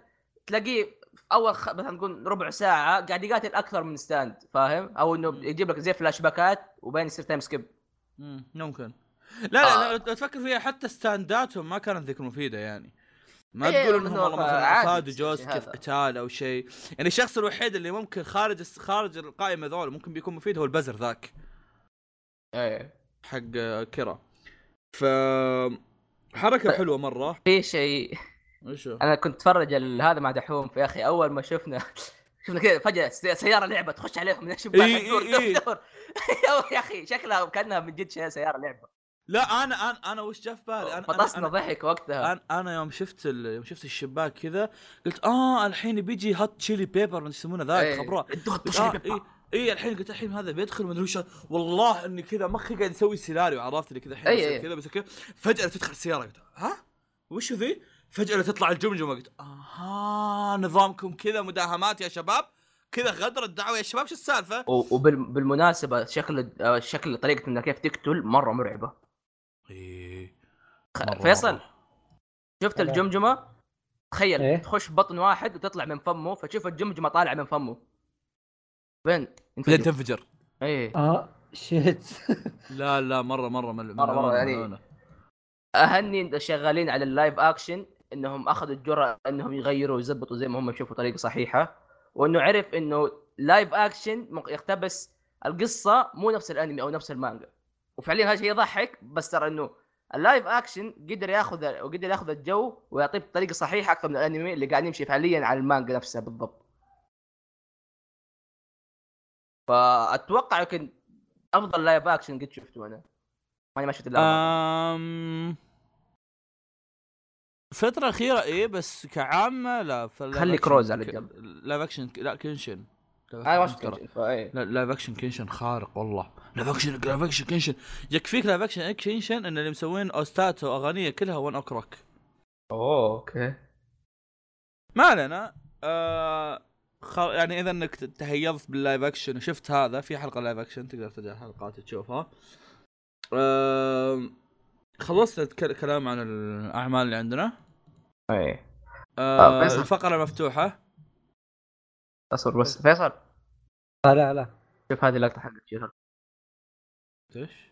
Speaker 2: تلاقيه في اول خ... مثلا نقول ربع ساعه قاعد يقاتل اكثر من ستاند فاهم او انه يجيب لك زي فلاش باكات وبعدين يصير تايم سكيب
Speaker 3: مم، ممكن لا لا,
Speaker 2: آه.
Speaker 3: لا لو تفكر فيها حتى ستانداتهم ما كانت ذيك مفيده يعني ما
Speaker 2: إيه،
Speaker 3: تقول انهم
Speaker 2: إنه
Speaker 3: والله مثلا
Speaker 2: عادي
Speaker 3: افادوا
Speaker 2: يصير شيء
Speaker 3: جوسكي في
Speaker 2: هذا.
Speaker 3: قتال او شيء يعني الشخص الوحيد اللي ممكن خارج الس- خارج القائمه ذول ممكن بيكون مفيد هو البزر ذاك
Speaker 2: ايه
Speaker 3: حق آه، كيرا ف حركه
Speaker 2: طيب.
Speaker 3: حلوه مره
Speaker 2: في شيء
Speaker 3: ايش
Speaker 2: انا كنت اتفرج ال- هذا مع دحوم يا اخي اول ما شفنا شفنا كذا فجاه سي- سياره لعبه تخش عليهم من الشباك
Speaker 3: إي إي
Speaker 2: دور دور
Speaker 3: إي.
Speaker 2: دور يا اخي شكلها كانها من جد شيء سياره لعبه
Speaker 3: لا انا انا انا وش جاء في بالي انا أنا-
Speaker 2: فطسنا
Speaker 3: انا
Speaker 2: ضحك وقتها
Speaker 3: انا انا يوم شفت ال... يوم شفت الشباك كذا قلت اه الحين بيجي هات تشيلي بيبر من يسمونه
Speaker 2: إيه.
Speaker 3: ذاك خبراء آه اي اي الحين قلت الحين هذا بيدخل ما ادري وش والله اني كذا مخي قاعد يسوي سيناريو عرفت اللي كذا الحين
Speaker 2: إي
Speaker 3: بيصير
Speaker 2: إي.
Speaker 3: كذا بس كذا فجاه تدخل السياره قلت ها وش ذي؟ فجاه تطلع الجمجمه قلت اها نظامكم كذا مداهمات يا شباب كذا غدر الدعوه يا شباب شو السالفه؟
Speaker 2: وبالمناسبه شكل آه، شكل طريقه انها كيف تقتل مره مرعبه
Speaker 3: إيه.
Speaker 2: خ-
Speaker 3: مرة-
Speaker 2: فيصل
Speaker 3: مرة.
Speaker 2: شفت
Speaker 1: تمام.
Speaker 2: الجمجمه تخيل
Speaker 1: إيه.
Speaker 2: تخش بطن واحد وتطلع من فمه فتشوف الجمجمه طالعه من فمه وين
Speaker 3: بعدين تنفجر
Speaker 2: ايه
Speaker 1: اه شيت
Speaker 3: لا لا مره مره ملعون
Speaker 2: مرة- مرة يعني-
Speaker 3: ملعونة.
Speaker 2: اهني الشغالين على اللايف اكشن انهم اخذوا الجرأة انهم يغيروا ويزبطوا زي ما هم يشوفوا طريقه صحيحه وانه عرف انه لايف اكشن مق- يقتبس القصه مو نفس الانمي او نفس المانجا وفعليا هذا شيء يضحك بس ترى انه اللايف اكشن قدر ياخذ وقدر ياخذ الجو ويعطيه بطريقه صحيحه اكثر من الانمي اللي قاعد يمشي فعليا على المانجا نفسها بالضبط فاتوقع يمكن افضل لايف اكشن قد شفته انا ماني ما شفت الا أفضل.
Speaker 3: أم... الفترة الأخيرة إيه بس كعامة لا فاللايف
Speaker 2: خلي
Speaker 3: أكشن
Speaker 2: كروز على
Speaker 3: ك-
Speaker 2: جنب.
Speaker 3: لايف أكشن لا كنشن
Speaker 2: انا ما شفت كنجن، فايه
Speaker 3: لا لايف أكشن كنشن خارق والله لايف أكشن لايف أكشن كنشن يكفيك لايف أكشن كنشن إن اللي مسوين أوستاتو أغانية كلها ون أوك روك
Speaker 2: اوه اوكي
Speaker 3: ما علينا آه خ... يعني اذا انك ت- تهيضت باللايف اكشن وشفت هذا في حلقه لايف اكشن تقدر ترجع الحلقات تشوفها آه خلصنا الك- كلام عن الاعمال اللي عندنا
Speaker 2: ايه آه،
Speaker 3: آه
Speaker 2: فيصل.
Speaker 3: الفقره مفتوحه
Speaker 2: اصبر بس فيصل
Speaker 1: آه لا لا
Speaker 2: شوف هذه اللقطه حقت شيرل
Speaker 3: ايش؟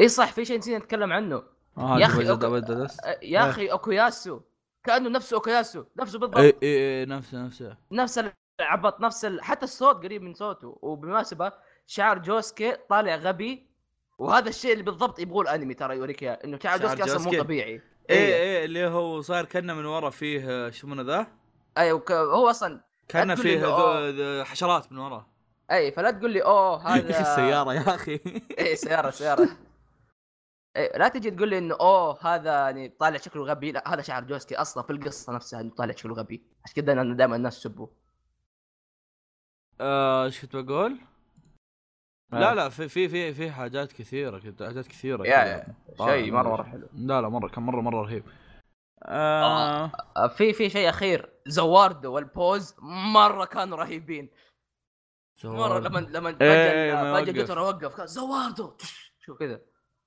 Speaker 2: اي صح في شيء نسينا نتكلم عنه
Speaker 3: آه
Speaker 2: يا أخي،
Speaker 3: دبل-
Speaker 2: أوكي.
Speaker 3: دبل دلس.
Speaker 2: أه، يا اخي اوكوياسو كانه نفسه اوكوياسو نفسه بالضبط
Speaker 3: اي اي إي، إيه، نفسه نفسه إيه،
Speaker 2: نفس العبط نفس ال... حتى الصوت قريب من صوته وبالمناسبه شعر جوسكي طالع غبي وهذا الشيء اللي بالضبط يبغوه الانمي ترى يوريك اياه انه شعر
Speaker 3: شعر
Speaker 2: جوسكي اصلا مو
Speaker 3: جوسكي.
Speaker 2: طبيعي إيه.
Speaker 3: اي اي إيه، اللي هو صار كنا من ورا فيه آه، شو يسمونه ذا؟
Speaker 2: اي وك... هو اصلا
Speaker 3: كنا
Speaker 2: تقول لي
Speaker 3: فيه
Speaker 2: إنه،
Speaker 3: ذو-
Speaker 2: آه.
Speaker 3: ذو- حشرات من ورا
Speaker 2: اي فلا تقول لي اوه هذا
Speaker 3: ايش السياره يا اخي
Speaker 2: ايه سيارة سيارة إيه لا تجي تقول لي انه اوه هذا يعني طالع شكله غبي لا هذا شعر جوسكي اصلا في القصة نفسها انه طالع شكله غبي عشان كذا انا دائما الناس تسبه
Speaker 3: آه، ايش كنت بقول؟
Speaker 2: آه.
Speaker 3: لا لا في في في في حاجات كثيره كنت حاجات كثيره
Speaker 2: يا-
Speaker 3: كذا.
Speaker 2: شيء
Speaker 3: طبعاً.
Speaker 2: مرة مرة حلو
Speaker 3: لا لا مره كان مره مره رهيب آه
Speaker 2: آه، في في شيء اخير زواردو والبوز مرة كانوا رهيبين مرة لما لما
Speaker 3: إيه،
Speaker 2: فجأة آه،
Speaker 3: ما
Speaker 2: فجأة
Speaker 3: يوقف.
Speaker 2: جوترا وقف قال زواردو شوف كذا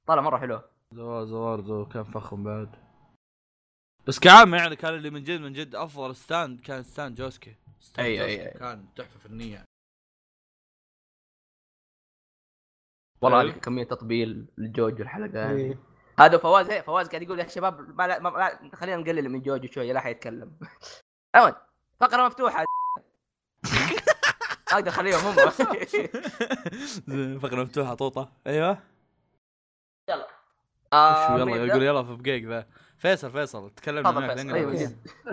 Speaker 2: طالع مرة حلو
Speaker 3: زوار زوار كان فخم بعد بس كعامة يعني كان اللي من جد من جد افضل ستاند كان ستاند جوسكي ستاند
Speaker 2: أي- أي-
Speaker 3: جوسكي
Speaker 2: أي.
Speaker 3: كان تحفه فنيه
Speaker 2: والله
Speaker 3: حلو.
Speaker 2: هذه كمية تطبيل لجوجو الحلقة يعني.
Speaker 1: إيه.
Speaker 2: هذا فواز ايه فواز قاعد يقول يا شباب ما لا ما لا خلينا نقلل من جوجو شويه لا حيتكلم عموما فقره مفتوحه اقدر اخليهم هم
Speaker 3: فقره مفتوحه طوطه ايوه
Speaker 2: يلا
Speaker 3: شو
Speaker 2: آه،
Speaker 3: يلا
Speaker 2: مين
Speaker 3: يقول
Speaker 2: يبدأ؟
Speaker 3: يلا في بقيق ذا فيصل فيصل تكلم
Speaker 2: تفضل
Speaker 3: هناك
Speaker 2: فيصل.
Speaker 3: لأن-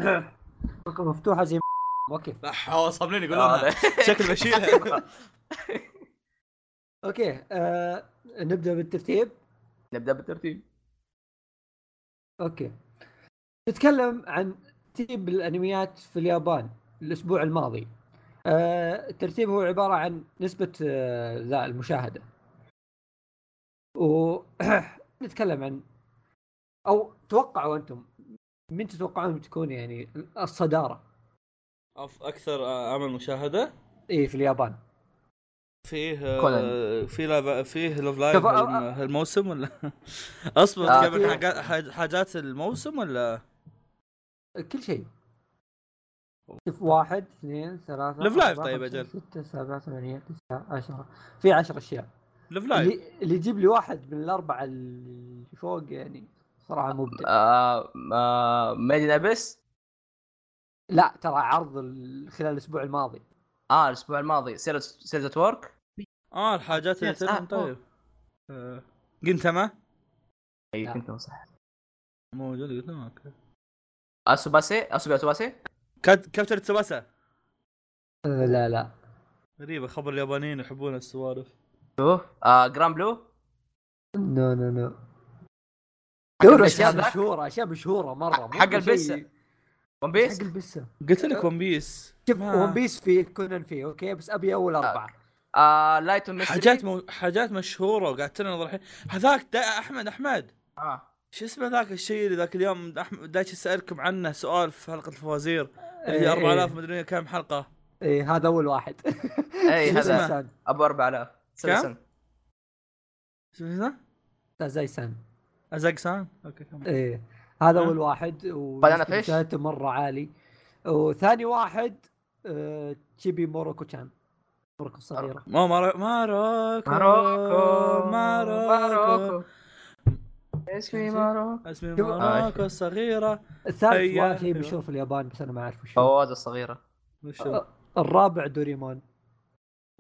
Speaker 2: أيوة.
Speaker 1: أوكي. فقرة مفتوحة زي ما- اوكي
Speaker 3: لا حوص صابلين
Speaker 2: آه،
Speaker 3: يقولون شكل بشير
Speaker 2: لا.
Speaker 1: اوكي آه نبدا بالترتيب
Speaker 2: نبدا بالترتيب
Speaker 1: اوكي نتكلم عن ترتيب الانميات في اليابان الاسبوع الماضي آه، الترتيب هو عباره عن نسبه آه، ذا المشاهده ونتكلم عن او توقعوا انتم من تتوقعون تكون يعني الصداره
Speaker 3: اكثر عمل مشاهده
Speaker 1: اي إيه، في اليابان
Speaker 3: فيه
Speaker 2: كونان.
Speaker 3: في لاف فيه لوف لايف
Speaker 1: شوف، أ-
Speaker 3: هالم- هالموسم ولا اصبر
Speaker 2: آه،
Speaker 3: تكمل
Speaker 1: في-
Speaker 3: حاجات- حاج- حاجات الموسم ولا
Speaker 1: كل شيء شوف واحد اثنين ثلاثة
Speaker 3: لف لايف
Speaker 1: أربعة،
Speaker 3: طيب
Speaker 1: خمسة،
Speaker 3: أجل.
Speaker 1: ستة سبعة ثمانية تسعة عشرة في عشر اشياء
Speaker 3: لوف
Speaker 2: طيب.
Speaker 3: لايف
Speaker 1: اللي, اللي يجيب لي واحد من الاربعه اللي فوق يعني صراحه مبدع
Speaker 2: آه، آه، ميدن ابيس
Speaker 1: لا ترى عرض ال- خلال الاسبوع الماضي
Speaker 2: اه الاسبوع الماضي سيلز سيلز ورك
Speaker 3: اه الحاجات اللي
Speaker 2: Yes، آه،
Speaker 3: تلهم طيب آه، جنتما
Speaker 2: اي
Speaker 1: لا.
Speaker 3: نعم.
Speaker 2: إيه، كنت صح
Speaker 3: موجود جنتما اوكي
Speaker 2: اسوباسي اسوبي اسوباسي
Speaker 3: كات- كابتن تسوباسا
Speaker 1: آه، لا لا
Speaker 3: غريبه خبر اليابانيين يحبون السوالف
Speaker 2: شوف آه، جرام بلو
Speaker 1: نو نو نو
Speaker 2: حق
Speaker 1: دور
Speaker 2: البس
Speaker 1: اشياء
Speaker 2: هذا.
Speaker 1: مشهوره اشياء مشهوره مره مو
Speaker 2: حق البس.
Speaker 1: شيء-
Speaker 2: ون
Speaker 1: حق
Speaker 2: بيس
Speaker 1: البس
Speaker 3: قلت لك ون بيس
Speaker 1: شوف
Speaker 3: ما-
Speaker 1: ون بيس فيه كونان فيه اوكي بس ابي اول اربعه
Speaker 2: آه لايت ميستري
Speaker 3: حاجات مو... حاجات مشهوره وقعدت لنا نظر الحين هذاك دا احمد احمد
Speaker 2: آه.
Speaker 3: شو اسمه ذاك الشيء اللي ذاك اليوم احمد دايتش سالكم عنه سؤال في حلقه الفوازير اللي
Speaker 1: إيه،
Speaker 3: 4000 مدري كم حلقه
Speaker 1: إيه، هذا اول واحد
Speaker 2: اي إيه، هذا
Speaker 3: اسمه؟
Speaker 2: ابو 4000 سلسل
Speaker 3: اسمه
Speaker 1: زي سان
Speaker 3: ازاق سان اوكي كمل.
Speaker 1: ايه هذا
Speaker 3: ها؟
Speaker 1: اول واحد و-
Speaker 2: بنانا آه. طيب، فيش؟
Speaker 1: مشاهدته مره عالي وثاني واحد آه، تشيبي موروكو كان موروكو الصغيره
Speaker 3: ما مارو ماروكو ماروكو
Speaker 2: ماروكو ايش في ماروكو
Speaker 3: اسمي
Speaker 1: شوف-
Speaker 3: ماروكو الصغيرة
Speaker 1: الثالث
Speaker 3: هيا.
Speaker 1: واحد مشهور في اليابان بس انا ما اعرف وش هو.
Speaker 2: فواز الصغيره
Speaker 3: وشو؟
Speaker 1: آه، الرابع دوريمون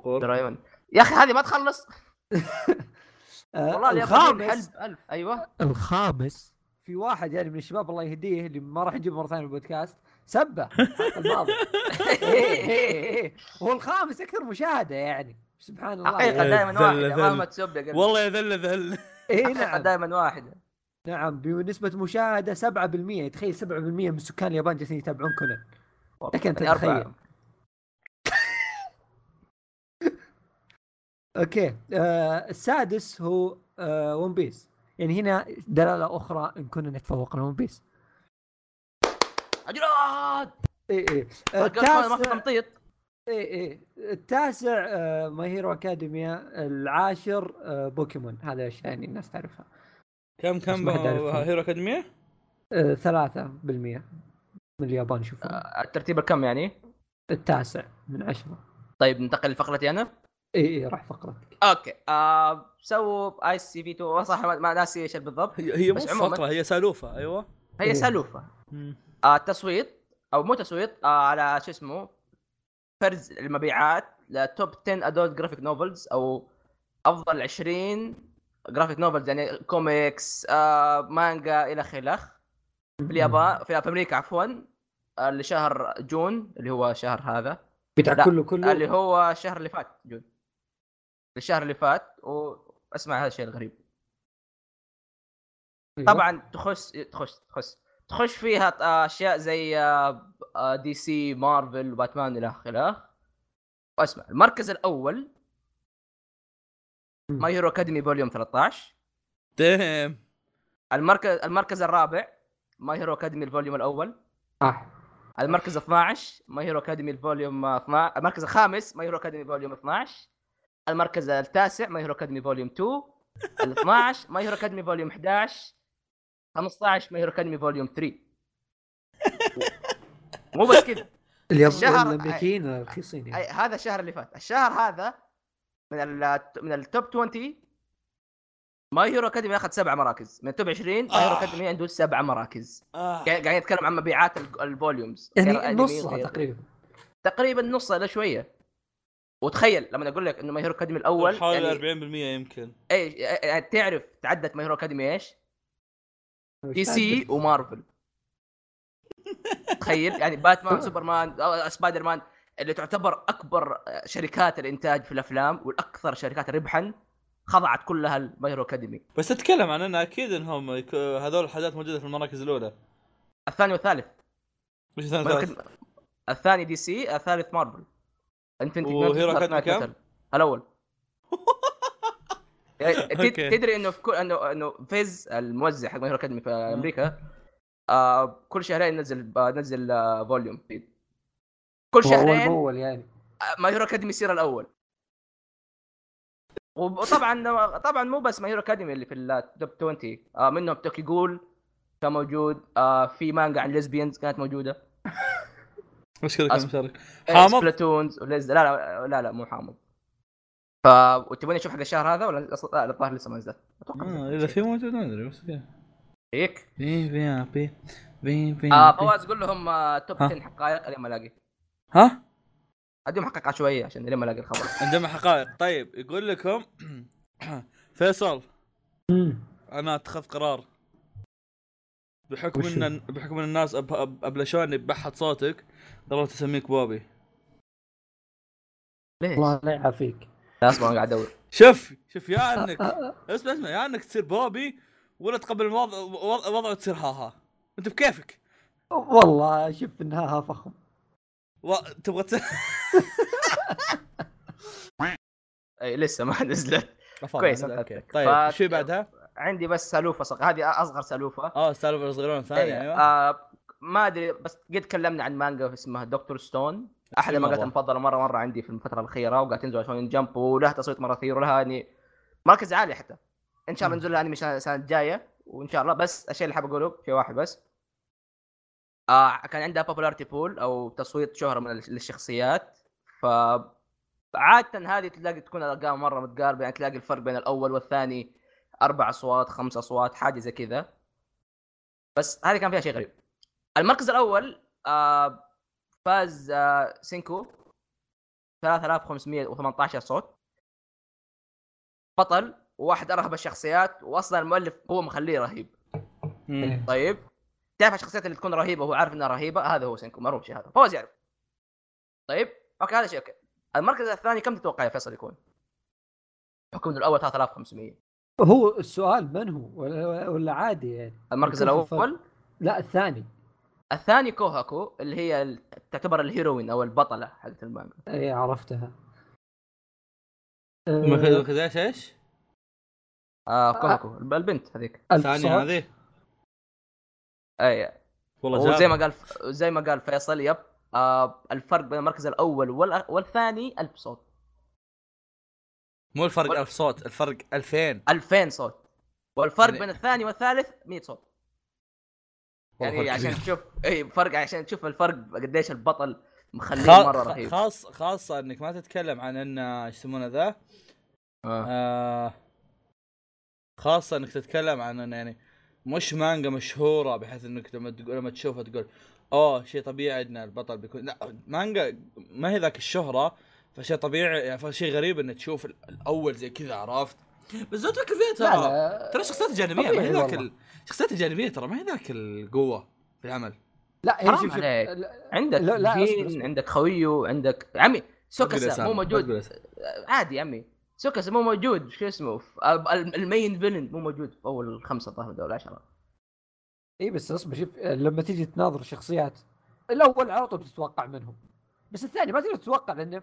Speaker 2: درايمون يا اخي هذه ما تخلص
Speaker 1: آه،
Speaker 2: والله اليابانيين حلب الف ايوه
Speaker 1: الخامس في واحد يعني من الشباب الله يهديه اللي ما راح نجيبه مره ثانيه البودكاست سبه الحلقة الماضية. إيه، إيه، إيه. هو الخامس اكثر مشاهده يعني سبحان الله
Speaker 2: حقيقه
Speaker 1: يعني.
Speaker 2: دائما
Speaker 3: ذل-
Speaker 2: واحده
Speaker 3: ذل.
Speaker 2: مهما تسب يا قلبي
Speaker 3: والله يا ذل ذل
Speaker 1: إيه،
Speaker 2: حقيقه
Speaker 1: نعم
Speaker 2: دائما واحده
Speaker 1: نعم بنسبة مشاهدة 7% تخيل 7% من سكان اليابان جالسين يتابعون كونان لكن أنت
Speaker 2: يعني أربعة.
Speaker 1: تخيل. اوكي آه السادس هو آه ون بيس يعني هنا دلالة أخرى إن كنا نتفوق لون بيس
Speaker 2: عجلات
Speaker 1: إيه إيه آه،
Speaker 2: القرفان أه، ما في
Speaker 1: التاسع
Speaker 2: تمطيط
Speaker 1: إيه إيه التاسع آه ماي هيرو أكاديميا العاشر آه بوكيمون هذا الأشياء يعني الناس تعرفها
Speaker 3: كم
Speaker 1: بس
Speaker 3: كم
Speaker 1: ما حد يعرفها.
Speaker 3: هيرو اكاديمية؟
Speaker 1: آه 3% من اليابان شوفوا
Speaker 2: آه، الترتيب الكم يعني
Speaker 1: التاسع من عشرة
Speaker 2: طيب ننتقل لفقرتي انا
Speaker 1: إيه إيه راح فقرتك
Speaker 2: اوكي آه سووا اي سي في 2 صح ما ما ناسي ايش بالضبط
Speaker 3: هي هي مو
Speaker 2: بس عموماً.
Speaker 3: فقرة هي سالوفة ايوه
Speaker 1: إيه.
Speaker 2: هي سالوفه
Speaker 3: مم.
Speaker 2: آه تصويت او مو تصويت آه على شو اسمه فرز المبيعات لتوب 10 ادولت جرافيك نوفلز او افضل 20 جرافيك نوفلز يعني كوميكس آه مانجا الى خلخ في اليابان في, في امريكا عفوا آه، لشهر جون اللي هو شهر هذا لا،
Speaker 1: بتاع كله كله
Speaker 2: اللي هو الشهر اللي فات جون الشهر اللي فات واسمع هذا الشيء الغريب
Speaker 1: أيوة.
Speaker 2: طبعا تخش تخش تخش تخش فيها ط- اشياء زي آه، آه، دي سي مارفل وباتمان الى اخره واسمع المركز الاول
Speaker 1: مم.
Speaker 2: ماي هيرو اكاديمي فوليوم 13
Speaker 3: ديم
Speaker 2: المركز المركز الرابع ماي هيرو اكاديمي الفوليوم الاول
Speaker 1: صح
Speaker 2: المركز 12 ماي هيرو اكاديمي الفوليوم 12 المركز الخامس ماي هيرو اكاديمي فوليوم 12 المركز التاسع ماي هيرو اكاديمي فوليوم 2 ال 12 ماي هيرو اكاديمي فوليوم 11 15 ماي هيرو اكاديمي فوليوم 3 مو بس كذا
Speaker 1: اليابان
Speaker 2: الشهر-
Speaker 1: الامريكيين رخيصين يعني
Speaker 2: أي- هذا الشهر اللي فات الشهر هذا من ال من التوب 20 ماي هيرو اكاديمي اخذ سبع مراكز من التوب 20 ماي هيرو
Speaker 3: آه.
Speaker 2: اكاديمي عنده سبع مراكز
Speaker 3: آه.
Speaker 2: قاعد قاعد يتكلم عن مبيعات ال- الفوليومز غير
Speaker 1: يعني
Speaker 2: أنمي
Speaker 1: نصها
Speaker 2: وغير-
Speaker 1: تقريبا
Speaker 2: تقريبا نص الى شويه وتخيل لما اقول لك انه ماي هيرو اكاديمي الاول
Speaker 3: حوالي
Speaker 2: يعني
Speaker 3: 40% يمكن
Speaker 2: ايش يعني تعرف تعدت ماي هيرو اكاديمي ايش؟ دي سي ومارفل تخيل يعني باتمان سوبرمان أو سبايدر مان اللي تعتبر اكبر شركات الانتاج في الافلام والاكثر شركات ربحا خضعت كلها الماي هيرو اكاديمي
Speaker 3: بس اتكلم عن انه اكيد انهم يك- هذول الحاجات موجودة في المراكز الاولى
Speaker 2: الثاني والثالث
Speaker 3: مش ثاني
Speaker 2: ماي هيرو
Speaker 3: ثالث
Speaker 2: أكاديمي- الثاني دي سي الثالث مارفل انفنتي
Speaker 3: وهيرو أكاديمي كم؟
Speaker 2: الاول يعني تد-
Speaker 3: أوكي.
Speaker 2: تدري انه في كل انه انه فيز الموزع حق ماي هيرو اكاديمي في امريكا آه كل شهرين ينزل آه نزل آه فوليوم جديد كل
Speaker 1: شهرين
Speaker 2: شهرين
Speaker 1: اول يعني
Speaker 2: ماي هيرو اكاديمي يصير الاول وطبعا طبعا مو بس ماي هيرو اكاديمي اللي في التوب 20 آه منهم توكي جول كان موجود آه في مانجا عن ليزبيانز كانت موجوده
Speaker 3: مش كذا كان
Speaker 2: أصبر.
Speaker 3: مشارك حامض؟
Speaker 2: حامض إيه، سبلاتونز ولز... لا لا لا لا مو حامض ف وتبوني اشوف حق الشهر هذا ولا أص- لا، الظاهر لسه ما نزل اتوقع
Speaker 3: آه،
Speaker 2: نزل.
Speaker 3: اذا في موجود ما ادري بس كذا
Speaker 2: هيك
Speaker 3: في في في في في
Speaker 2: آه فواز قول لهم آه توب
Speaker 3: ها.
Speaker 2: 10 حقائق لين ما الاقي
Speaker 3: ها
Speaker 2: اديهم حقائق عشوائيه عشان لين ما الاقي الخبر
Speaker 3: عندنا حقائق طيب يقول لكم فيصل انا اتخذت قرار بحكم
Speaker 1: وشو؟
Speaker 3: ان بحكم ان الناس أب... أب... ابلشوني ببحث صوتك قررت اسميك بوبي
Speaker 2: ليش؟
Speaker 1: الله لا يعافيك
Speaker 2: لا اصبر أنا قاعد ادور
Speaker 3: شوف شوف يا انك اسمع اسمع يا انك تصير بوبي ولا تقبل الوضع وضع- وضع تصير هاها انت بكيفك
Speaker 1: والله شوف انها فخم
Speaker 3: و... تبغى تصير
Speaker 2: اي لسه ما نزلت كويس، أوكي.
Speaker 3: طيب
Speaker 2: فات-
Speaker 3: شو بعدها؟
Speaker 2: عندي بس سالوفه صغ... هذه اصغر سالوفه
Speaker 3: اه سالفه صغيرون ثانيه
Speaker 2: إيه،
Speaker 3: ايوه
Speaker 2: آه ما ادري بس قد تكلمنا عن مانجا اسمها دكتور ستون احد
Speaker 3: حلوة
Speaker 2: المانجات
Speaker 3: والله.
Speaker 2: المفضله مره مره عندي في الفتره الاخيره وقاعد تنزل عشان جمب ولها تصويت مره كثير ولها يعني مركز عالي حتى ان شاء الله ننزل لها انمي السنه السنة الجايه وان شاء الله بس الشيء اللي حاب اقوله شيء واحد بس آه كان عندها popularity pool او تصويت شهره من ال- للشخصيات ف عادة هذه تلاقي تكون الارقام مره متقاربه يعني تلاقي الفرق بين الاول والثاني اربع اصوات خمس اصوات حاجه زي كذا بس هذه كان فيها شيء غريب المركز الاول آه فاز آه سينكو 3518 صوت بطل وواحد ارهب الشخصيات واصلا المؤلف هو مخليه رهيب
Speaker 3: مم.
Speaker 2: طيب تعرف الشخصيات اللي تكون رهيبه وهو عارف انها رهيبه هذا هو سينكو معروف شيء هذا فوز يعرف طيب اوكي هذا شيء اوكي المركز الثاني كم تتوقع يا فيصل يكون؟ بحكم انه الاول 3500
Speaker 1: هو السؤال من هو ولا, ولا عادي يعني
Speaker 2: المركز
Speaker 1: كيف الفرق؟
Speaker 2: الاول
Speaker 1: لا الثاني
Speaker 2: الثاني كوهاكو اللي هي ال- تعتبر الهيروين او البطله حقت المانجا
Speaker 1: اي إيه، عرفتها
Speaker 3: ما خذاش ايش؟
Speaker 2: آه كوهاكو الب- البنت هذيك
Speaker 1: ألف
Speaker 3: ثانيه
Speaker 1: صوت.
Speaker 3: هذه
Speaker 2: اي
Speaker 3: والله
Speaker 2: وزي
Speaker 3: جاب
Speaker 2: ما قال ف- زي ما قال فيصل يب آه الفرق بين المركز الاول والأ- والثاني 1000 صوت
Speaker 3: مو الفرق 1000 صوت الفرق 2000
Speaker 2: 2000 صوت والفرق
Speaker 3: يعني-
Speaker 2: بين الثاني والثالث 100 صوت يعني
Speaker 3: والله فرق
Speaker 2: عشان
Speaker 3: كبير.
Speaker 2: تشوف اي فرق عشان تشوف الفرق قديش البطل مخليه
Speaker 3: خا-
Speaker 2: مره
Speaker 3: خا-
Speaker 2: رهيب
Speaker 3: خاص خاصه انك ما تتكلم عن ان ايش يسمونه ذا
Speaker 2: آه.
Speaker 3: آه خاصة انك تتكلم عن انه يعني مش مانجا مشهورة بحيث انك لما تقول لما تشوفها تقول اوه شيء طبيعي ان البطل بيكون لا مانجا ما هي ذاك الشهرة فشيء طبيعي يعني فشيء غريب انك تشوف ال- الاول زي كذا عرفت بس زود تفكر فيها
Speaker 1: لا
Speaker 3: ترى
Speaker 1: لا
Speaker 3: ترى الشخصيات الجانبية ما
Speaker 1: طبيعي
Speaker 3: هي ذاك
Speaker 1: والله.
Speaker 3: ال- الشخصيات الجانبية ترى ما هي ذاك القوة في العمل
Speaker 1: لا هي
Speaker 2: حرام
Speaker 1: شوف شوف
Speaker 2: عليك.
Speaker 1: لا-
Speaker 2: عندك
Speaker 1: لا- لا، أصبر،
Speaker 2: جين
Speaker 1: أصبر.
Speaker 2: عندك خويو عندك عمي سوكاسا
Speaker 3: أسامي،
Speaker 2: مو
Speaker 3: ما
Speaker 2: موجود
Speaker 3: تقول أسامي.
Speaker 2: عادي يا عمي سوكس مو موجود شو اسمه ف- ال- المين فيلن مو موجود في اول خمسه الظاهر ولا عشرة
Speaker 1: اي إيه، بس اصبر شوف لما تيجي تناظر شخصيات الاول على طول بتتوقع منهم بس الثاني ما تقدر تتوقع لانه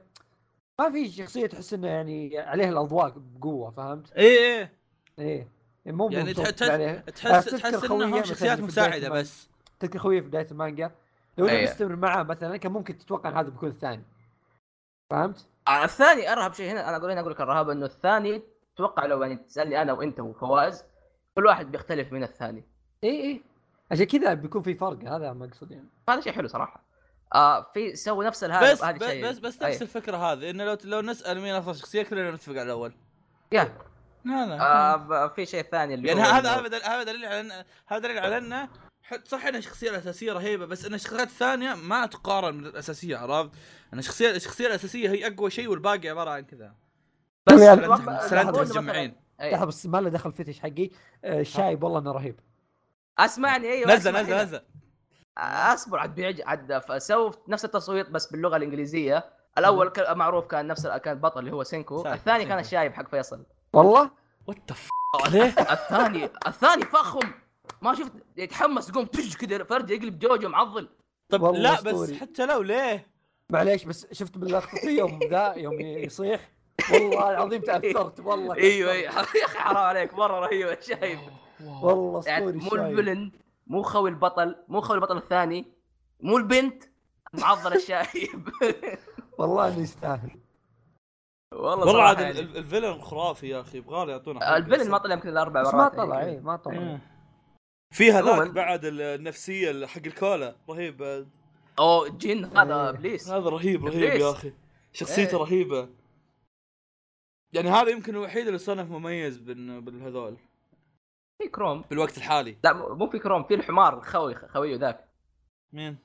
Speaker 1: ما في شخصيه تحس انه يعني عليها الاضواء بقوه فهمت؟
Speaker 3: ايه ايه
Speaker 1: ايه مو
Speaker 3: يعني
Speaker 1: مبسوط
Speaker 3: تحس-
Speaker 1: عليها.
Speaker 3: تحس
Speaker 1: أفتكر
Speaker 3: تحس
Speaker 1: خوية
Speaker 3: انهم
Speaker 1: مثلاً
Speaker 3: شخصيات
Speaker 1: في بداية
Speaker 3: مساعدة
Speaker 1: المانجا.
Speaker 3: بس
Speaker 1: تذكر خويي في بدايه المانجا لو انه
Speaker 2: أيه.
Speaker 1: مستمر معاه مثلا كان ممكن تتوقع ان هذا بيكون الثاني فهمت؟
Speaker 2: آه، الثاني ارهب شيء هنا انا اقول هنا اقول لك الرهاب انه الثاني اتوقع لو يعني تسالني انا وانت وفواز كل واحد بيختلف من الثاني
Speaker 1: اي اي إيه، عشان كذا بيكون في فرق هذا ما اقصد يعني
Speaker 2: هذا شيء حلو صراحه آه في سووا نفس الهذا
Speaker 3: بس بس
Speaker 2: الشيء.
Speaker 3: بس, بس نفس
Speaker 2: أي.
Speaker 3: الفكرة هذه انه لو لو نسأل مين افضل شخصية كلنا نتفق على الاول
Speaker 2: يا
Speaker 3: لا لا
Speaker 2: آه ب- في شيء ثاني اللي
Speaker 3: يعني
Speaker 2: هو
Speaker 3: هذا
Speaker 2: إنه-
Speaker 3: هذا دل- هذا دليل على ان هذا دليل على انه ح- صح ان الشخصيه الاساسيه رهيبه بس ان الشخصيات الثانيه ما تقارن من الاساسيه عرفت؟ ان الشخصيه الشخصيه الاساسيه هي اقوى شيء والباقي عباره عن كذا
Speaker 1: بس
Speaker 3: سلنت-
Speaker 1: أتوقع-
Speaker 3: سلنت
Speaker 1: أقول
Speaker 3: متجمعين
Speaker 2: أي.
Speaker 1: لحظه بس ما له دخل فتش حقي آه، الشايب والله انه رهيب
Speaker 2: اسمعني ايوه
Speaker 3: نزل
Speaker 2: اسمعني.
Speaker 3: نزل نزل
Speaker 2: اصبر عاد بيعج عاد ف- سووا نفس التصويت بس باللغه الانجليزيه الاول ك- معروف كان نفس ال- كان البطل اللي هو سينكو
Speaker 3: صح،
Speaker 2: الثاني
Speaker 3: سينكو.
Speaker 2: كان الشايب حق فيصل
Speaker 1: والله
Speaker 3: وات ذا ف
Speaker 2: الثاني الثاني فخم ما شفت يتحمس يقوم تج كذا فرجه يقلب جوجو معضل
Speaker 3: طب
Speaker 1: والله
Speaker 3: لا بس
Speaker 1: أسطوري.
Speaker 3: حتى لو ليه؟
Speaker 1: معليش بس شفت باللقطه يوم ذا يوم يصيح والله العظيم تاثرت والله
Speaker 3: أيوة،
Speaker 2: ايوه
Speaker 1: تأثرت.
Speaker 2: ايوه يا اخي حرام عليك مره رهيب الشايب
Speaker 1: والله
Speaker 2: يعني
Speaker 1: اسطوري
Speaker 2: مو
Speaker 1: الشايب
Speaker 2: الفيلن مو خوي البطل مو خوي البطل الثاني مو البنت معضل الشايب
Speaker 1: والله انه يستاهل
Speaker 2: والله
Speaker 3: والله
Speaker 2: صراحة
Speaker 3: عاد
Speaker 2: يعني.
Speaker 3: ال- ال- الفيلن خرافي يا اخي يبغى له يعطونا حق
Speaker 2: الفيلن ما
Speaker 3: أصلاً.
Speaker 2: طلع يمكن الاربع
Speaker 1: بس
Speaker 2: مرات
Speaker 1: ما
Speaker 2: يعني
Speaker 1: طلع إيه.
Speaker 2: كذا.
Speaker 1: اي ما طلع
Speaker 3: في هذاك
Speaker 2: عموماً.
Speaker 3: بعد النفسيه اللي حق الكولا رهيب
Speaker 2: اوه جن هذا
Speaker 1: إيه.
Speaker 2: ابليس
Speaker 3: هذا رهيب رهيب
Speaker 2: إبليس.
Speaker 3: يا اخي شخصيته
Speaker 2: إيه.
Speaker 3: رهيبه يعني هذا يمكن الوحيد اللي صنف مميز بال- بالهذول
Speaker 2: في كروم
Speaker 3: بالوقت الحالي
Speaker 2: لا مو مو في كروم في الحمار الخوي خويه ذاك
Speaker 3: مين؟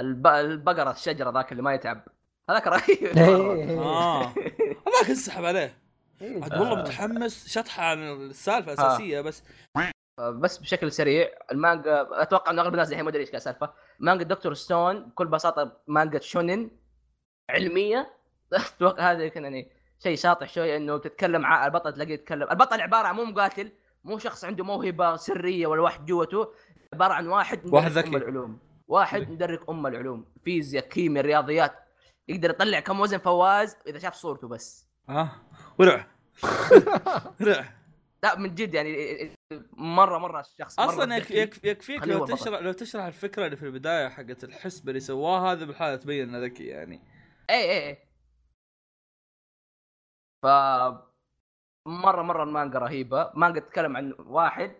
Speaker 2: الب... البقره الشجره ذاك اللي ما يتعب هذاك رهيب
Speaker 1: إيه، إيه.
Speaker 3: اه هذاك انسحب عليه
Speaker 1: إيه.
Speaker 3: عاد والله
Speaker 2: آه.
Speaker 3: متحمس شطحه عن السالفه الاساسيه بس
Speaker 2: بس بشكل سريع المانجا اتوقع انه اغلب الناس الحين ما ادري ايش كان السالفه مانجا دكتور ستون بكل بساطه مانجا شونن علميه اتوقع هذا يمكن يعني شيء شاطح شوي انه بتتكلم عن البطل تلاقيه يتكلم البطل عباره عن مو مقاتل مو شخص عنده موهبه سريه ولا واحد جوته عباره عن واحد مدرك
Speaker 3: واحد ذكي.
Speaker 2: ام العلوم واحد
Speaker 3: ذكي.
Speaker 2: مدرك ام العلوم فيزياء كيمياء رياضيات يقدر يطلع كم وزن فواز اذا شاف صورته بس
Speaker 3: ها ورع ورع
Speaker 2: لا من جد يعني مره مره الشخص مرة
Speaker 3: اصلا يك-
Speaker 2: ذكي.
Speaker 3: يك- يكفيك
Speaker 2: خليه هو
Speaker 3: لو
Speaker 2: البطل.
Speaker 3: تشرح لو تشرح الفكره اللي في البدايه حقت الحسبه اللي سواها هذا بالحاله تبين انه ذكي يعني
Speaker 2: اي اي اي إيه، ف مره مره المانجا رهيبه مانجا تتكلم عن واحد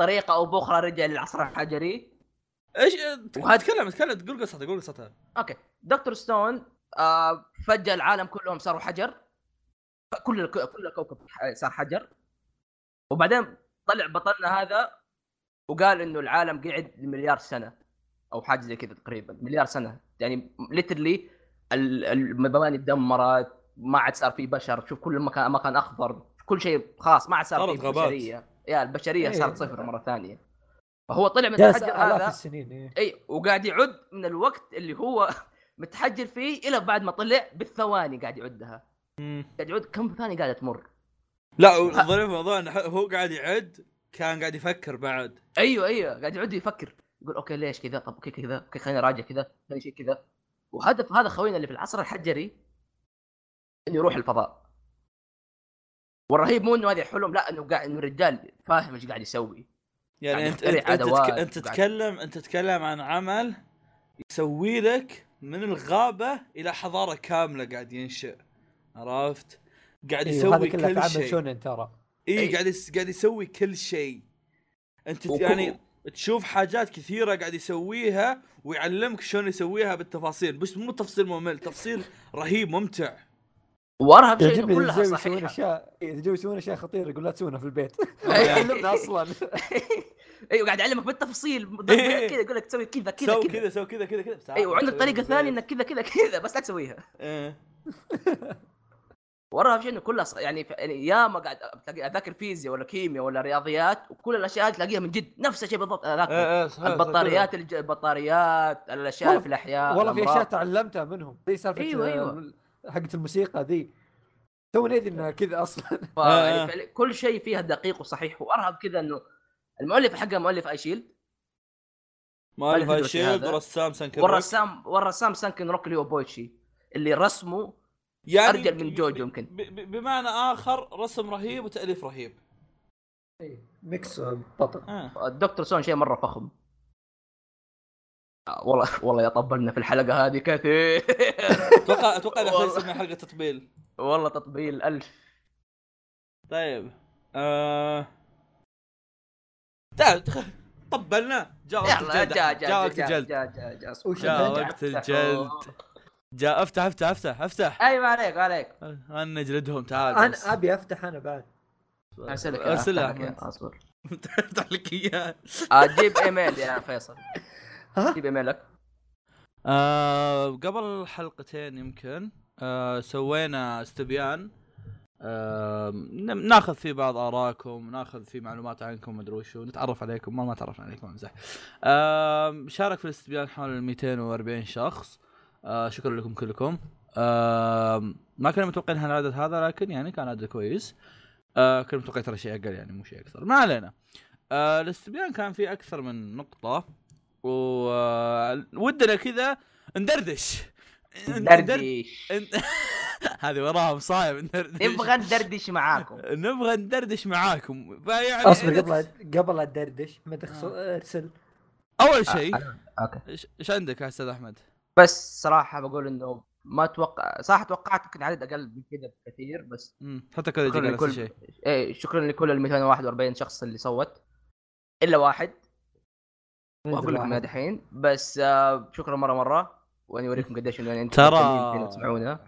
Speaker 2: طريقه او باخرى رجع للعصر الحجري
Speaker 3: ايش
Speaker 2: وهذا-
Speaker 3: تكلم تكلم تقول قصتها تقول قصتها
Speaker 2: اوكي دكتور ستون آه فجاه العالم كلهم صاروا حجر كل الك- كل الكوكب ح- صار حجر وبعدين طلع بطلنا هذا وقال انه العالم قعد لمليار سنه او حاجه زي كذا تقريبا مليار سنه يعني ليترلي المباني تدمرت ما عاد صار في بشر تشوف كل مكان مكان اخضر كل شيء خلاص ما عاد صار
Speaker 3: صارت
Speaker 2: في
Speaker 3: غابات.
Speaker 2: بشريه يا البشريه
Speaker 1: إيه.
Speaker 2: صارت صفر مره ثانيه فهو طلع من
Speaker 1: جالس
Speaker 2: الحجر
Speaker 1: الاف
Speaker 2: هذا
Speaker 1: السنين إيه.
Speaker 2: اي وقاعد يعد من الوقت اللي هو متحجر فيه الى بعد ما طلع بالثواني قاعد يعدها قاعد يعد كم ثانيه قاعده تمر
Speaker 3: لا الظريف الموضوع انه هو قاعد يعد كان قاعد يفكر بعد
Speaker 2: ايوه ايوه قاعد يعد يفكر يقول اوكي ليش كذا طب اوكي كذا اوكي خليني اراجع كذا خليني شيء كذا وهدف هذا خوينا اللي في العصر الحجري انه يروح الفضاء والرهيب مو انه هذا حلم لا انه قاعد انه الرجال فاهم ايش قاعد يسوي
Speaker 3: يعني
Speaker 2: قاعد
Speaker 3: انت
Speaker 2: يخترع
Speaker 3: انت, انت,
Speaker 2: أدوات
Speaker 3: تك... انت
Speaker 2: وقاعد-
Speaker 3: تتكلم انت تتكلم عن عمل يسوي لك من الغابه الى حضاره كامله قاعد ينشئ عرفت؟ قاعد
Speaker 1: إيه
Speaker 3: يسوي
Speaker 1: هذا كله في
Speaker 3: كل
Speaker 1: عمل
Speaker 3: شيء
Speaker 1: شونن ترى
Speaker 3: اي
Speaker 2: أي.
Speaker 3: إيه، قاعد يس... قاعد يسوي كل شيء انت
Speaker 2: وكو-
Speaker 3: يعني تشوف حاجات كثيره قاعد يسويها ويعلمك شلون يسويها بالتفاصيل بس مو تفصيل ممل تفصيل رهيب ممتع
Speaker 2: وارهب شيء
Speaker 1: يعجبني
Speaker 2: إنه
Speaker 1: إذا يجوا يسوون
Speaker 2: كلها صحيحه
Speaker 1: اشياء إيه، إذا يجوا يسوون اشياء خطيره يقول لا تسوونها في البيت
Speaker 2: أي.
Speaker 1: علمنا اصلا
Speaker 2: ايوه قاعد يعلمك بالتفاصيل
Speaker 3: إيه.
Speaker 2: كذا يقول لك تسوي كذا كذا
Speaker 3: سوي
Speaker 2: كذا
Speaker 3: كذا سوي كذا كذا كذا بس
Speaker 1: آه،
Speaker 2: ايوه وعندك
Speaker 3: عاد-
Speaker 1: إيه،
Speaker 2: طريقه ثانيه انك كذا كذا كذا بس لا تسويها
Speaker 3: إيه.
Speaker 2: وراها شيء انه كلها ص- يعني ف- يعني ياما قاعد أتلاقي- اذاكر فيزياء ولا كيمياء ولا رياضيات وكل الاشياء هذه تلاقيها من جد نفس الشيء بالضبط
Speaker 1: آه،
Speaker 2: أنا
Speaker 3: إيه،
Speaker 2: أذاكر.
Speaker 3: إيه، صحيح، صحيح،
Speaker 2: البطاريات الج... البطاريات الاشياء اللي في الاحياء
Speaker 1: والله في اشياء
Speaker 2: الأمراض.
Speaker 1: تعلمتها منهم زي سالفه
Speaker 2: أيوة،
Speaker 1: آه،
Speaker 2: أيوة.
Speaker 1: حقت الموسيقى ذي تو ندري انها كذا اصلا
Speaker 2: ف-
Speaker 3: آه،
Speaker 2: يعني
Speaker 3: آه.
Speaker 2: فعليا كل شيء فيها دقيق وصحيح وارهب كذا انه المؤلف حقها مؤلف اي شيلد
Speaker 3: مؤلف
Speaker 2: هذا.
Speaker 3: الشيلد ورسام سانكر
Speaker 2: والرسام والرسام سانكن روك اللي هو بويتشي اللي رسمه
Speaker 3: يعني
Speaker 2: ارجل من جوجو
Speaker 3: ب-
Speaker 2: يمكن
Speaker 3: ب- ب- بمعنى اخر رسم رهيب وتاليف رهيب
Speaker 1: ميكس بطل
Speaker 3: آه.
Speaker 2: الدكتور سون شيء مره فخم آه، والله والله يا طبلنا في الحلقه هذه كثير
Speaker 3: اتوقع اتوقع انه
Speaker 2: والله.
Speaker 3: يسمي حلقه تطبيل
Speaker 2: والله تطبيل الف
Speaker 3: طيب آه... تعال تخ- طبلنا جاء وقت
Speaker 2: يلا
Speaker 3: الجلد
Speaker 2: جاء
Speaker 3: أحمد، جاء
Speaker 2: جاء
Speaker 3: وقت الجلد
Speaker 2: جاء جاء جاء
Speaker 1: وش
Speaker 3: جاء
Speaker 1: جاء
Speaker 3: وقت الجلد جاء افتح افتح افتح افتح
Speaker 2: اي ما أيوة، عليك ما عليك
Speaker 3: انا نجلدهم تعال بس.
Speaker 1: انا ابي افتح انا بعد
Speaker 2: ارسلك
Speaker 3: ارسل
Speaker 2: أرسلك
Speaker 3: احمد
Speaker 2: اصبر
Speaker 3: افتح لك اياه
Speaker 2: اجيب ايميل آه، يا فيصل
Speaker 1: ها؟
Speaker 2: جيب ايميلك
Speaker 3: آه قبل حلقتين يمكن آه سوينا استبيان آه ناخذ فيه بعض ارائكم ناخذ فيه معلومات عنكم مدري وشو نتعرف عليكم ما ما تعرفنا عليكم امزح آه شارك في الاستبيان حوالي 240 شخص آه شكرا لكم كلكم آه ما كنا متوقعين هالعدد هذا لكن يعني كان عدد كويس آه كنا متوقعين ترى شيء اقل يعني مو شيء اكثر ما علينا آه الاستبيان كان فيه اكثر من نقطه وودنا كذا ندردش
Speaker 2: دردش
Speaker 3: ن- هذه وراها مصايب ندردش
Speaker 2: نبغى ندردش معاكم
Speaker 3: نبغى ندردش معاكم فيعني
Speaker 1: اصبر قبل قبل لا تدردش ما تخص- ارسل
Speaker 3: اول شيء
Speaker 1: آه،
Speaker 2: اوكي
Speaker 3: إيش- ايش عندك يا استاذ احمد؟
Speaker 2: بس صراحه بقول انه ما اتوقع صراحه توقعت يمكن عدد اقل من كذا بكثير بس
Speaker 3: مم، حتى كذا
Speaker 2: شكرا
Speaker 3: يجي نفس
Speaker 2: لكل
Speaker 3: الشيء
Speaker 2: ايه شكرا لكل ال 241 شخص اللي صوت الا واحد واقول لكم يا دحين بس آه شكرا مره مره واني اوريكم قديش انه انتم
Speaker 3: ترى-
Speaker 2: مهتمين فينا تسمعونا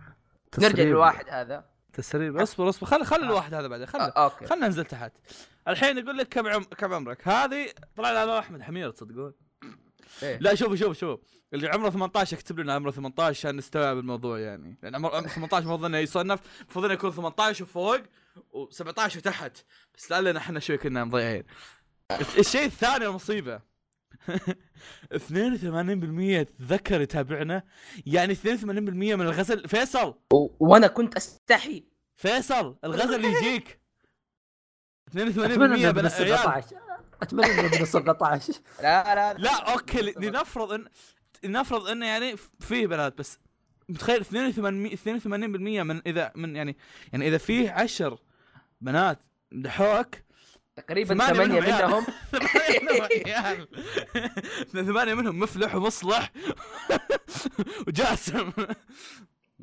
Speaker 2: نرجع للواحد هذا
Speaker 3: تسريب اصبر اصبر خل خل الواحد هذا بعدين خل
Speaker 2: آه، اوكي
Speaker 3: خلنا ننزل تحت الحين يقول لك كم عم... كم عمرك هذه طلع لها أنا احمد حمير تصدقون
Speaker 2: إيه.
Speaker 3: لا شوفوا شوفوا شوفوا اللي عمره 18 اكتب لنا عمره 18 عشان نستوعب الموضوع يعني لان عمر عمر 18 المفروض انه يصنف المفروض انه يكون 18 وفوق و17 وتحت بس لا لنا احنا شوي كنا مضيعين الشيء الثاني المصيبه 82% اتذكر يتابعنا يعني 82% من الغزل فيصل
Speaker 2: و- وانا كنت استحي
Speaker 3: فيصل الغزل يجيك 82%
Speaker 1: اتمنى انه
Speaker 3: بن-
Speaker 1: من
Speaker 3: عيال.
Speaker 1: 17 اتمنى انه من 17
Speaker 2: لا لا
Speaker 3: لا اوكي لنفرض ان لنفرض انه يعني فيه بنات بس متخيل 82 82% من اذا من يعني يعني اذا فيه 10 بنات مدحوك
Speaker 2: تقريبا
Speaker 3: ثمانية
Speaker 2: ثمانية
Speaker 3: منهم
Speaker 2: منهم
Speaker 3: ثمانية منهم عيال ثمانية منهم مفلح ومصلح وجاسم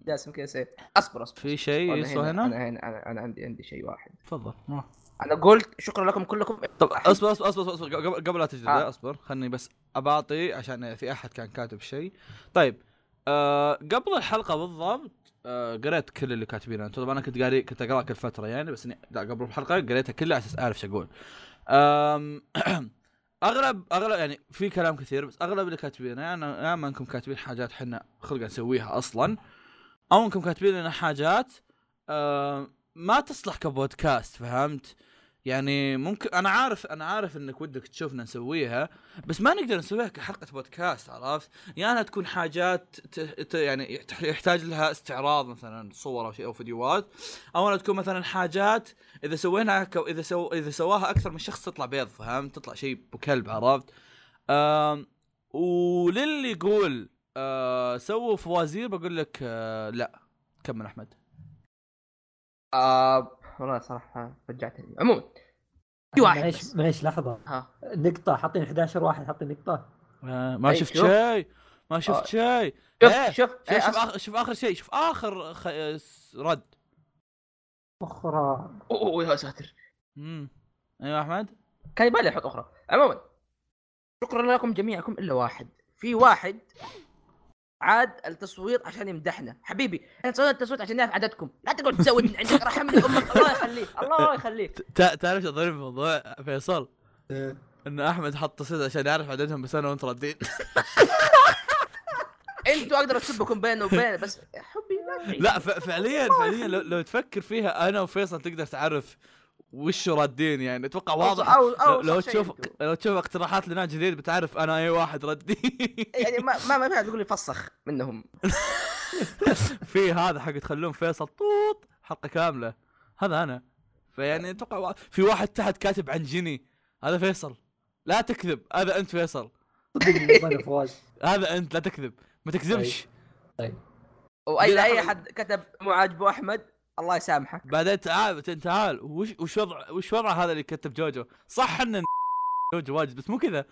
Speaker 2: جاسم كذا سيف اصبر اصبر
Speaker 3: في شيء
Speaker 2: أنا
Speaker 3: يسوى
Speaker 2: هنا
Speaker 3: هنا؟
Speaker 2: انا هنا انا, أنا عندي عندي شيء واحد
Speaker 3: تفضل
Speaker 2: انا قلت شكرا لكم كلكم
Speaker 3: طب اصبر اصبر اصبر اصبر قبل قبل لا تجلد
Speaker 2: آه.
Speaker 3: اصبر خلني بس اباطي عشان في احد كان كاتب شيء طيب آه قبل الحلقه بالضبط آه قريت كل اللي كاتبينه طبعا انا كنت قاري كنت اقرا كل فتره يعني بس إني لا قبل الحلقه قريتها كلها على اساس اعرف شو اقول آم، اغلب اغلب يعني في كلام كثير بس اغلب اللي كاتبينه يعني يا اما انكم كاتبين حاجات حنا خلق نسويها اصلا او انكم كاتبين لنا حاجات آم، ما تصلح كبودكاست فهمت؟ يعني ممكن انا عارف انا عارف انك ودك تشوفنا نسويها بس ما نقدر نسويها كحلقه بودكاست عرفت؟ يا يعني انها تكون حاجات ت... ت... يعني يحت- يحتاج لها استعراض مثلا صور او شيء او فيديوهات او انها تكون مثلا حاجات اذا سويناها ك... اذا سو... اذا سواها اكثر من شخص تطلع بيض فهمت؟ تطلع شيء بكلب عرفت؟ أم... وللي يقول أه... سووا فوازير بقول لك أه... لا كمل احمد
Speaker 2: آه والله صراحة رجعتني عموما في واحد
Speaker 1: معليش
Speaker 2: بس.
Speaker 1: معليش لحظه
Speaker 2: ها
Speaker 1: نقطه حاطين 11 واحد حاطين نقطه
Speaker 3: آه، ما
Speaker 2: أي،
Speaker 3: شفت
Speaker 2: طيب، شوف.
Speaker 3: شيء ما شفت
Speaker 2: آه.
Speaker 3: شيء
Speaker 2: شوف
Speaker 3: إيه.
Speaker 2: شوف
Speaker 3: شوف
Speaker 2: إيه،
Speaker 3: شوف
Speaker 2: أصبر.
Speaker 3: آخر شوف آخر شيء شوف آخر خ... س- رد
Speaker 1: اخرى
Speaker 2: أوه، أوه، يا ساتر
Speaker 3: امم ايوه احمد
Speaker 2: كان يبالي احط اخرى عموما شكرا لكم جميعكم الا واحد في واحد عاد التصويت عشان يمدحنا حبيبي احنا سوينا التصويت عشان نعرف عددكم لا تقعد تسوي من عندك رحم امك الله يخليك الله يخليك
Speaker 3: تعرف شو ظريف الموضوع فيصل ان احمد حط صيت عشان يعرف عددهم بس انا وانت ردين
Speaker 2: انتوا اقدر اسبكم بيني وبين بس حبي لا تعيش.
Speaker 3: لا ف... فعليا فعليا لو... لو تفكر فيها انا وفيصل تقدر تعرف وش ردين يعني اتوقع واضح
Speaker 2: أو- أو-
Speaker 3: لو, لو
Speaker 2: أوسخ شيء
Speaker 3: تشوف
Speaker 2: أنتوا.
Speaker 3: لو تشوف اقتراحات لنا جديد بتعرف انا اي واحد ردي
Speaker 2: يعني ما ما ما في احد يقول لي فسخ منهم
Speaker 3: في هذا حق تخلون فيصل طوط حلقه كامله هذا انا فيعني اتوقع وا- في واحد تحت كاتب عن جني هذا فيصل لا تكذب هذا انت فيصل
Speaker 1: صدقني أنا فواز
Speaker 3: هذا انت لا تكذب ما تكذبش
Speaker 2: واي
Speaker 3: بلا
Speaker 2: اي
Speaker 3: حول.
Speaker 2: احد كتب مو عاجبه احمد الله يسامحه
Speaker 3: بعدين تعال بعدين تعال وش وش وضع وش وضع هذا اللي كتب جوجو صح ان جوجو واجد بس مو كذا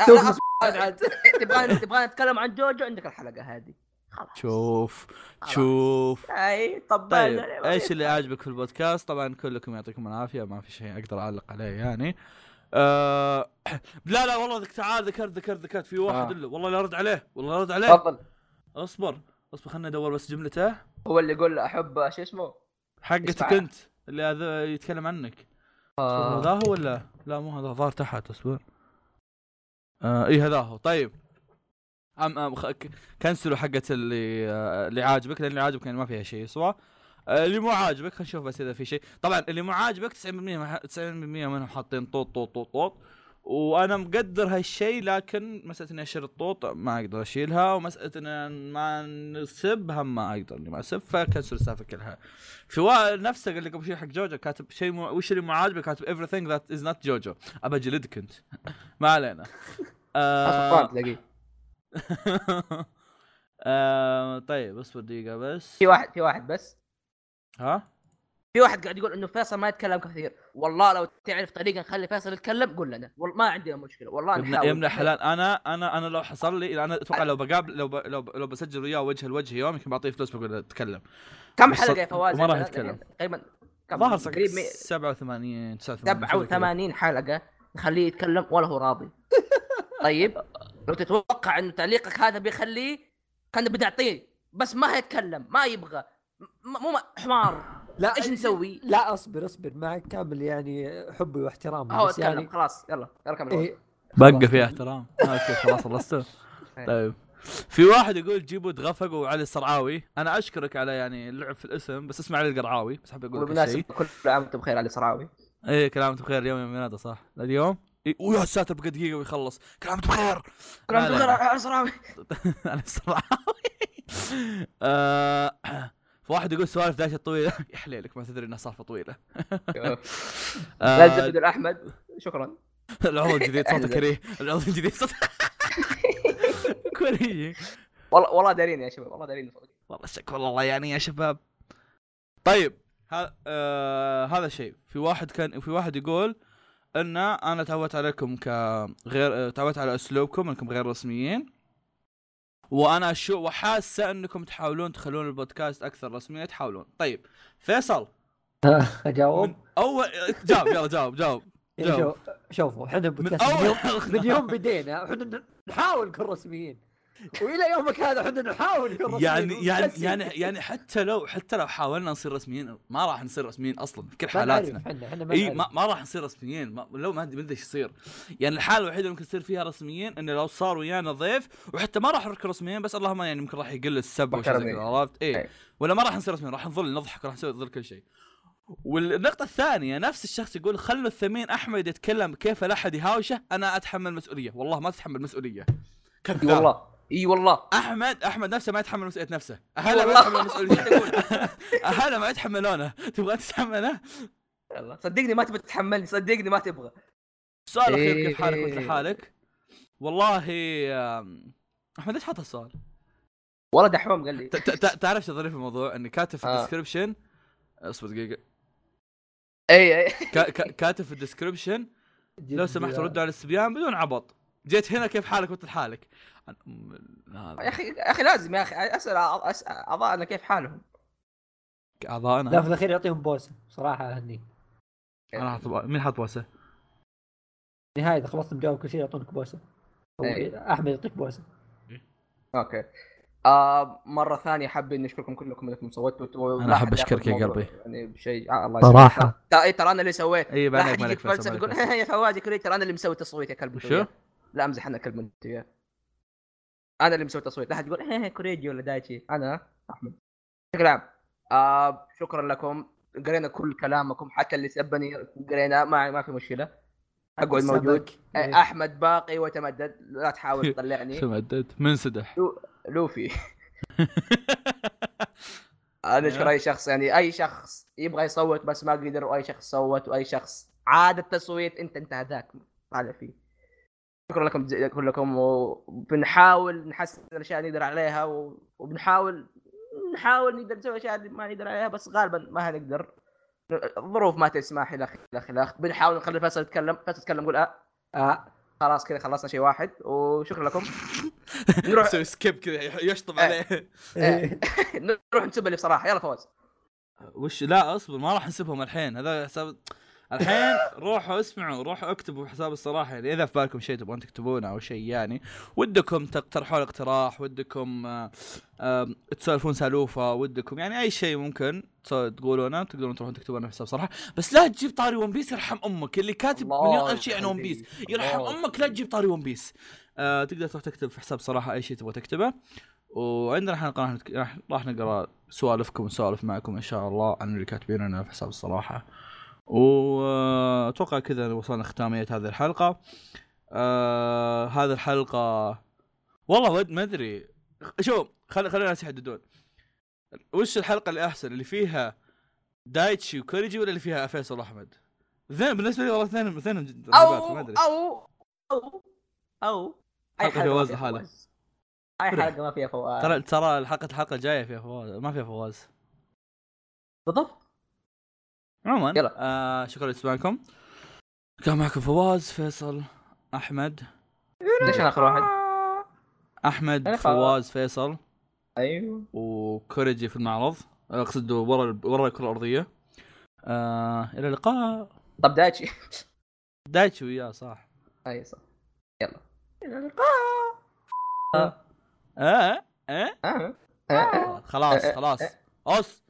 Speaker 2: لا،
Speaker 1: شوف
Speaker 2: لا، أصبر. تبغى تبغى نتكلم عن جوجو عندك الحلقه هذه خلاص
Speaker 3: شوف
Speaker 2: خلاص.
Speaker 3: شوف
Speaker 2: اي طب
Speaker 3: طيب
Speaker 2: أنا-
Speaker 3: ايش اللي عاجبك في البودكاست طبعا كلكم يعطيكم العافيه ما في شيء اقدر اعلق عليه يعني آه لا لا والله ذك تعال ذكرت ذكرت ذكرت في واحد
Speaker 2: آه.
Speaker 3: الا والله لا ارد عليه والله لا ارد عليه
Speaker 2: تفضل
Speaker 3: اصبر اصبر خلنا ادور بس جملته
Speaker 2: هو اللي يقول احب شو اسمه
Speaker 3: حقتك
Speaker 2: اسمع.
Speaker 3: انت اللي هذا يتكلم عنك آه. هذا هو ولا لا مو هذا ظهر تحت اصبر آه اي هذا هو طيب أم أم خ... ك- كنسلوا حقة اللي آه اللي عاجبك لان اللي عاجبك يعني ما فيها شيء صح؟ آه اللي مو عاجبك خلينا نشوف بس اذا في شيء طبعا اللي مو عاجبك 90% من- 90% منهم حاطين طوط طوط طوط طوط وانا مقدر هالشيء لكن مساله اني اشيل الطوط ما اقدر اشيلها ومساله ان ما نسب هم ما اقدر اني ما اسب فكنسل السالفه كلها في وا- نفسه قال لي قبل شوي حق جوجو كاتب شيء مو... وش اللي مو عاجبه كاتب everything that is not جوجو ابى اجلدك انت ما علينا
Speaker 2: أصلاً
Speaker 3: آه...
Speaker 2: تلاقيه
Speaker 3: آه... طيب اصبر دقيقه بس
Speaker 2: في واحد في واحد بس
Speaker 3: ها
Speaker 2: في واحد قاعد يقول انه فيصل ما يتكلم كثير والله لو تعرف طريقه نخلي فيصل يتكلم قول لنا والله ما عندي مشكله والله
Speaker 3: يا ابن
Speaker 2: نحاول
Speaker 3: يا ابن الحلال انا انا انا لو حصل لي انا اتوقع لو بقابل لو ب... لو, ب... لو بسجل وياه وجه لوجه يوم يمكن بعطيه فلوس بقول له تكلم
Speaker 2: كم
Speaker 3: بس
Speaker 2: حلقه يا
Speaker 3: صدق،
Speaker 2: فواز
Speaker 3: وما راح
Speaker 2: يعني
Speaker 3: يتكلم.
Speaker 2: تقريبا كم
Speaker 3: ظهر
Speaker 2: قريب مي-
Speaker 3: 87 89 شيء زي كذا.
Speaker 2: 87 حلقه نخليه يتكلم ولا هو راضي طيب لو تتوقع انه تعليقك هذا بيخليه كان بنعطيه بس ما هيتكلم ما يبغى م- مو م- حمار
Speaker 1: لا
Speaker 2: ايش نسوي؟
Speaker 1: لا اصبر اصبر معك كامل يعني حبي واحترامي
Speaker 2: هو
Speaker 1: بس
Speaker 2: اتكلم
Speaker 1: يعني
Speaker 2: خلاص يلا يلا كمل
Speaker 1: إيه،
Speaker 3: بقى فيها احترام اوكي خلاص خلصت طيب في واحد يقول جيبوا دغفق وعلي الصرعاوي انا اشكرك على يعني اللعب في الاسم بس اسمع علي القرعاوي بس حاب اقول لك شيء إيه،
Speaker 2: وبالمناسبه كل عام وانتم بخير علي صراوي
Speaker 3: ايه كلامك بخير اليوم يوم ميلاده صح اليوم إي، ويا ساتر بقى دقيقه ويخلص كلامك بخير
Speaker 2: كلام
Speaker 3: لا، لا،
Speaker 2: بخير
Speaker 3: لا.
Speaker 2: على صراوي
Speaker 3: انا صراحه آه، فواحد يقول سوالف داشه طويله يا حليلك ما تدري انها سالفه طويله آه،
Speaker 2: لا تزبد احمد شكرا
Speaker 3: العضو الجديد صوته
Speaker 2: احزن.
Speaker 3: كريه العضو الجديد صوته كريه
Speaker 2: والله والله دارين يا شباب والله دارين
Speaker 3: والله شكرا والله يعني يا شباب طيب ها آه هذا شيء في واحد كان في واحد يقول ان انا تعودت عليكم كغير آه، تعودت على اسلوبكم انكم غير رسميين وانا شو وحاسه انكم تحاولون تخلون البودكاست اكثر رسميه تحاولون طيب فيصل
Speaker 1: اجاوب
Speaker 3: من اول جاوب يلا جاوب جاوب
Speaker 1: يعني
Speaker 3: جاوب.
Speaker 1: شو- شوفوا احنا
Speaker 3: من
Speaker 1: بودكاست من
Speaker 3: اول
Speaker 1: يوم
Speaker 3: حلقة.
Speaker 1: من يوم بدينا احنا نحاول نكون رسميين والى يومك هذا احنا نحاول نكون رسميين
Speaker 3: يعني يعني
Speaker 1: ومكسلين.
Speaker 3: يعني يعني حتى لو حتى لو حاولنا نصير رسميين ما راح نصير رسميين اصلا في كل
Speaker 1: ما نعرف
Speaker 3: حالاتنا
Speaker 1: احنا احنا ما
Speaker 3: اي
Speaker 1: نعرف
Speaker 3: ما, ما راح نصير رسميين ما لو ما ادري ما ادري ايش يصير يعني الحاله الوحيده اللي ممكن يصير فيها رسميين انه لو صار ويانا ضيف وحتى ما راح نركب رسميين بس اللهم يعني يمكن راح يقل السب وشي زي
Speaker 2: محترمين.
Speaker 3: كذا، عرفت اي
Speaker 2: أي.
Speaker 3: ولا ما راح نصير رسميين راح نظل نضحك راح نسوي نظل كل شيء والنقطة الثانية نفس الشخص يقول خلوا الثمين احمد يتكلم كيف لا احد يهاوشه انا اتحمل مسؤولية والله ما تتحمل مسؤولية
Speaker 2: اي
Speaker 3: كذاب
Speaker 2: والله اي والله
Speaker 3: احمد احمد نفسه ما يتحمل مسؤوليه نفسه اهلا ما
Speaker 2: والله.
Speaker 3: يتحمل مسؤوليه اهلا ما يتحملونه تبغى تتحمله
Speaker 2: يلا صدقني ما تبغى تتحملني صدقني ما تبغى
Speaker 3: السؤال الاخير
Speaker 2: إيه.
Speaker 3: كيف حالك مثل حالك والله آم، احمد ليش حاط السؤال
Speaker 2: والله دحوم قال لي
Speaker 3: ت- ت- ت- تعرف شو ظريف الموضوع اني كاتب في
Speaker 2: آه.
Speaker 3: الديسكربشن اصبر دقيقه
Speaker 2: اي اي
Speaker 3: كا- كا- كاتب في الديسكربشن لو سمحت ردوا على الصبيان بدون عبط جيت هنا كيف حالك مثل حالك عن أم ال-
Speaker 2: يا
Speaker 3: هذا.
Speaker 2: اخي يا اخي لازم يا اخي اسال أع- أسأل اعضائنا كيف حالهم
Speaker 3: اعضائنا
Speaker 1: لا في الاخير يعطيهم يعني. بوسه صراحه هني
Speaker 3: أنا حاط- مين حاط بوسه؟
Speaker 1: نهاية اذا خلصت مجاوب كل شيء يعطونك بوسه أو
Speaker 2: إيه.
Speaker 1: احمد يعطيك بوسه
Speaker 2: اوكي آه مرة ثانية حاب اني اشكركم كلكم انكم صوتوا تو-
Speaker 3: أنا
Speaker 2: لا
Speaker 3: أحب
Speaker 2: أحد ياخذ
Speaker 3: أشكرك يا
Speaker 2: الموضوع.
Speaker 3: قلبي.
Speaker 2: يعني بشيء آه الله يسلمك.
Speaker 1: صراحه
Speaker 2: ترى- اي ترى انا اللي سويت
Speaker 3: اي
Speaker 2: لا
Speaker 3: بعد عليك،
Speaker 2: احد يجيك
Speaker 3: مالك فيصل،
Speaker 2: فلسفه
Speaker 3: مالك
Speaker 2: يقول
Speaker 3: فيصل.
Speaker 2: يا فواز كريت ترى انا اللي مسوي تصويت يا كلب أنت
Speaker 3: وشو؟
Speaker 2: وياه. لا امزح انا كلب انت وياه. انا اللي مسوي تصويت لا احد يقول كوريجي ولا دايتشي انا احمد بشكل عام آه شكرا لكم قرينا كل كلامكم حتى اللي سبني قرينا ما ما في مشكله اقعد موجود آه، احمد باقي وتمدد لا تحاول تطلعني
Speaker 3: إيه. شو مدد؟ منسدح
Speaker 2: لوفي انا اشكر اي شخص يعني اي شخص يبغى يصوت بس ما قدر واي شخص صوت واي شخص عاد التصويت انت انت هذاك طالع فيه شكرا لكم جز- كلكم وبنحاول نحسن الاشياء اللي نقدر عليها و- وبنحاول نحاول نقدر نسوي اشياء اللي ما نقدر عليها بس غالبا ما هنقدر الظروف ما تسمح الى اخره الى آخره. بنحاول نخلي فيصل يتكلم فيصل يتكلم قول آه.
Speaker 1: آه.
Speaker 2: خلاص كذا خلصنا شيء واحد وشكرا لكم نروح
Speaker 3: يسوي سكيب كذا يشطب
Speaker 2: آه.
Speaker 3: عليه
Speaker 1: آه.
Speaker 2: إيه. نروح نسب اللي بصراحه يلا فوز
Speaker 3: وش لا اصبر ما راح نسيبهم الحين هذا حساب الحين روحوا اسمعوا روحوا اكتبوا حساب الصراحه يعني اذا في بالكم شيء تبغون تكتبونه او شيء يعني ودكم تقترحون اقتراح ودكم آه، آه، تسولفون سالوفه ودكم يعني اي شيء ممكن تس- تقولونه تقدرون تروحون تكتبونه في حساب صراحه بس لا تجيب طاري ون بيس يرحم امك اللي كاتب مليون الف شيء عن ون بيس يرحم امك لا تجيب طاري ون بيس آه تقدر تروح تكتب في حساب صراحه اي شيء تبغى تكتبه وعندنا حلقه راح نتك- راح راح نقرا سوالفكم ونسولف معكم ان شاء الله عن اللي كاتبين لنا في حساب الصراحه واتوقع كذا وصلنا ختاميه هذه الحلقه آه هذه الحلقه والله ود ما ادري شوف خل... خلينا الناس يحددون وش الحلقه اللي احسن اللي فيها دايتشي وكوريجي ولا اللي فيها فيصل واحمد؟ اثنين بالنسبه لي والله اثنين اثنين
Speaker 2: او
Speaker 3: ما ادري
Speaker 2: او او او
Speaker 3: حلقة
Speaker 2: اي حلقه ما
Speaker 3: فواز
Speaker 2: فيها
Speaker 3: لحالها.
Speaker 2: فواز اي
Speaker 3: فرح.
Speaker 2: حلقه ما فيها فواز
Speaker 3: ترى ترى الحلقه الحلقه الجايه فيها فواز ما فيها فواز
Speaker 2: بالضبط
Speaker 3: عموما
Speaker 2: يلا.
Speaker 3: آه شكرا لاسماعكم كان معكم فواز فيصل احمد
Speaker 2: ليش انا اخر واحد؟
Speaker 3: احمد
Speaker 2: أنا خلاص.
Speaker 3: فواز فيصل
Speaker 2: ايوه
Speaker 3: وكوريجي في المعرض اقصد ورا ال- ورا الكره الارضيه آه الى اللقاء
Speaker 2: طب دايتشي
Speaker 3: دايتشي وياه صح
Speaker 2: اي صح يلا الى
Speaker 3: آه. آه.
Speaker 2: اللقاء آه.
Speaker 3: خلاص خلاص أس